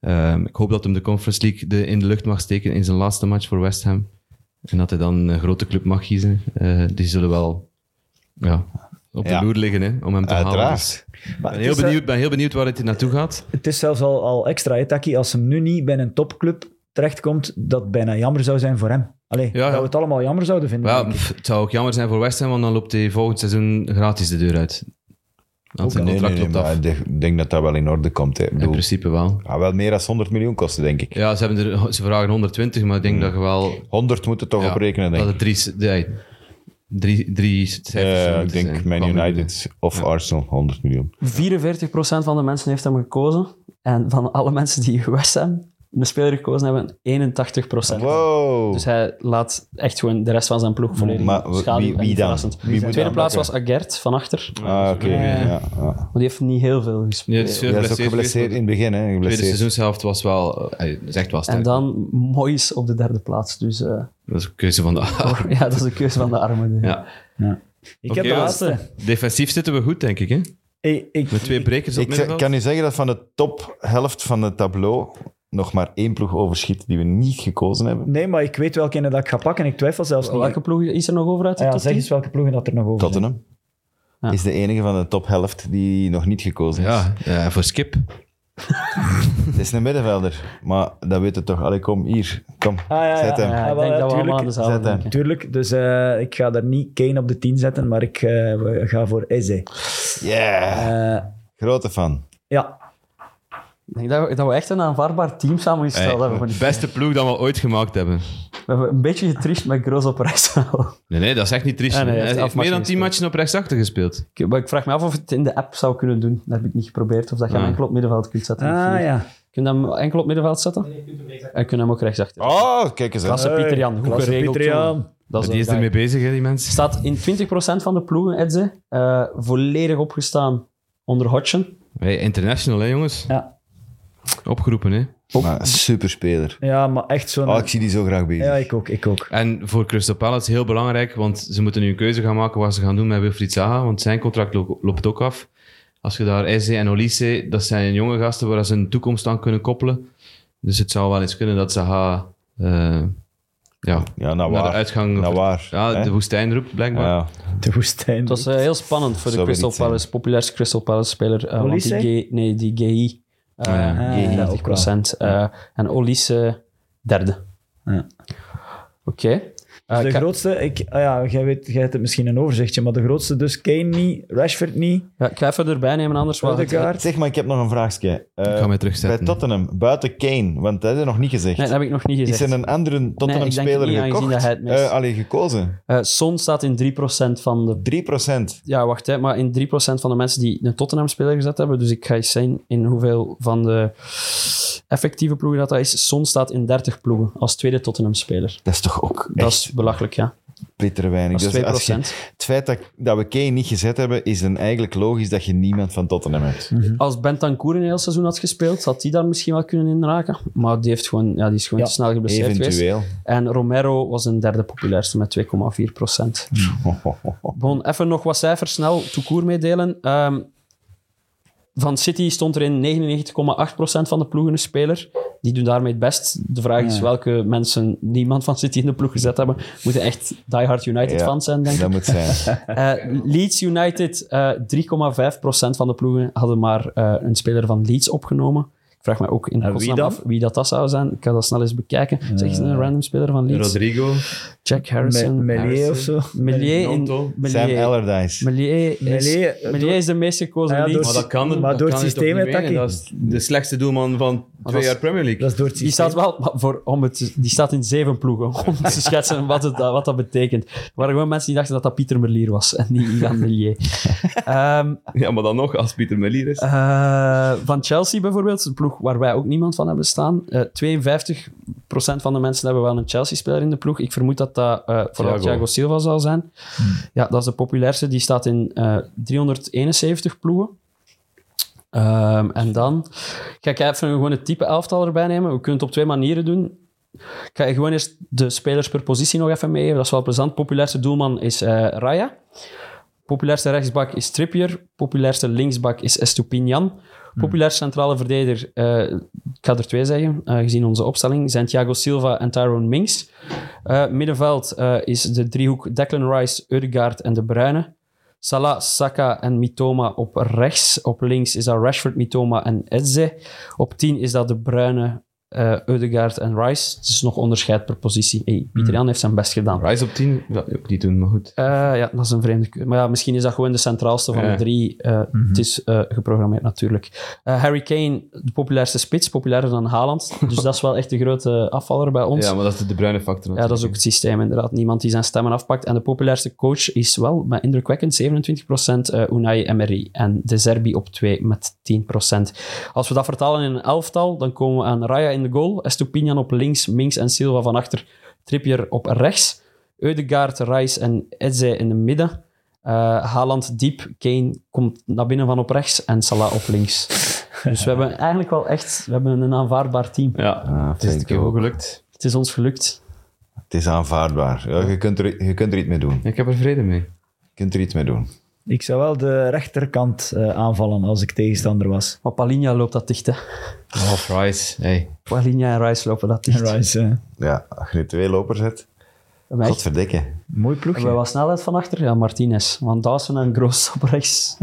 S3: Ehm, ik hoop dat hem de Conference League de, in de lucht mag steken in zijn laatste match voor West Ham. En dat hij dan een grote club mag kiezen. Eh, die zullen wel ja, op de
S2: Ja.
S3: loer liggen hè, om hem te halen. Dus
S2: Uiteraard.
S5: Maar
S3: Ik
S5: het
S3: ben heel
S5: is, eh,
S3: benieuwd, ben heel benieuwd waar het naartoe gaat.
S5: Het is zelfs al, al extra, hè, Taki. Als hem nu niet bij een topclub terechtkomt, dat bijna jammer zou zijn voor hem. Allee,
S3: Ja,
S5: dat
S3: ja.
S5: we het allemaal jammer zouden vinden.
S3: Wel,
S5: denk ik.
S3: pff, het zou ook jammer zijn voor West Ham, want dan loopt hij volgend seizoen gratis de deur uit. Want zijn
S2: Nee, nee,
S3: contract
S2: nee,
S3: loopt af.
S2: maar ik denk- ik denk dat dat wel in orde komt. Hè. Ik
S3: In
S2: bedoel,
S3: principe wel.
S2: ja, wel meer dan 100 miljoen kosten, denk ik.
S3: Ja, ze, hebben er, ze vragen 120, maar ik denk
S2: Hmm.
S3: dat je wel...
S2: 100 moet het toch
S3: ja,
S2: op rekenen, denk
S3: Dat
S2: ik.
S3: het drie, nee, drie, drie cijfers
S2: Eh,
S3: moeten
S2: ik denk
S3: zijn.
S2: Man
S3: Kwam er-
S2: United of Arsenal, 100 miljoen.
S4: 44% van de mensen heeft hem gekozen. En van alle mensen die West Ham een speler gekozen hebben, 81%.
S2: Wow!
S4: Dus hij laat echt gewoon de rest van zijn ploeg volledig
S2: Maar w-
S4: schaduw
S2: wie,
S4: en
S2: wie dan?
S4: verrassend.
S2: Wie
S4: De
S2: moet
S4: tweede
S2: dan
S4: plaats was
S2: pakken?
S4: Agert, van achter.
S2: Ah, oké. ja, ja.
S4: Maar die heeft niet heel veel
S3: Nee,
S4: gespeeld.
S3: het is veel
S2: Ja, is ook
S3: geblesseerd geweest,
S2: geblesseerd in
S3: maar
S2: het begin, hè.
S3: de tweede
S2: Geblesseerd.
S3: seizoenshelft was wel... eh, hij is echt wel sterk.
S4: en dan Moyes op de derde plaats. Dus eh,
S3: Dat is een keuze van de...
S5: Oh.
S4: ja, dat is de keuze van de armen.
S3: ja.
S5: ik
S3: Oké,
S5: heb de
S3: ja.
S5: laatste.
S3: Defensief zitten we goed, denk ik. Hè?
S5: Ik, ik,
S3: Met twee brekers op
S2: Ik kan-
S3: middenveld.
S2: kan u zeggen dat van de tophelft van het tableau nog maar één ploeg overschiet die we niet gekozen
S3: Oh,
S2: hebben.
S5: nee, maar ik weet welke ene dat ik ga pakken. Ik twijfel zelfs niet.
S4: Welke ploeg is er nog over uit de
S5: Ah ja,
S4: top
S5: zeg
S4: 10?
S5: eens welke ploegen dat er nog over zijn.
S2: Tottenham
S4: Ja.
S2: is de enige van de tophelft die nog niet gekozen is.
S3: Ja, eh, voor Skip.
S2: Het is een middenvelder, maar dat weet het toch. Allee, kom hier. Kom,
S5: Ah, ja, ja.
S2: zet hem.
S4: Ja,
S5: Ah,
S4: ik
S5: wel,
S4: denk
S5: ja,
S4: dat we
S5: tuurlijk.
S4: allemaal aan dezelfde
S2: Zet hem.
S4: denken.
S5: Tuurlijk, dus eh, ik ga daar niet Kane op de 10 zetten, maar ik eh, we ga voor Eze.
S2: Yeah!
S5: Eh,
S2: Grote fan.
S5: ja,
S4: Ik denk dat we, dat we echt een aanvaardbaar team samengesteld
S3: Hey,
S4: hebben. voor die-
S3: beste ploeg dat we ooit gemaakt hebben.
S4: We hebben een beetje getricht met Groos op rechts.
S3: Nee, nee, dat is echt niet triest.
S4: Ah, nee, hij
S3: hij
S4: heeft
S3: heeft
S4: elf
S3: meer dan
S4: matchen
S3: tien matchen op rechtsachter gespeeld.
S4: Ik- maar ik vraag me af of het in de app zou kunnen doen. Dat heb ik niet geprobeerd. Of dat je hem
S3: Ah.
S4: enkel op middenveld kunt zetten.
S5: ah, ja.
S4: Kun je hem enkel op middenveld zetten? En kun je hem ook rechtsachter.
S2: Oh, kijk eens aan.
S4: Klasse Pieter Jan,
S5: Hey,
S4: goed
S5: klasse
S4: geregeld.
S5: Pieter Jan.
S4: jongen. Dat
S3: die is
S4: een
S3: ermee
S4: guy.
S3: bezig, hè, die mensen.
S4: Staat in 20% van de ploegen, Edze. eh, volledig opgestaan onder Hodgson.
S3: Hey, international, hè, jongens.
S5: Ja.
S3: Opgeroepen, hè.
S2: Maar superspeler.
S5: Ja, maar echt zo'n...
S2: Oh, ik zie die zo graag bezig.
S5: ja, ik ook, ik ook.
S3: En voor Crystal Palace heel belangrijk, want ze moeten nu een keuze gaan maken wat ze gaan doen met Wilfried Zaha, want zijn contract lo- loopt ook af. Als je daar Eze en Olise, dat zijn jonge gasten waar ze hun toekomst aan kunnen koppelen. Dus het zou wel eens kunnen dat Zaha eh, ja,
S2: Ja, nou
S3: naar de
S2: waar.
S3: uitgang...
S2: Nou waar.
S3: ja,
S2: hè?
S3: de woestijn roept, blijkbaar.
S2: Ja.
S5: De woestijn.
S4: Het was eh, heel spannend voor de
S2: Zou weer
S4: Crystal
S2: niet zijn.
S4: Palace, populairste Crystal Palace-speler. eh, want die
S5: Olise?
S4: G, nee, die GI. eh,
S3: Ah, ja.
S4: die
S5: Ah, ja,
S4: 30%.
S5: ook wel.
S4: eh, en Olise derde.
S5: Ja.
S4: Oké.
S5: Dus de
S4: ik ga-
S5: grootste, ik, ah ja, jij, weet, jij hebt het misschien een overzichtje, maar de grootste dus Kane niet, Rashford niet,
S4: Ja, ik ga even erbij nemen, anders wordt het...
S5: Odegaard.
S2: Zeg maar, ik heb nog een vraagje. Eh,
S3: Ik ga mij
S2: bij
S3: terugzetten.
S2: Tottenham, buiten Kane, want dat is er nog niet gezegd.
S4: Nee, dat heb ik nog niet
S2: Is
S4: gezegd.
S2: er een andere Tottenham-speler
S4: niet, aangezien
S2: gekocht?
S4: dat hij het mist.
S2: Eh, allee, gekozen.
S4: Eh, Son staat in 3% van de...
S2: 3%.
S4: Ja, wacht, hè, maar in 3% van de mensen die een Tottenham-speler gezet hebben, dus ik ga eens zien in hoeveel van de effectieve ploegen dat, dat is. Son staat in 30 ploegen als tweede Tottenham-speler.
S2: Dat is toch ook
S4: Dat
S2: echt
S4: is belachelijk, ja.
S2: bitter weinig.
S4: Dat is 2%.
S2: Dus als je- het feit dat, dat we Kane niet gezet hebben, is dan eigenlijk logisch dat je niemand van Tottenham hebt.
S5: Mhm.
S4: Als Bentancur een heel seizoen had gespeeld, had hij daar misschien wel kunnen inraken. Maar die, heeft gewoon, ja, die is gewoon
S5: Ja,
S4: te snel geblesseerd geweest.
S2: Eventueel.
S4: En Romero was een derde populairste met 2,4 procent.
S5: Mm.
S4: Bon, even nog wat cijfers snel toekoer meedelen. Ehm, van City stond er in 99,8% van de ploegen een speler. Die doen daarmee het best. De vraag is welke mensen niemand van City in de ploeg gezet hebben. Moeten echt diehard United
S2: Ja,
S4: fans zijn, denk ik.
S2: Dat moet zijn.
S4: Eh, Leeds United, eh 3,5% van de ploegen hadden maar eh, een speler van Leeds opgenomen. Ik vraag me ook in
S5: En wie
S4: godsnaam
S5: dan? Eh,
S4: af wie dat, dat zou zijn. Ik ga dat snel eens bekijken. Zeg eens een random speler van Leeds.
S3: Rodrigo,
S4: Jack
S5: Me-
S4: Harrison.
S5: Melier of zo.
S4: Melier in...
S3: Nonto.
S2: Sam
S4: Melier.
S2: Allardyce.
S4: Melier
S5: Melier,
S4: is, Melier is de meest gekozen
S5: Ah ja, door-
S4: Leeds.
S3: Dus- maar dat kan er,
S5: Maar
S3: dat
S5: door
S3: kan
S5: het
S3: er toch
S5: systeem,
S3: niet
S5: hè,
S3: mee. En Dat
S5: Taki?
S3: is de slechtste doelman van twee
S4: is-
S3: jaar Premier League.
S5: Dat is door het
S4: Die
S5: systeem.
S4: staat wel, maar voor, om het, die staat in zeven ploegen, om te schetsen wat, het, wat dat betekent. Er waren gewoon mensen die dachten dat dat Pieter Merlier was en niet Ivan Melier. Ehm,
S3: Ja, maar dan nog, als Pieter Melier is.
S4: Eh, van Chelsea bijvoorbeeld, een ploeg waar wij ook niemand van hebben staan. Eh 52% van de mensen hebben wel een Chelsea-speler in de ploeg. Ik vermoed dat dat eh, vooral
S3: Thiago.
S4: Thiago Silva zal zijn. Ja, dat is de populairste. Die staat in eh, 371 ploegen. Ehm, en dan ga ik even gewoon het type elftal erbij nemen. We kunnen het op twee manieren doen. Ik ga gewoon eerst de spelers per positie nog even meegeven. Dat is wel plezant. Populairste doelman is eh, Raya. Populairste rechtsbak is Trippier. Populairste linksbak is Estupinian. Hm. Populair centrale verdediger, eh, ik ga er twee zeggen, eh, gezien onze opstelling, zijn Thiago Silva en Tyrone Mings. Eh, middenveld eh, is de driehoek Declan Rice, Ødegaard en De Bruyne. Salah, Saka en Mitoma op rechts. Op links is dat Rashford, Mitoma en Edze. Op 10 is dat De Bruyne, eh Ødegaard en Rice. Het is nog onderscheid per positie. Hey, Pieter Jan heeft zijn best gedaan.
S3: Ah, Rise op 10, dat ook niet doen, maar goed.
S4: Eh, ja, dat is een vreemde keuze. Maar ja, misschien is dat gewoon de centraalste van de
S3: Ja.
S4: drie. Eh, Het is eh, geprogrammeerd natuurlijk. Eh, Harry Kane, de populairste spits, populairder dan Haaland. Dus dat is wel echt de grote afvaller bij ons.
S3: Ja, maar dat is de, de bruine factor.
S4: Ja, dat is ook
S3: natuurlijk.
S4: het systeem inderdaad. Niemand die zijn stemmen afpakt. En de populairste coach is wel, maar indrukwekkend, 27% eh, Unai Emery. En De Zerbi op 2 met 10%. Als we dat vertalen in een elftal, dan komen we aan Raya in de goal, Estupinian op links, Minks en Silva van achter, Trippier op rechts, Eudegaard, Rice en Edze in de midden. Eh, Haaland diep, Kane komt naar binnen van op rechts en Salah op links. Dus we hebben eigenlijk wel echt we hebben een aanvaardbaar team.
S3: Ja, het is een
S2: vind
S3: keer
S2: ik
S3: wel
S2: ook.
S3: gelukt.
S4: Het is ons gelukt.
S2: Het is aanvaardbaar. Ja, je, kunt er, je kunt er iets mee doen.
S3: Ik heb er vrede mee.
S2: Je kunt er iets mee doen.
S5: Ik zou wel de rechterkant eh, aanvallen als ik tegenstander was.
S4: Maar Palinha loopt dat dicht, hè.
S3: Oh, Rice. Hey.
S4: Palinha en Rice lopen dat dicht.
S5: Rice, eh,
S2: Ja, als je er twee lopers hebt,
S4: Bij mij
S2: tot verdikken.
S5: mooi ploegje.
S4: Hebben we wel snelheid van achter? Ja, Martinez. Want Dawson en Gross op rechts.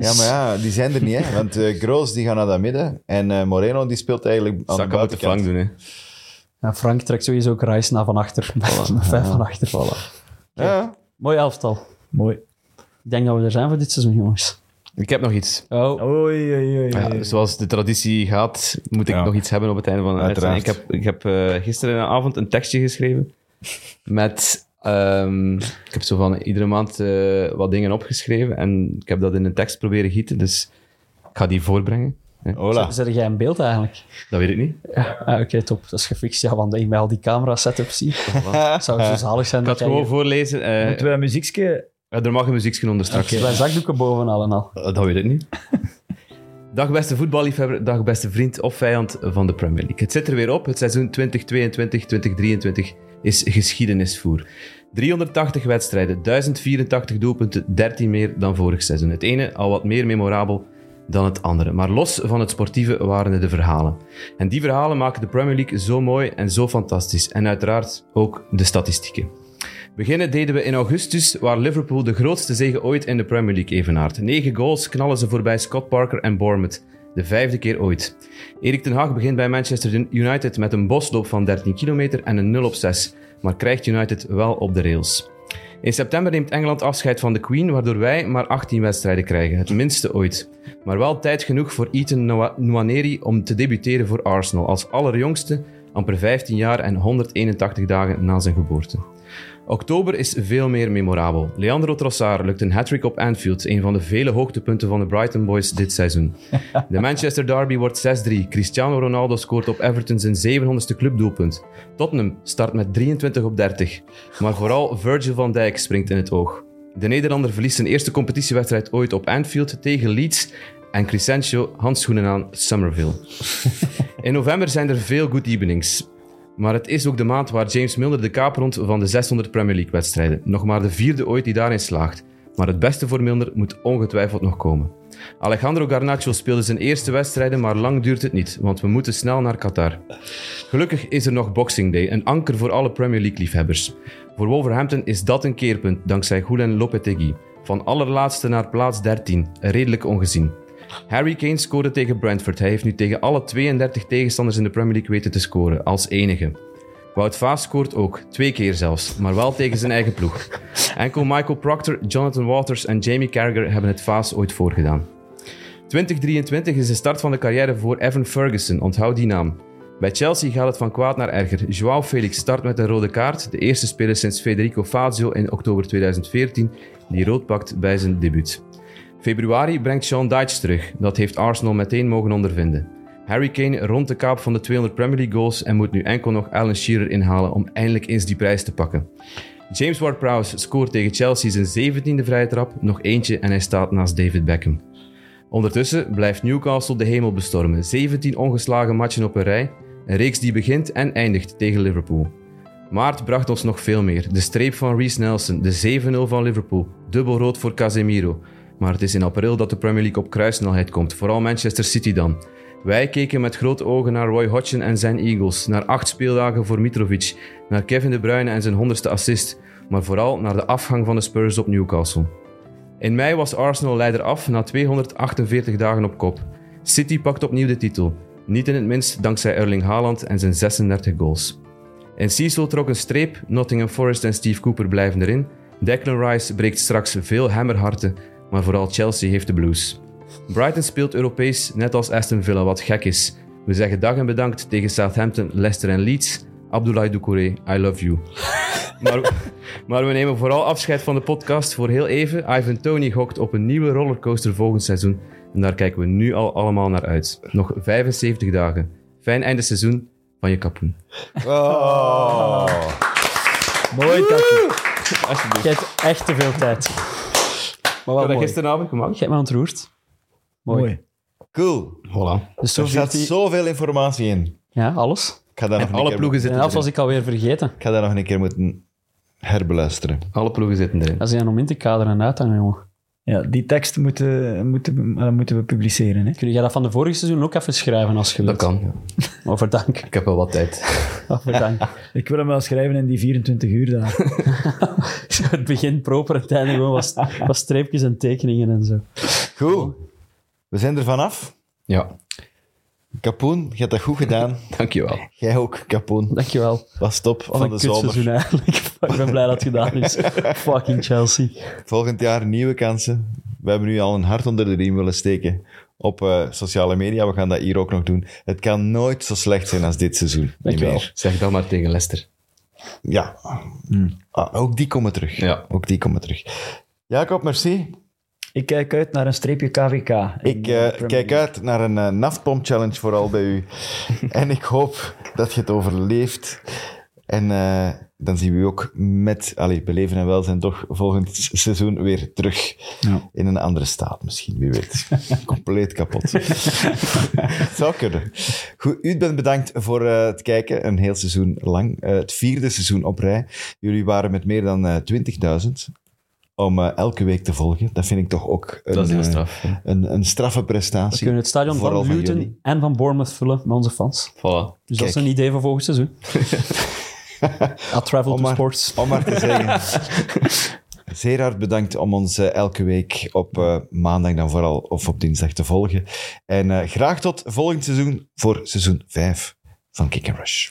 S2: Ja, maar ja, die zijn er niet, hè. Want eh Groos, die gaat naar dat midden. En eh, Moreno, die speelt eigenlijk aan
S3: Saka
S2: de
S3: moet de flank
S2: buitenkant.
S3: doen, hè.
S4: Ja, Frank trekt sowieso ook Rice naar van achter. Met vijf van achter.
S2: Ja,
S4: Mooi elftal.
S5: Mooi.
S4: Ik denk dat we er zijn voor dit seizoen, jongens.
S3: Ik heb nog iets.
S4: Oh,
S5: Oei, oei, oei.
S3: Ja, zoals de traditie gaat, moet ik
S2: Eh, Ja.
S3: nog iets hebben op het einde van de
S2: Uiteraard.
S3: uitzending. Ik heb, ik heb eh, gisteren in de avond een tekstje geschreven met... ehm, ik heb zo van iedere maand eh, wat dingen opgeschreven en ik heb dat in een tekst proberen gieten, dus ik ga die voorbrengen. hè.
S2: hola.
S4: zet jij in beeld eigenlijk?
S3: Dat weet ik niet. Ik
S4: Ja. Ah, Oké, top. Dat is gefixt. Ja, want ik mij al die camera setup zie. zou zo zalig zijn.
S3: ga het
S4: dat jij
S3: gewoon voorlezen. eh,
S5: Moeten we een muziekje...
S3: ja, er mag een muziekje onder straks.
S4: hier- Wij zakdoeken bovenal en al.
S3: Eh, Dat weet ik niet. Dag beste voetballiefhebber, dag beste vriend of vijand van de Premier League. Het zit er weer op. Het seizoen 2022-2023 is geschiedenisvoer. 380 wedstrijden, 1084 doelpunten, 13 meer dan vorig seizoen. Het ene al wat meer memorabel dan het andere. Maar los van het sportieve waren er de verhalen. En die verhalen maken de Premier League zo mooi en zo fantastisch. En uiteraard ook de statistieken. Beginnen deden we in augustus, waar Liverpool de grootste zege ooit in de Premier League evenaart. Negen goals knallen ze voorbij Scott Parker en Bournemouth. De vijfde keer ooit. Erik ten Hag begint bij Manchester United met een bosloop van 13 kilometer en een 0 op 6. maar krijgt United wel op de rails. In september neemt Engeland afscheid van de Queen, waardoor wij maar 18 wedstrijden krijgen, het minste ooit. Maar wel tijd genoeg voor Ethan Noa- Nwaneri om te debuteren voor Arsenal als allerjongste, amper 15 jaar en 181 dagen na zijn geboorte. Oktober is veel meer memorabel. Leandro Trossard lukt een hat-trick op Anfield, een van de vele hoogtepunten van de Brighton Boys dit seizoen. De Manchester Derby wordt 6-3. Cristiano Ronaldo scoort op Everton zijn 700ste clubdoelpunt. Tottenham start met 23 op 30. Maar vooral Virgil van Dijk springt in het oog. De Nederlander verliest zijn eerste competitiewedstrijd ooit op Anfield tegen Leeds en Crescentio handschoenen aan Somerville. In november zijn er veel good evenings. Maar het is ook de maand waar James Milner de kaap rond van de 600 Premier League-wedstrijden. Nog maar de vierde ooit die daarin slaagt. Maar het beste voor Milner moet ongetwijfeld nog komen. Alejandro Garnacho speelde zijn eerste wedstrijden, maar lang duurt het niet, want we moeten snel naar Qatar. Gelukkig is er nog Boxing Day, een anker voor alle Premier League-liefhebbers. Voor Wolverhampton is dat een keerpunt, dankzij Julen Lopetegui. Van allerlaatste naar plaats 13, redelijk ongezien. Harry Kane scoorde tegen Brentford. Hij heeft nu tegen alle 32 tegenstanders in de Premier League weten te scoren, als enige. Wout Vaas scoort ook, twee keer zelfs, maar wel tegen zijn eigen ploeg. Enkel Michael Proctor, Jonathan Waters en Jamie Carragher hebben het Vaas ooit voorgedaan. 2023 is de start van de carrière voor Evan Ferguson, onthoud die naam. Bij Chelsea gaat het van kwaad naar erger. Joao Felix start met een rode kaart, de eerste speler sinds Federico Fazio in oktober 2014, die rood pakt bij zijn debuut. Februari brengt Sean Dyche terug. Dat heeft Arsenal meteen mogen ondervinden. Harry Kane rond de kaap van de 200 Premier League goals en moet nu enkel nog Alan Shearer inhalen om eindelijk eens die prijs te pakken. James Ward-Prowse scoort tegen Chelsea zijn 17e vrije trap, nog eentje en hij staat naast David Beckham. Ondertussen blijft Newcastle de hemel bestormen. 17 ongeslagen matchen op een rij, een reeks die begint en eindigt tegen Liverpool. Maart bracht ons nog veel meer. De streep van Reece Nelson, de 7-0 van Liverpool, dubbel rood voor Casemiro. Maar het is in april dat de Premier League op kruissnelheid komt, vooral Manchester City dan. Wij keken met grote ogen naar Roy Hodgson en zijn Eagles, naar acht speeldagen voor Mitrovic, naar Kevin De Bruyne en zijn honderdste assist, maar vooral naar de afgang van de Spurs op Newcastle. In mei was Arsenal leider af na 248 dagen op kop. City pakt opnieuw de titel, niet in het minst dankzij Erling Haaland en zijn 36 goals. In Cecil trok een streep, Nottingham Forest en Steve Cooper blijven erin. Declan Rice breekt straks veel hammerharten, maar vooral Chelsea heeft de blues. Brighton speelt Europees, net als Aston Villa, wat gek is. We zeggen dag en bedankt tegen Southampton, Leicester en Leeds. Abdoulaye Doucouré, I love you. maar, maar we nemen vooral afscheid van de podcast voor heel even. Ivan Tony gokt op een nieuwe rollercoaster volgend seizoen. En daar kijken we nu al allemaal naar uit. Nog 75 dagen. Fijn einde seizoen van je kapoen.
S5: Mooi, Taki.
S4: Je hebt echt te veel tijd. Maar wel
S3: Heb je
S4: mooi.
S3: dat
S4: Gisteren...
S3: gisteravond
S4: Je
S3: gemaakt?
S4: hebt me ontroerd. Mooi.
S5: Mooi.
S2: Cool.
S3: Voilà.
S4: Dus zo
S2: Er
S4: vliegt
S2: zat
S4: die...
S2: zoveel informatie in.
S4: Ja, alles.
S2: Ik ga, daar nog
S3: En
S2: een
S3: alle
S2: keer-
S3: ploegen,
S4: En
S3: zitten
S4: af
S3: erin.
S4: was ik alweer vergeten.
S2: ik ga daar nog een keer moeten herbeluisteren.
S3: alle ploegen zitten erin.
S4: Dat is aan om in te kaderen en uit te hangen, jongen.
S5: Ja, die tekst moeten, moeten, eh, moeten we publiceren. Hè?
S4: Kun jij dat van de vorige seizoen ook even schrijven als je
S3: Dat
S4: wilt?
S3: kan.
S4: Over dank.
S3: Ik heb wel wat tijd.
S4: Over dank.
S5: Ik wil hem wel schrijven in die 24 uur daar.
S4: het begin proper, het einde gewoon was, was streepjes en tekeningen en zo.
S2: Cool. We zijn er vanaf.
S3: Ja,
S2: Kapoen, je hebt dat goed gedaan.
S3: dankjewel.
S2: Jij ook, Kapoen.
S4: Dankjewel. Wat
S2: Was top van
S4: een
S2: de
S4: kutseizoen
S2: zomer.
S4: eigenlijk. Ik ben blij dat het gedaan is. Fucking Chelsea.
S2: Volgend jaar nieuwe kansen. We hebben nu al een hart onder de riem willen steken op eh, sociale media. We gaan dat hier ook nog doen. Het kan nooit zo slecht zijn als dit seizoen. Niet
S4: Dankjewel.
S2: meer.
S3: Zeg dat maar tegen Lester.
S2: Ja. Ah, ook die komen terug.
S3: Ja.
S2: Ook die komen terug. Jacob, merci.
S5: Ik kijk uit naar een streepje KVK. in
S2: Ik
S5: de Premier
S2: eh, kijk
S5: League.
S2: uit naar een eh, naftpomp-challenge vooral bij u. en ik hoop dat je het overleeft. En eh, dan zien we u ook met allee, Beleven en Welzijn toch volgend s- seizoen weer terug.
S5: Ja.
S2: In een andere staat misschien, wie weet. Compleet kapot. Zou kunnen. Goed, u bent bedankt voor eh, het kijken, een heel seizoen lang. Eh, het vierde seizoen op rij. Jullie waren met meer dan eh, 20.000 om eh, elke week te volgen. Dat vind ik toch ook een,
S3: Dat is heel
S2: eh,
S3: straf.
S2: een, een straffe prestatie.
S4: We kunnen het stadion
S2: Vooral
S4: van
S2: van
S4: Luton
S2: jullie.
S4: en van Bournemouth vullen met onze fans.
S3: Voilà.
S4: Dus dat
S2: Kijk.
S4: is een idee voor volgend seizoen. At Travel
S2: Om
S4: to
S2: maar-
S4: Sports.
S2: Om maar te zeggen. Zeer hard bedankt om ons eh, elke week op eh, maandag dan vooral of op dinsdag te volgen. En eh, graag tot volgend seizoen voor seizoen 5 van Kick and Rush.